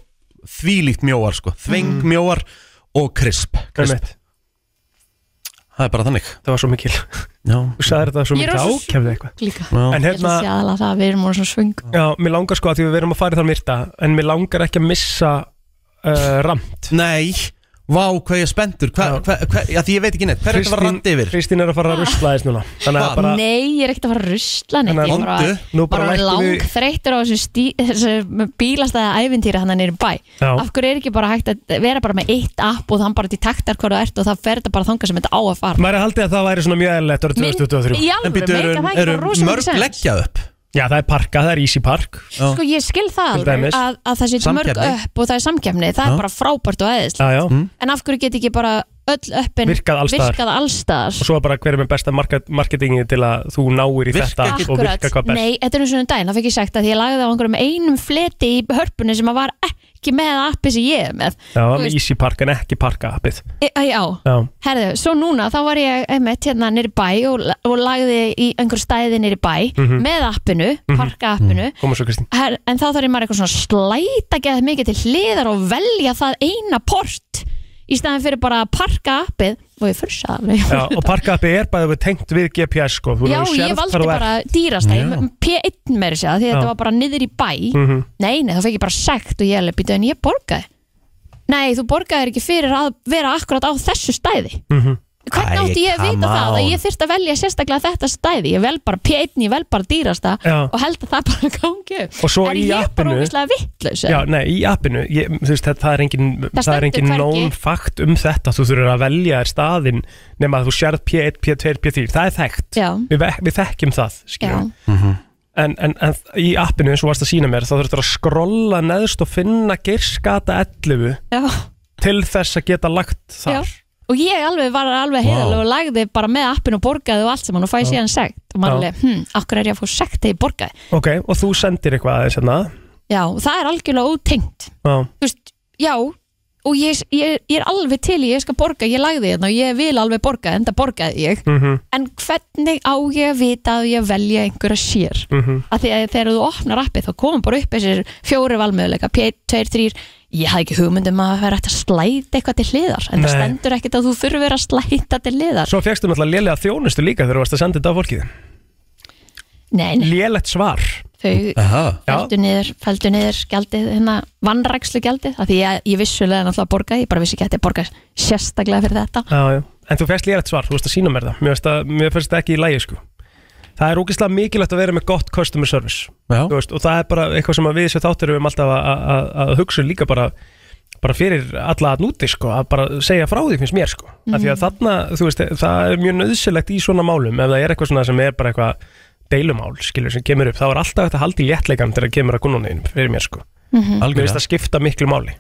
A: þvílíkt mjóar sko
C: Mm.
A: þveng mjóar og krisp, krisp.
C: Einmitt.
A: það er bara þannig
C: það var svo mikil
A: já,
C: þú sagðir þetta svo
B: Ég er
C: mikil
B: rosa-
C: ákefði eitthvað
B: Líka
A: já.
C: en
B: Ég er svo
C: hérna,
B: sjæðalega það að við erum úr svona svöng
C: já, mér langar sko að því við verum að fara í þann virta en mér langar ekki að missa uh, ramt
A: Nei, vá hvað ég er spenntur hva,
C: Já.
A: hva, hva, já, Því ég veit ekki neitt, hver er þetta var
C: Kristín-
A: randi yfir?
C: Kristín er að fara að rusla þess núna þannig
A: Hvað?
C: að bara
B: Nei, ég er ekkert að fara að rusla neitt Ég
C: Þannig að
B: er bara,
A: vondu.
C: Nú bara
B: bara
C: lækkum við-
B: lang þreyttur á þessu, stí, þessu bílastæða æfintýri hann nýri bæ
C: Já.
B: Af hverju er ekki bara hægt að vera bara með eitt app og þann bara til taktar hverju ert og það fer þetta bara þangað sem þetta á að fara
C: maður er haldið að það væri svona mjög eðlilegt árið 2023
B: Í alvöru, meika
A: eru,
B: það ekki
A: eru
B: bara rosa
A: mörg
B: mikið sens
A: leggjað upp?
C: já, það er parka, það er Easy Park
A: Já.
B: Sko ég skil það
C: Til
B: alveg
C: dæmis.
B: að, að það sé mörg
A: Samkeppni.
B: upp og það er samkjæmni Það
A: Já.
B: er bara frábært og æðislega
C: já, já.
B: En af hverju get ekki bara öll öppin
C: Virkað alls staðar.
B: virkað allstaðar
C: og svo bara hver er með besta market, marketingi til að þú náir í
A: Virka
C: þetta
A: ekki.
C: og virka hvað best
B: Nei, þetta er eins og um daginn, það fekk ég sagt að ég lagði á einhverjum einum fleti í hörpunni sem að var ekki með appi sem ég er með
C: já,
B: Þú
C: með
B: veist-
C: Easy Park en ekki parka appið
B: e, að, Já,
C: já
B: herðu, svo núna þá var ég einmitt hérna nýri bæ og, la- og lagði í einhver stæði nýri bæ
C: Mhm.
B: með appinu, parka appinu
C: Koma svo Kristín
B: Her, en þá þarf ég maður eitthvað svona slæta geð mikið til hliðar og velja það eina port í staðin fyrir bara að parka appið og ég fyrst aðri
C: Já,
B: [laughs]
C: og parkappi er bæðið við tengt við GPS sko. Þú
B: Já,
C: hefur
B: ég
C: sérð
B: valdi
C: hvar þú
B: bara
C: ert.
B: dýrastæð,
C: Já.
B: P1 meiri sér því að
C: Já.
B: þetta var bara niður í bæ
C: Mhm.
B: Nei, nei, þá fekk ég bara sekt og ég alveg býta en ég borgaði Nei, þú borgaðir ekki fyrir að vera akkurat á þessu stæði Hvernig
C: Mhm. Æ,
B: átti ég að
C: come
B: vita það að
C: on.
B: ég þyrfti að velja sérstaklega þetta stæði Ég vel bara P1, ég vel bara dýrasta
C: Já.
B: og held að það bara [laughs] gangi upp
C: Og svo
B: Er
C: í
B: ég bara
C: appinu-
B: ógæslega vittlaus?
C: Já, nei, í appinu, ég, þú veist, það, það er engin, það er
B: stendur
C: engin
B: hvergi.
C: nón fakt um þetta, þú þurfur að velja þér staðinn nema að þú sérð P1, P2, P3, það er þekkt,
B: Já.
C: við, ve- við þekkjum það,
B: Já.
C: skiljum. En, en, en í appinu, eins og varst að sína mér, þá þurftur að skrolla neðst og finna girskata 11
B: Já.
C: til þess að geta lagt þar.
B: Já. Og ég alveg var alveg heiðalega og lagði bara með appinu og borgaði og allt sem hann og fæði
C: Já.
B: síðan sekt og maður
C: Já.
B: alveg, hm, akkur er ég að fá sekt þegar ég borgaði
C: Ok, og þú sendir eitthvað aðeins hérna.
B: Já, og það er algjörlega ótengt
C: Já.
B: Þú veist, já og ég, ég, ég er alveg til í, ég skal borga ég lagði hérna og ég vil alveg borga en það borgaði ég
C: Mhm.
B: en hvernig á ég að vita að ég velja einhverja sér
C: Mhm.
B: að því að þegar þú opnar appið þá komum bara upp þessir fjóri valmöðuleika P1, 2, 3 ég hafði ekki hugmyndum að vera hægt að slæta eitthvað til hliðar en það
C: Nei.
B: stendur ekkert að þú þurfur að slæta til hliðar
C: Svo fegstu náttúrulega lélega þjónustu líka þegar þú varst að senda þetta á fólkið.
B: nei, nei,
C: Lélegt svar.
B: þau
C: Aha. Já,
B: fældu niður, fældu niður gjaldið, hérna vannrækslu gjaldið af því ég, ég vissulega náttúrulega borgaði, ég bara vissi ekki að þetta borga sérstaklega fyrir þetta
C: Já, já. En þú fæst lélegt svar, þú veist að sína mér það. Mér finnst það- mér finnst það ekki í lægi, sko. Það er ógeðslega mikilvægt að vera með gott customer service.
A: Já.
C: Þú Veist, og það er bara eitthvað sem að við sér þáttir við erum alltaf að- að- að að hugsa líka bara, bara fyrir alla að núti, sko. Að bara segja frá því finnst mér, sko. Af
B: Mhm.
C: því að þarna, þú veist, það er mjög nöðsilegt í svona málum. Ef það er eitthvað svona sem er bara eitthvað deilumál, skilur, sem kemur upp, þá er alltaf hægt að halda í léttleikann þegar kemur að kunnunum fyrir mér, sko.
B: Mhm.
C: Mér finnst það skipta miklu máli.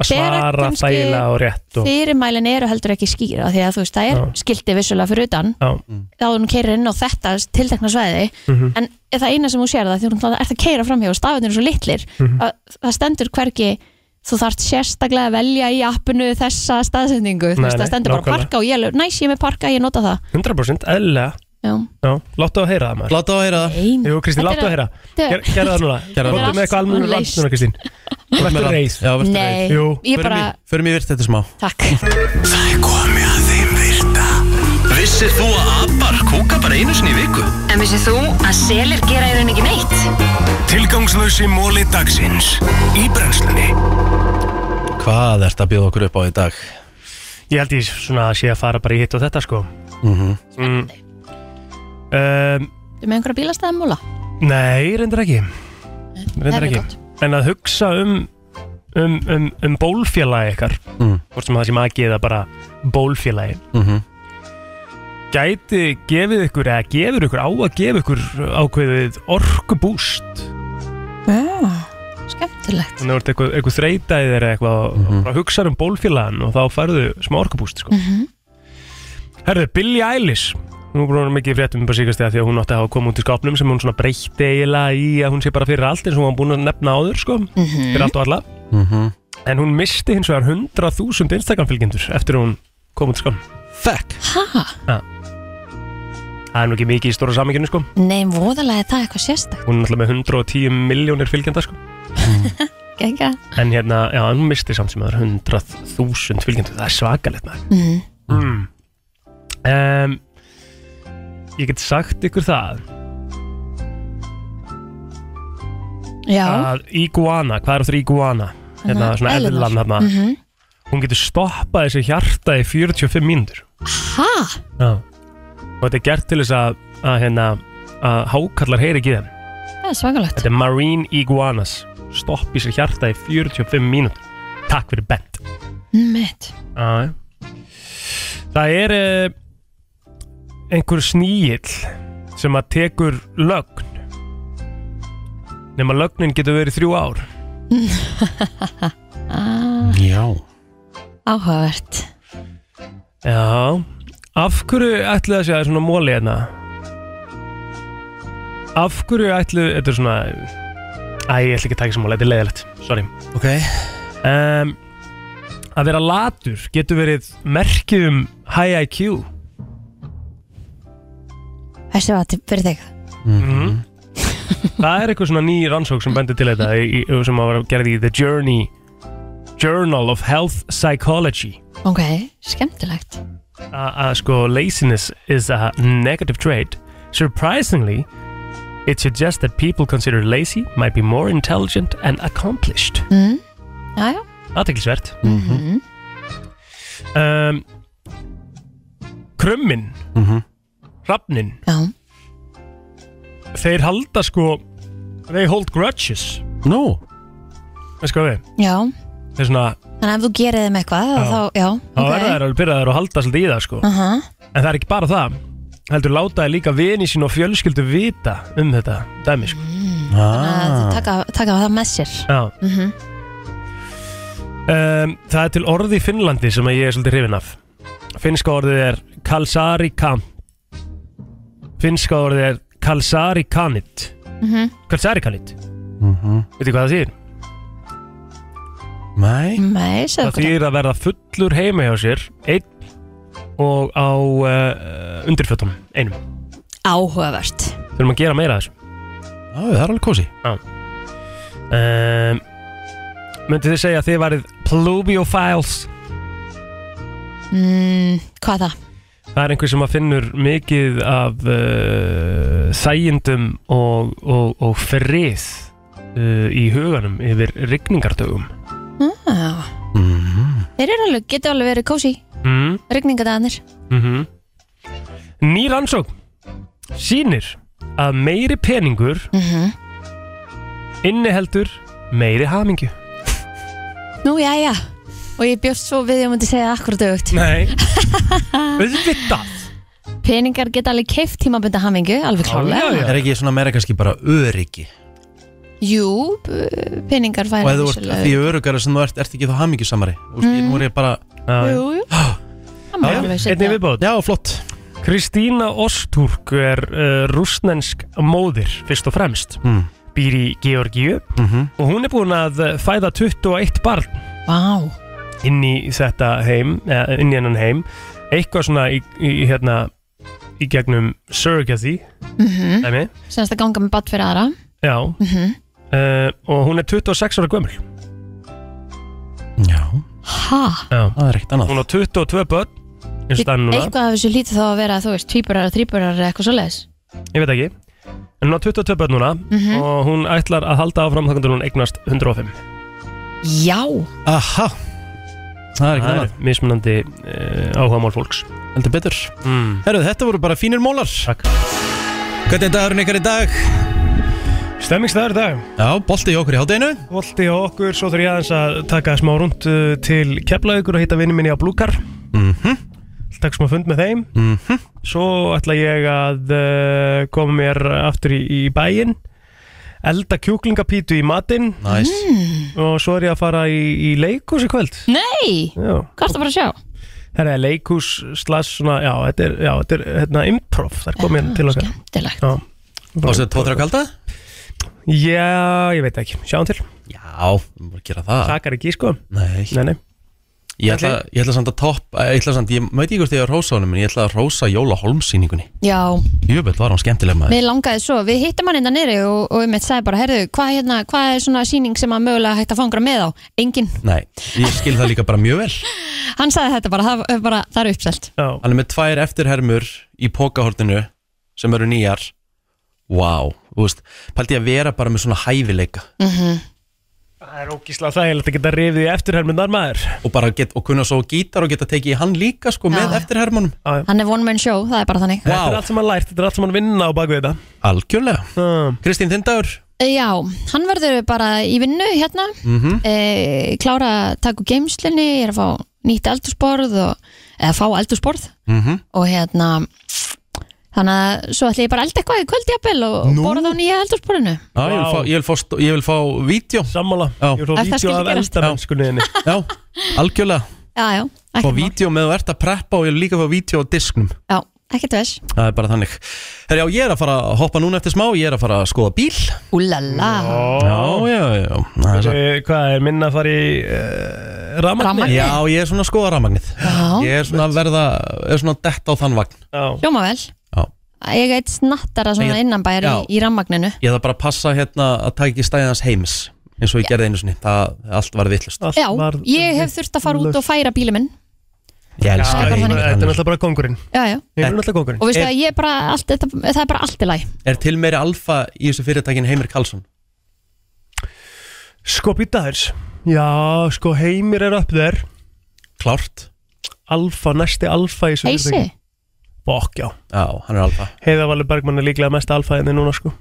C: Að
B: Þegar
C: svara
B: kannski
C: þægilega og rétt og...
B: fyrirmælin eru heldur ekki skýra af því að þú veist, það er
C: Já.
B: skiltið vissulega fyrir utan
C: Já.
B: þá hún keirir inn á þetta tiltekna svæði
C: Mhm.
B: en það eina sem hún sér það því hún er að keira framhjá og stafinir svo litlir
C: Mhm.
B: að það stendur hvergi þú þarft sérstaklega að velja í appinu þessa staðsendingu, þú
C: Nei,
B: veist, það
C: nei,
B: stendur bara
C: nákvæmlega.
B: parka og ég, alveg, næs, ég er með parka, ég nota það
C: 100% eðlilega
B: Já.
C: Já, láttu að heyra það maður
A: Láta á að heyra það
B: Ein.
C: Jú, Kristín,
B: Þetta
C: láttu að
B: er-
C: heyra
B: þetta
C: Ger-
B: er-
C: Gerðu það núna
A: Gerðu það.
C: Góttu með
B: Þetta er
C: eitthvað
B: allt
C: almennu land núna, Kristín Þú
A: Með
C: ertu
A: það.
C: reið
A: Já, verður
B: Nei,
A: reið
C: Jú.
B: ég
A: Förum
B: bara,
A: í- Förum í virt þetta smá
B: takk
K: Það er komið að þeim virta Vissir þú að abar kúka bara einu sinni í viku?
H: En vissið þú að selir gera í raun ekki neitt?
K: Tilgangslösi móli dagsins Í brennslunni
A: Hvað ert að bjóða okkur upp á í dag?
C: Ég held ég svona að sé að fara bara í hitt og þetta sko mm. um,
B: Þú með einhverja bílastæðamúla?
C: Nei, reyndar ekki Reyndar
B: er
C: ekki
B: gott.
C: En að hugsa um um, um, um bólfélagi ykkar
A: Mm.
C: Hvort sem það sem að geða bara bólfélagi
A: Mm -hmm.
C: gæti gefið ykkur eða gefur ykkur á að gefa ykkur ákveðið orkubúst
B: Já, skemmtilegt
C: þannig að þú ert eitthvað, eitthvað þreita í þér eða eitthvað mm
A: Mhm.
C: -hmm. og hugsaður um bólfélagann og þá færðu smá orkubúst sko.
B: mm -hmm.
C: Herðu, Billie Eilish Nú er hún mikið í fréttum bara síkast því að hún átti að hafa komið út í skápnum sem hún svona breytti eiginlega í að hún sé bara fyrir allt eins og hún var búin að nefna áður sko,
B: Mhm.
C: fyrir allt og alla
A: Mhm.
C: en hún misti hins vegar 100.000 Instagram fylgjendur eftir að hún kom út í skápnum
A: Fuck
B: Ha,
C: Það er nú ekki mikið í stóra saminginu sko
B: nei, voðalega er það eitthvað sérstakt
C: hún er náttúrulega með 110 miljónir fylgjenda sko
B: Gengja
C: en hérna, já, hún misti samt sem það er 100.000 fylgjendur, það er svakalegt maður
B: mm.
C: mm. um, Ég get sagt ykkur það
B: Já,
C: að iguana, hvað er aftur iguana? Hérna,
B: Hérna,
C: svona
B: eðlurnar.
C: eðlan hérna
B: mhm mm
C: Hún getur stoppað þessu hjarta í 45 mínútur
B: ha,
C: Já Og þetta er gert til þess að, að hérna að hákallar heyri ekki í þeim
B: það er svakalegt
C: Þetta er marine iguanas Stoppi sér hjarta í 45 mínútur Takk fyrir bent
B: Mitt,
C: Já, já. Það er eh, einhver sníill sem að tekur lögn nema lögnin getur verið þrjú ár
A: Já
B: Ah. áhugavert
C: Já Af hverju ætlu það sé að það er svona móli hérna? Af hverju ætlu Þetta er svona Æ, ég ætla ekki að taka sem móli, þetta er leiðilegt Sorry
A: Ok
C: um, Að vera latur getur verið merkið um high IQ
B: Þessi var til fyrir þig
C: Mhm. Það er eitthvað svona ný rannsók sem bendir til þetta í, í, sem að vera gerði í The Journey Journal of Health Psychology
B: Ok, skemmtilegt
C: að að sko laziness is a negative trait surprisingly it suggests that people considered lazy might be more intelligent and accomplished
B: mm. Já, já
C: aðteklisvert um, krummin hrafnin
B: Já.
C: þeir halda sko they hold grudges
A: no
C: veist hvað við
B: Já,
C: þeir svona
B: þannig að ef þú gerir þeim eitthvað
C: Já.
B: þá, já,
C: þá verða þær alveg byrjaðar að halda svolítið í það sko
B: Aha.
C: en það er ekki bara það heldur láta þær líka vini sín og fjölskyldu vita um þetta dæmi sko
B: Að
C: Ah.
B: þú taka, taka það með sér
C: Já.
B: mm
C: Um, það er til orði í Finnlandi sem að ég er svolítið hrifin af Finnska orðið er Kalsari Kam Finnska orðið er Kalsari Kanit
B: Mhm.
C: Kalsari Kanit Veitir hvað það þýr?
A: Nei
B: Nei, segðu
C: Það
B: hvað
C: þýr að verða fullur heima hjá sér Einn og á uh, undirfjötunum Einum
B: Áhugavert
C: Þurfum að gera meira af þessu
A: Já, það er alveg kósi
C: um, Myndið þið segja að þið værið Plubiophiles
B: mm, Hvað það?
C: Það er einhver sem að finnur mikið af uh, þægindum og, og, og frið uh, í huganum yfir rigningartögum.
B: Já.
C: Mhm.
B: Þeir eru alveg, getur alveg verið kósi
C: Mm,
B: Rigningadagarnir
C: mm Ný rannsókn sýnir að meiri peningur
B: Mhm.
C: inniheldur meiri hamingju.
B: Nú, já, já Og ég bjóst svo við ég myndi segja akkurat auðvögt [laughs]
C: Nei, auðvitað.
B: Peningar geta alveg keift tímabunda hamingu Alveg klálega
A: Er ekki svona meira kannski bara öryggi
B: Jú, b- peningar
A: Og
B: færa
A: ef þú ert því öryggara sem þú ert, ert ekki þá hamingjusamari Þú veist, ég- Nú er ég bara
B: Jú, jú Það má alveg
C: Einnig
B: setja-
C: viðbót.
A: Já, flott
C: Kristína Ostúrk er uh, rúsnensk móðir fyrst og fremst
A: Mm.
C: býr í Georgíu
A: Mhm.
C: og hún er búin að eh, fæða 21 barn
B: Vá,
C: inn í þetta heim eða, inn í hennan heim eitthvað svona í, í, hérna, í gegnum surrogacy
B: mhm
C: dæmi.
B: Sennast að ganga með batt fyrir aðra
C: Já,
B: Mhm.
C: uh, og hún er 26 ára gömul
A: Já,
B: Ha,
C: Já.
A: það er ekkert annað
C: hún á 22 börn eins og það er núna,
B: eitthvað af þessu lítið þá að vera Þú veist, tvíburar og þríburar eða eitthvað svoleiðis
C: ég veit ekki en hún á 22 börn núna
B: Mhm.
C: og hún ætlar að halda áfram þangum til hún eignast 105
B: Já,
A: Aha, það er ekkert
C: það er
A: annað
C: mismunandi uh, áhugamál fólks
A: Heldur betur
C: mm.
A: Herru, þetta voru bara fínir mólar
C: Takk.
A: Hvernig er dagurinn ykkar í dag?
C: Stemmingsdagur í dag
A: Já, bolti í okkur í hátdeinu
C: Volti á okkur, svo þurf ég aðeins að taka smá rund til Keflavíkur og hitta vinni minni á Blúkar
A: Mhm.
C: Takk smá fund með þeim
A: Mhm.
C: Svo ætla ég að uh, koma mér aftur í, í bæinn Elda kjúklingapítu í matinn
A: Næs
C: Og svo er ég að fara í, í leikús í kvöld
B: nei,
C: Já,
B: hvað ertu bara að sjá?
C: það er leikús slags svona, já, þetta er, já, þetta er hérna, improv Það er komið hérna til okkar
B: Skemmtilegt
C: Já.
A: Og sér tóttra kalda?
C: Já, ég veit ekki, sjáum til
A: Já, við erum bara að gera það
C: Takar ekki, sko
A: Nei,
C: Nei, nei
A: ég ætla, ég ætla samt að topp eh, Ég ætla samt, ég veit ekki hvort ég er að rósa honum En ég ætla að rósa Jóla Holmsýningunni
B: Já,
A: Jöfnveld var hann skemmtileg maður
B: Mér langaði svo, við hittum hann innan niðri og, og um eitt sagði bara, herðu, hvað hérna, hva er svona síning sem að mögulega hægt að fangra með á? Engin.
A: Nei, ég skil það líka bara mjög vel
B: Hann sagði þetta bara, það, er bara, það er uppselt.
C: Já,
A: Hann er með tvær eftirhermur í pokahortinu sem eru nýjar Vá, þú veist, pældi ég að vera bara með svona hæfileika
C: Það er ógíslega þægilegt að geta rifið í eftirhermundar maður
A: og bara get, og kunna svo á gítar og geta tekið í hann líka sko með
B: Já.
A: eftirhermunum
B: Hann er one man show, það er bara þannig.
A: Vá.
C: Þetta er allt sem hann lært, þetta er allt sem hann vinna á bakvið þetta
A: Algjörlega
C: um,
A: Kristín Tindagur
B: Eh, Já, hann verður bara í vinnu hérna, mm
A: Mhm,
B: klára að taka úr geimslinni, ég er að fá nýtt eldursporð og, eða fá eldursporð
A: mm -hmm.
B: og hérna, þannig að svo ætla ég bara að elda eitthvað í kvöldjapel og
A: Nú.
B: Nú. borða á nýja eldursporðinu.
A: Já, ég vil fá, ég vil fá, stó- ég vil fá vídeo
C: Sammála,
A: Já.
C: ég vil fá
B: Ef það
C: vídeo
B: skyldi
C: af
B: gerast.
C: eldamennskunni þinni
A: Já, algjörlega
B: Já, já,
A: Fá
B: ekkert mál.
A: vídeo með þú ert að preppa og ég vil líka fá vídeo á disknum
B: Já, ekkert veist.
A: Það er bara þannig Herra, já, ég er að fara að hoppa núna eftir smá Ég er að fara að skoða bíl
B: Úlala.
A: Já, já, já Það er
C: Veitu,
A: svo-
C: Eh, Hvað er minna að fara í uh,
B: Rafmagni.
C: rafmagni?
A: Já, ég er svona að skoða rafmagnið
B: Já.
A: Ég er svona að verða, er svona að detta á þann vagn
C: Já,
B: Hljóma vel
A: Já.
B: Ég eitt snattara svona
A: Ég-
B: innanbæri
A: Já.
B: í rammagninu
A: Ég þarf bara að passa hérna að taka ekki stæðið hans heimis eins og ég gerði einu sinni, það allt var vittlust
C: allt
B: Já,
C: varð-
B: ég hef þurft að fara út og færa bíli minn
A: Ég elska þig.
C: Já, Þetta er
A: Hann er-
C: náttúrulega bara kongurinn
B: já, já.
C: Ég er náttúrulega kongurinn
B: og veistu
A: Er-
B: að ég er bara allt, þetta, það er bara allt í læg
A: Er til meiri alfa í þessu fyrirtækin Heimir Karlsson?
C: Sko býtaðurs Já, sko heimir er upp þér
A: Klárt
C: Alfa, næsti alfa í þessu
B: Heisi,
C: fyrirtæki. Bokk, já
A: Já, hann er alfa
C: Heiða Valur Bergmann er líklega mest alfa enni núna sko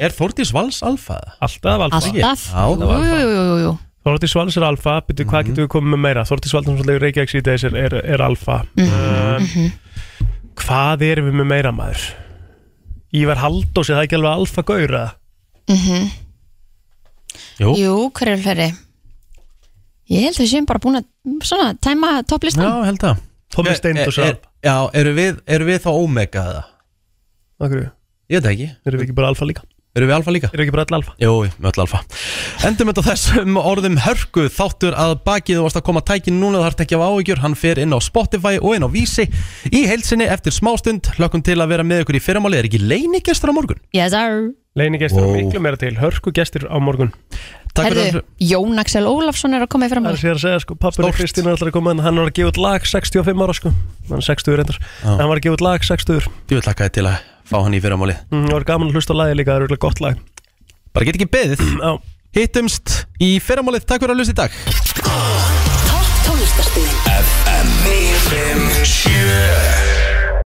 A: Er Þórdís Vals alfa?
C: Alltaf alfa
B: Mhm.
A: Já,
B: alltaf
A: það
B: Jú,
A: var
B: jú, jú, jú, jú.
C: Þorti Svals er alfa, byrju hvað
A: Mhm.
C: getum við komið með meira Þorti Svals er svolítið Reykjavík síðdeis er, er, er alfa um, Hvað erum við með meira maður? Ívar Haldós, er það ekki alveg alfa gaur eða?
A: Jú.
B: Mhm. jú hver er fleiri ég held að við séum bara búin að svona, tæma
A: Já,
B: topplistan
A: held að
C: Tommi Steindós er
A: er,
C: alfa
A: Já, eru við, eru við þá omega eða?
C: Af hverju?
A: Ég veit það ekki
C: Erum við ekki bara alfa líka?
A: Eru við alfa líka?
C: Erum við ekki bara all alfa?
A: Jú, við öll alfa Endum þetta á þessum orðum hörku Þáttur að bakið þú varst að koma tækin núna þar tekja á áhyggjur Hann fer inn á Spotify og inn á Vísi Í heilsinni eftir smástund Hlökkum til að vera með ykkur í fyrramáli Er ekki leinigestur á morgun?
B: yes sir
C: Leini gestur
A: Wow.
C: wow. miklu meira til, hörku gestur á morgun
A: Takk fyrir
B: Herðu,
A: þessu.
B: Jón Axel Ólafsson er að koma í
C: Það er
B: framhald
C: sér að segja sko, pappinu
A: Stórt.
C: Kristín er alltaf að koma en hann var að gefa út lag 65 ára sko hann er 60 reyndar,
A: Já.
C: hann var að gefa út lag 60
A: Ég vil taka þið til að fá hann í fyrramáli
C: mm, það var gaman að hlusta á lagi líka, það er auðvitað gott lag [clears throat]
A: Bara get ekki beðið
C: Já,
A: Hittumst í fyrramálið Takk fyrir að hlusta í dag
N: Tónlistarstöðin
O: FM 957